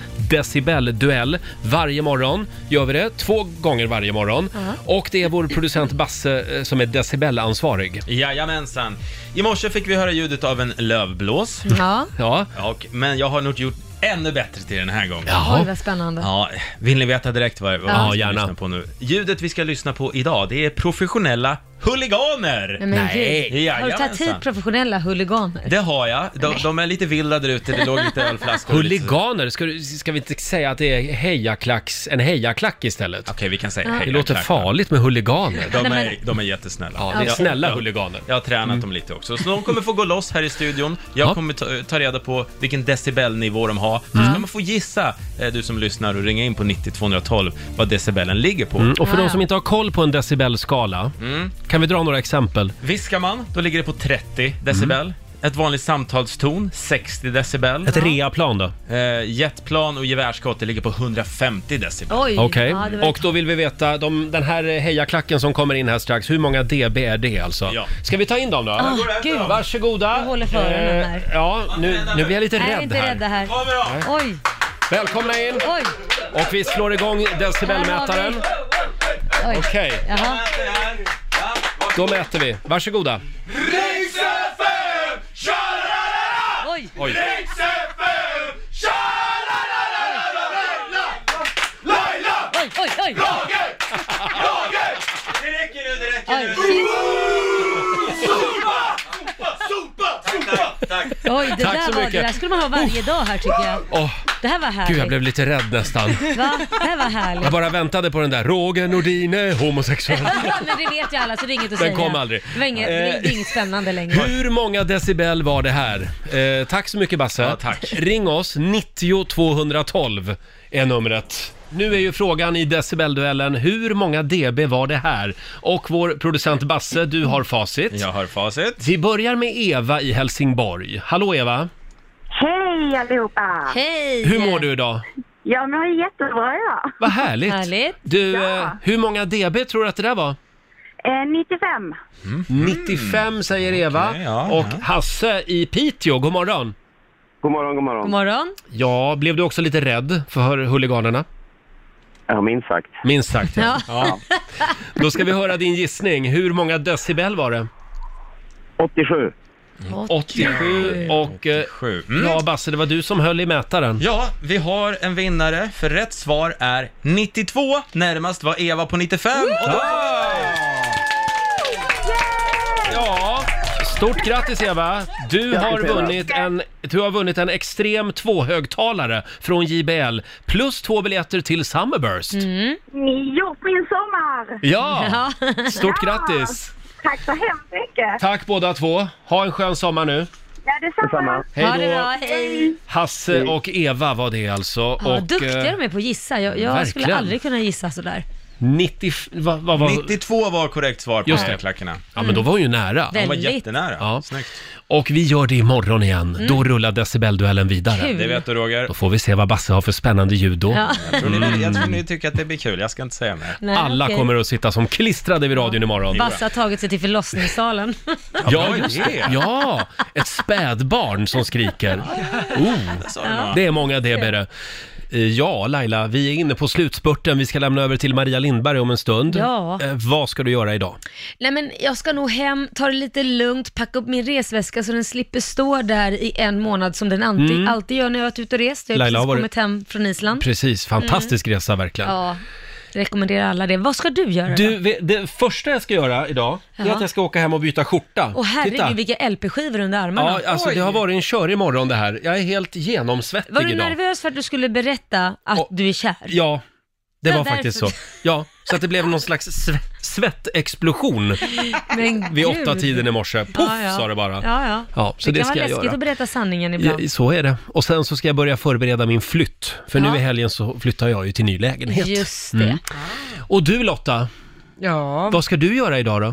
Speaker 1: decibelduell. Varje morgon gör vi det, två gånger varje morgon. Och det är vår producent Basse eh, som är decibelansvarig.
Speaker 6: Jajamensan. I morse fick vi höra ljudet av en lövblås.
Speaker 2: Ja.
Speaker 1: Ja.
Speaker 6: Och, men jag har nog gjort ännu bättre till den här gången.
Speaker 2: Oj, vad spännande.
Speaker 6: Ja, vill ni veta direkt vad, vad
Speaker 2: Ja.
Speaker 6: vi ska
Speaker 2: Ja, gärna.
Speaker 6: lyssna på nu? Ljudet vi ska lyssna på idag, det är professionella huliganer!
Speaker 2: Nej, men gud. Har du tagit hit
Speaker 6: Jajamensan.
Speaker 2: professionella huliganer?
Speaker 6: Det har jag. De, de är lite vilda där ute, det låg lite ölflaskor. och lite-
Speaker 1: Huliganer, ska, du- ska vi inte säga att det är hejaklacks, en hejaklack istället?
Speaker 6: Okej, vi kan säga
Speaker 1: Det
Speaker 6: hejaklack
Speaker 1: låter
Speaker 6: då.
Speaker 1: farligt med huliganer.
Speaker 6: De är, de är jättesnälla.
Speaker 1: Ja, det är
Speaker 6: Jag-
Speaker 1: snälla
Speaker 6: jag-
Speaker 1: huliganer.
Speaker 6: Jag har tränat
Speaker 1: Mm.
Speaker 6: dem lite också. Så de kommer få gå loss här i studion. Jag kommer ta, ta reda på vilken decibelnivå de har. Så
Speaker 1: Mm.
Speaker 6: ska man få gissa, eh, du som lyssnar och ringa in på 90-212, vad decibelen ligger på.
Speaker 1: Mm, och för de som inte har koll på en decibelskala, kan vi dra några exempel?
Speaker 6: Viskar man, då ligger det på 30 decibel. Ett vanligt samtalston, 60 decibel.
Speaker 1: Mm. Ett reaplan då?
Speaker 6: Eh, jetplan och gevärsskott, det ligger på 150 decibel.
Speaker 2: Oj.
Speaker 1: Okej,
Speaker 2: Ja, det var...
Speaker 1: och då vill vi veta, de, den här hejaklacken som kommer in här strax, hur många dB är det alltså?
Speaker 6: Ja.
Speaker 1: Ska vi ta in dem då?
Speaker 2: Ah, gud.
Speaker 1: Varsågoda!
Speaker 2: Jag håller för öronen här.
Speaker 1: Eh, Ja, nu, nu blir jag lite
Speaker 2: Nej, jag är
Speaker 1: rädd
Speaker 2: inte rädda
Speaker 1: här.
Speaker 2: här.
Speaker 6: Kommer de?
Speaker 2: Oj,
Speaker 1: Välkomna in!
Speaker 2: oj.
Speaker 1: Och vi slår igång
Speaker 2: Här har
Speaker 1: decibelmätaren.
Speaker 2: vi- Oj.
Speaker 1: Okej,
Speaker 2: Jaha.
Speaker 1: då mäter vi. Varsågoda!
Speaker 2: Oj.
Speaker 1: Oj.
Speaker 2: Oj, oj, oj.
Speaker 6: Det räcker nu, det räcker
Speaker 2: Oj, shit.
Speaker 6: Tack, tack.
Speaker 2: oj det
Speaker 1: Tack så
Speaker 2: där var,
Speaker 1: mycket.
Speaker 2: det där skulle man ha varje dag här tycker jag.
Speaker 1: Åh,
Speaker 2: Det här var härligt.
Speaker 1: gud jag blev lite rädd nästan.
Speaker 2: Va? Det här var härligt.
Speaker 1: Jag bara väntade på den där, Roger Nordin är homosexuell.
Speaker 2: Ja, men det vet ju alla så det är inget att
Speaker 1: Den
Speaker 2: säga.
Speaker 1: kom aldrig.
Speaker 2: Det var inget, det
Speaker 1: Eh.
Speaker 2: är inget spännande längre.
Speaker 1: Hur många decibel var det här? Eh, tack så mycket Basse.
Speaker 6: Ja, tack.
Speaker 1: Ring oss, 90 212 är numret. Nu är ju frågan i decibelduellen, hur många dB var det här? Och vår producent Basse, du har facit.
Speaker 6: Jag har facit.
Speaker 1: Vi börjar med Eva i Helsingborg. Hallå Eva,
Speaker 7: Hej allihopa!
Speaker 2: Hej!
Speaker 1: hur mår du idag?
Speaker 7: Ja, men jag är jättebra idag.
Speaker 1: Vad härligt!
Speaker 2: Härligt.
Speaker 1: Du,
Speaker 7: Ja.
Speaker 1: eh, hur många dB tror du att det där var?
Speaker 7: Eh, 95.
Speaker 1: 95 säger Eva.
Speaker 6: Mm. Okej, ja,
Speaker 1: och
Speaker 6: ja.
Speaker 1: Hasse i Piteå, god morgon.
Speaker 8: God morgon, god morgon.
Speaker 2: God morgon.
Speaker 1: Ja, blev du också lite rädd för huliganerna?
Speaker 8: Ja, minst sagt.
Speaker 1: Minst sagt ja.
Speaker 2: Ja.
Speaker 1: Då ska vi höra din gissning. Hur många decibel var det?
Speaker 8: 87.
Speaker 1: 87 och... eh,
Speaker 6: 7. Mm.
Speaker 1: Ja, Basse, det var du som höll i mätaren.
Speaker 6: Ja, vi har en vinnare, för rätt svar är 92. Närmast var Eva på 95. Och då...
Speaker 1: Ja, stort grattis Eva! Du har vunnit en, du har vunnit en extrem tvåhögtalare från JBL plus två biljetter till Summerburst.
Speaker 2: Mm.
Speaker 7: Ni gjort min sommar!
Speaker 1: Ja,
Speaker 2: Ja.
Speaker 1: stort grattis!
Speaker 7: Tack så hemskt mycket!
Speaker 1: Tack båda två. Ha en skön sommar nu.
Speaker 7: Ja, detsamma!
Speaker 2: Ha det
Speaker 1: Hej
Speaker 2: bra,
Speaker 1: då!
Speaker 2: hej!
Speaker 1: Hasse och Eva var det alltså.
Speaker 2: Ja,
Speaker 1: och,
Speaker 2: duktiga
Speaker 1: eh,
Speaker 2: de är på att gissa. Jag, jag skulle
Speaker 1: verkligen.
Speaker 2: aldrig kunna gissa sådär.
Speaker 1: 90... Vad, vad, vad,
Speaker 6: 92 var korrekt svar på
Speaker 1: Just
Speaker 6: de här
Speaker 1: det.
Speaker 6: klackarna.
Speaker 1: Ja, men då var hon ju nära.
Speaker 6: De var
Speaker 2: Väldigt.
Speaker 6: jättenära.
Speaker 1: Ja.
Speaker 6: Snyggt.
Speaker 1: Och vi gör det imorgon igen. Då rullar decibelduellen vidare.
Speaker 2: Mm. Kul.
Speaker 6: Det vet du Roger.
Speaker 1: Då får Mm. vi se vad Basse har för spännande ljud då.
Speaker 2: Ja.
Speaker 6: Jag tror, ni, jag tror ni tycker att det blir kul, jag ska inte säga mer.
Speaker 2: Nej,
Speaker 1: Alla
Speaker 2: okej.
Speaker 1: kommer att sitta som klistrade vid radion imorgon.
Speaker 2: Basse har tagit sig till förlossningssalen.
Speaker 1: Ja,
Speaker 6: bra
Speaker 1: just
Speaker 6: idé.
Speaker 1: det. Ja, ett spädbarn som skriker. Oh,
Speaker 6: Så är det bra.
Speaker 1: det är många dB det. Eh, Ja, Laila, vi är inne på slutspurten. Vi ska lämna över till Maria Lindberg om en stund.
Speaker 2: Ja.
Speaker 1: Eh, vad ska du göra idag?
Speaker 2: Nej men jag ska nog hem, ta det lite lugnt, packa upp min resväska så den slipper stå där i en månad som den alltid, alltid gör när jag har varit ute och rest. Jag har
Speaker 1: Mm. Laila har varit-
Speaker 2: precis kommit hem från Island.
Speaker 1: Precis, fantastisk resa verkligen.
Speaker 2: Mm. Ja, rekommenderar alla det. Vad ska du göra då?
Speaker 1: Du, ve- det första jag ska göra idag, är
Speaker 2: Ja.
Speaker 1: att jag ska åka hem och byta skjorta.
Speaker 2: Och herregud
Speaker 1: Titta.
Speaker 2: vilka LP-skivor under armarna.
Speaker 1: Ja, alltså det har varit en körig morgon det här. Jag är helt genomsvettig
Speaker 2: Var du
Speaker 1: idag.
Speaker 2: nervös för att du skulle berätta att
Speaker 1: Och-
Speaker 2: du är kär?
Speaker 1: Ja, det
Speaker 2: Ja,
Speaker 1: var faktiskt så.
Speaker 2: därför.
Speaker 1: Ja, så att det blev någon slags sve- svettexplosion
Speaker 2: Men
Speaker 1: vid
Speaker 2: gud.
Speaker 1: åtta tiden i morse. Poff
Speaker 2: Ja, ja.
Speaker 1: sa det bara.
Speaker 2: Ja, ja.
Speaker 1: Ja, så det,
Speaker 2: kan
Speaker 1: ska
Speaker 2: vara
Speaker 1: jag
Speaker 2: läskigt
Speaker 1: göra.
Speaker 2: att berätta sanningen ibland.
Speaker 1: Ja, så är det. Och sen så ska jag börja förbereda min flytt. För nu
Speaker 2: Ja.
Speaker 1: i helgen så flyttar jag ju till ny lägenhet.
Speaker 2: Just
Speaker 1: Mm.
Speaker 2: det.
Speaker 1: Och du Lotta,
Speaker 3: Ja,
Speaker 1: vad ska du göra idag då?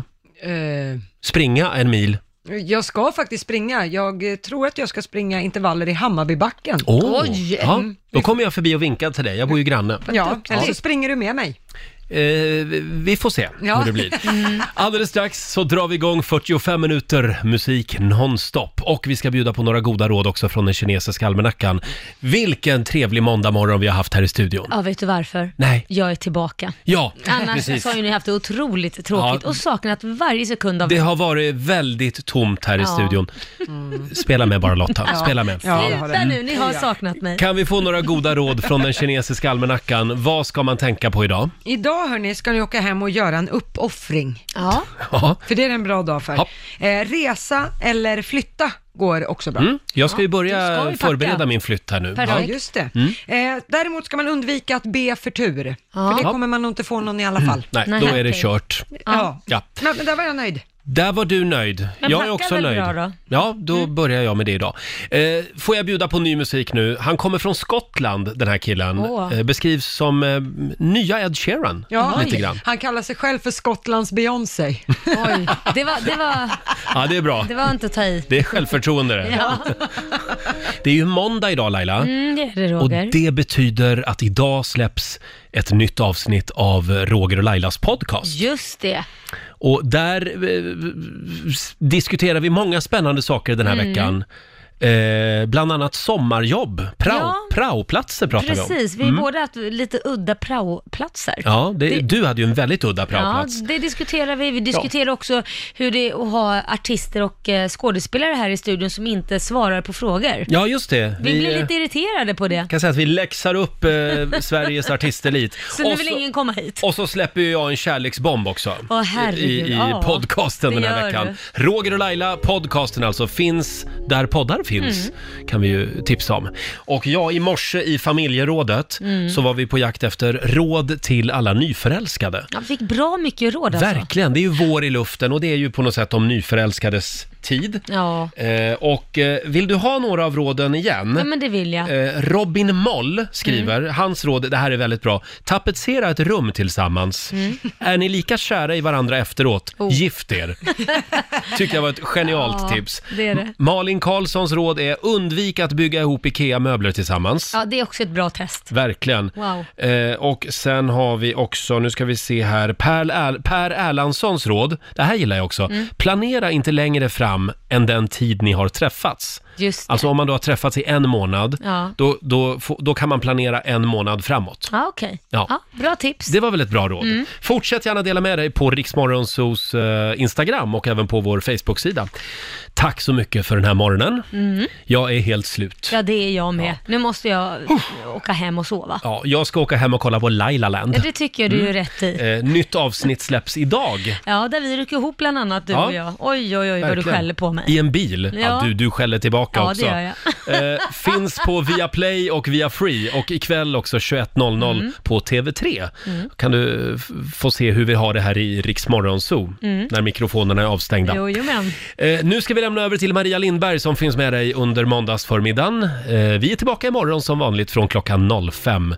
Speaker 3: eh,
Speaker 1: Springa en mil?
Speaker 3: Jag ska faktiskt springa. Jag eh, tror att jag ska springa intervaller i Hammarbybacken.
Speaker 1: Åh! Ja, då kommer jag förbi och vinkar till dig, jag bor ju granne.
Speaker 3: Ja, eller så springer du med mig.
Speaker 1: Eh, vi får se
Speaker 3: Ja.
Speaker 1: hur det blir. Alldeles strax så drar vi igång 45 minuter musik nonstop. Och vi ska bjuda på några goda råd också från den kinesiska almanackan. Vilken trevlig måndagmorgon vi har haft här i studion.
Speaker 2: Ja, vet du varför?
Speaker 1: Nej.
Speaker 2: Jag är tillbaka.
Speaker 1: Ja,
Speaker 2: Annars
Speaker 1: precis.
Speaker 2: så har ju ni haft det otroligt tråkigt
Speaker 1: Ja.
Speaker 2: och saknat varje sekund av
Speaker 1: Det har varit väldigt tomt här i
Speaker 2: Ja.
Speaker 1: studion. Spela med bara Lotta, spela med.
Speaker 2: Sluta nu, ni har saknat mig.
Speaker 1: Kan vi få några goda råd från den kinesiska almanackan? Vad ska man tänka på idag?
Speaker 3: Idag hörni ska ni åka hem och göra en uppoffring.
Speaker 2: Ja.
Speaker 1: Ja.
Speaker 3: För det är en bra dag för. Eh, resa eller flytta går också bra.
Speaker 1: Mm. Jag ska ju
Speaker 3: du
Speaker 1: börja
Speaker 3: ska ju
Speaker 1: förbereda
Speaker 3: packa.
Speaker 1: min flytt här nu.
Speaker 3: Ja, just det.
Speaker 1: Mm.
Speaker 3: Eh, däremot ska man undvika att be för tur. För det
Speaker 1: Ja.
Speaker 3: kommer man nog inte få någon i alla fall.
Speaker 1: Nej, då är det kört.
Speaker 3: Ja.
Speaker 1: Ja.
Speaker 3: Men, men där var jag nöjd.
Speaker 1: Där var du nöjd.
Speaker 3: Men
Speaker 1: jag är
Speaker 3: packa
Speaker 1: också
Speaker 3: väl
Speaker 1: nöjd.
Speaker 3: bra då?
Speaker 1: Ja, då börjar jag med det idag. Eh, får jag bjuda på ny musik nu? Han kommer från Skottland, den här killen.
Speaker 3: Åh.
Speaker 1: Eh, beskrivs som eh, nya Ed Sheeran, lite grann.
Speaker 3: Han kallar sig själv för Skottlands Beyoncé.
Speaker 2: Oj, det var, det var,
Speaker 1: Ja, det är bra.
Speaker 2: det var inte att ta i.
Speaker 1: Det är självförtroende det.
Speaker 2: Ja.
Speaker 1: Det är ju måndag idag Laila.
Speaker 2: Mm, det är det
Speaker 1: Och
Speaker 2: Roger.
Speaker 1: det betyder att idag släpps ett nytt avsnitt av Roger och Lailas podcast.
Speaker 2: Just det.
Speaker 1: Och där eh, s- diskuterar vi många spännande saker den här
Speaker 2: Mm.
Speaker 1: veckan. Eh, bland annat sommarjobb, prao,
Speaker 2: Ja.
Speaker 1: praoplatser pratar vi om.
Speaker 2: Precis, vi är
Speaker 1: Mm.
Speaker 2: båda haft lite udda praoplatser.
Speaker 1: Ja, det,
Speaker 2: Det-
Speaker 1: du hade ju en väldigt udda
Speaker 2: Ja,
Speaker 1: praoplats.
Speaker 2: det diskuterar vi. Vi diskuterar också hur det är att ha artister och eh, skådespelare här i studion som inte svarar på frågor.
Speaker 1: Ja, just det.
Speaker 2: Vi blir
Speaker 1: eh,
Speaker 2: lite irriterade på det.
Speaker 1: kan säga att vi läxar upp eh, Sveriges artistelit.
Speaker 2: Så nu
Speaker 1: Och
Speaker 2: vill
Speaker 1: så-
Speaker 2: ingen komma hit.
Speaker 1: Och så släpper ju jag en kärleksbomb också.
Speaker 2: Åh,
Speaker 1: I,
Speaker 2: herregud.
Speaker 1: i
Speaker 2: Ja,
Speaker 1: podcasten
Speaker 2: det
Speaker 1: den här
Speaker 2: gör
Speaker 1: veckan. Roger och Laila, podcasten alltså, finns där poddar finns.
Speaker 2: Mm.
Speaker 1: Kan vi ju tipsa om. Och ja, i morse i familjerådet
Speaker 2: Mm.
Speaker 1: så var vi på jakt efter råd till alla nyförälskade.
Speaker 2: Jag fick bra mycket råd alltså.
Speaker 1: Verkligen, det är ju vår i luften och det är ju på något sätt de nyförälskades tid.
Speaker 2: Ja.
Speaker 1: Eh, och eh, vill du ha några av råden igen?
Speaker 2: ja, men det vill jag.
Speaker 1: Eh, Robin Moll skriver,
Speaker 2: Mm.
Speaker 1: hans råd, det här är väldigt bra. Tapetsera ett rum tillsammans.
Speaker 2: Mm.
Speaker 1: Är ni lika kära i varandra efteråt, gift er. Tycker jag var ett genialt
Speaker 2: Oh. Ja,
Speaker 1: tips.
Speaker 2: det är det.
Speaker 1: M- Malin Karlssons råd är undvik att bygga ihop IKEA-möbler tillsammans.
Speaker 2: Ja, det är också ett bra test.
Speaker 1: Verkligen.
Speaker 2: Wow.
Speaker 1: Eh, och sen har vi också, nu ska vi se här, Per, Erl- per Erlandssons råd. Det här gillar jag också.
Speaker 2: Mm.
Speaker 1: Planera inte längre fram än den tid ni har träffats.
Speaker 2: Just det.
Speaker 1: Alltså om man då har träffats i en månad,
Speaker 2: Ja.
Speaker 1: då, då, få- då kan man planera en månad framåt.
Speaker 2: Ja, okej.
Speaker 1: Ja.
Speaker 2: Ja, bra tips.
Speaker 1: Det var väl ett bra råd.
Speaker 2: Mm.
Speaker 1: Fortsätt gärna dela med dig på Riksmorgonsos eh, Instagram och även på vår Facebook-sida. Tack så mycket för den här morgonen.
Speaker 2: Mm.
Speaker 1: Jag är helt slut.
Speaker 2: Ja, det är jag med. Nu måste jag åka hem och sova.
Speaker 1: Ja, jag ska åka hem och kolla på Lailaland.
Speaker 2: Ja, det tycker jag du gör rätt i.
Speaker 1: Eh, nytt avsnitt släpps idag.
Speaker 2: Ja, där vi rycker ihop bland annat du
Speaker 1: Ja.
Speaker 2: och jag. Oj, oj, oj vad du
Speaker 1: Verkligen.
Speaker 2: skäller på mig.
Speaker 1: I en bil. Ja,
Speaker 2: Ja.
Speaker 1: du, du skäller tillbaka
Speaker 2: Ja, det
Speaker 1: också.
Speaker 2: gör jag.
Speaker 1: eh, finns på Viaplay och via Free och ikväll också 21.00
Speaker 2: Mm.
Speaker 1: på TV3.
Speaker 2: Mm.
Speaker 1: Kan du f- få se hur vi har det här i Riks Morgonzoo
Speaker 2: Mm.
Speaker 1: när mikrofonerna är avstängda.
Speaker 2: Jo, jo, men.
Speaker 1: Eh, nu ska vi lämna över till Maria Lindberg som finns med dig under måndagsförmiddagen. Eh, vi är tillbaka imorgon som vanligt från klockan 05.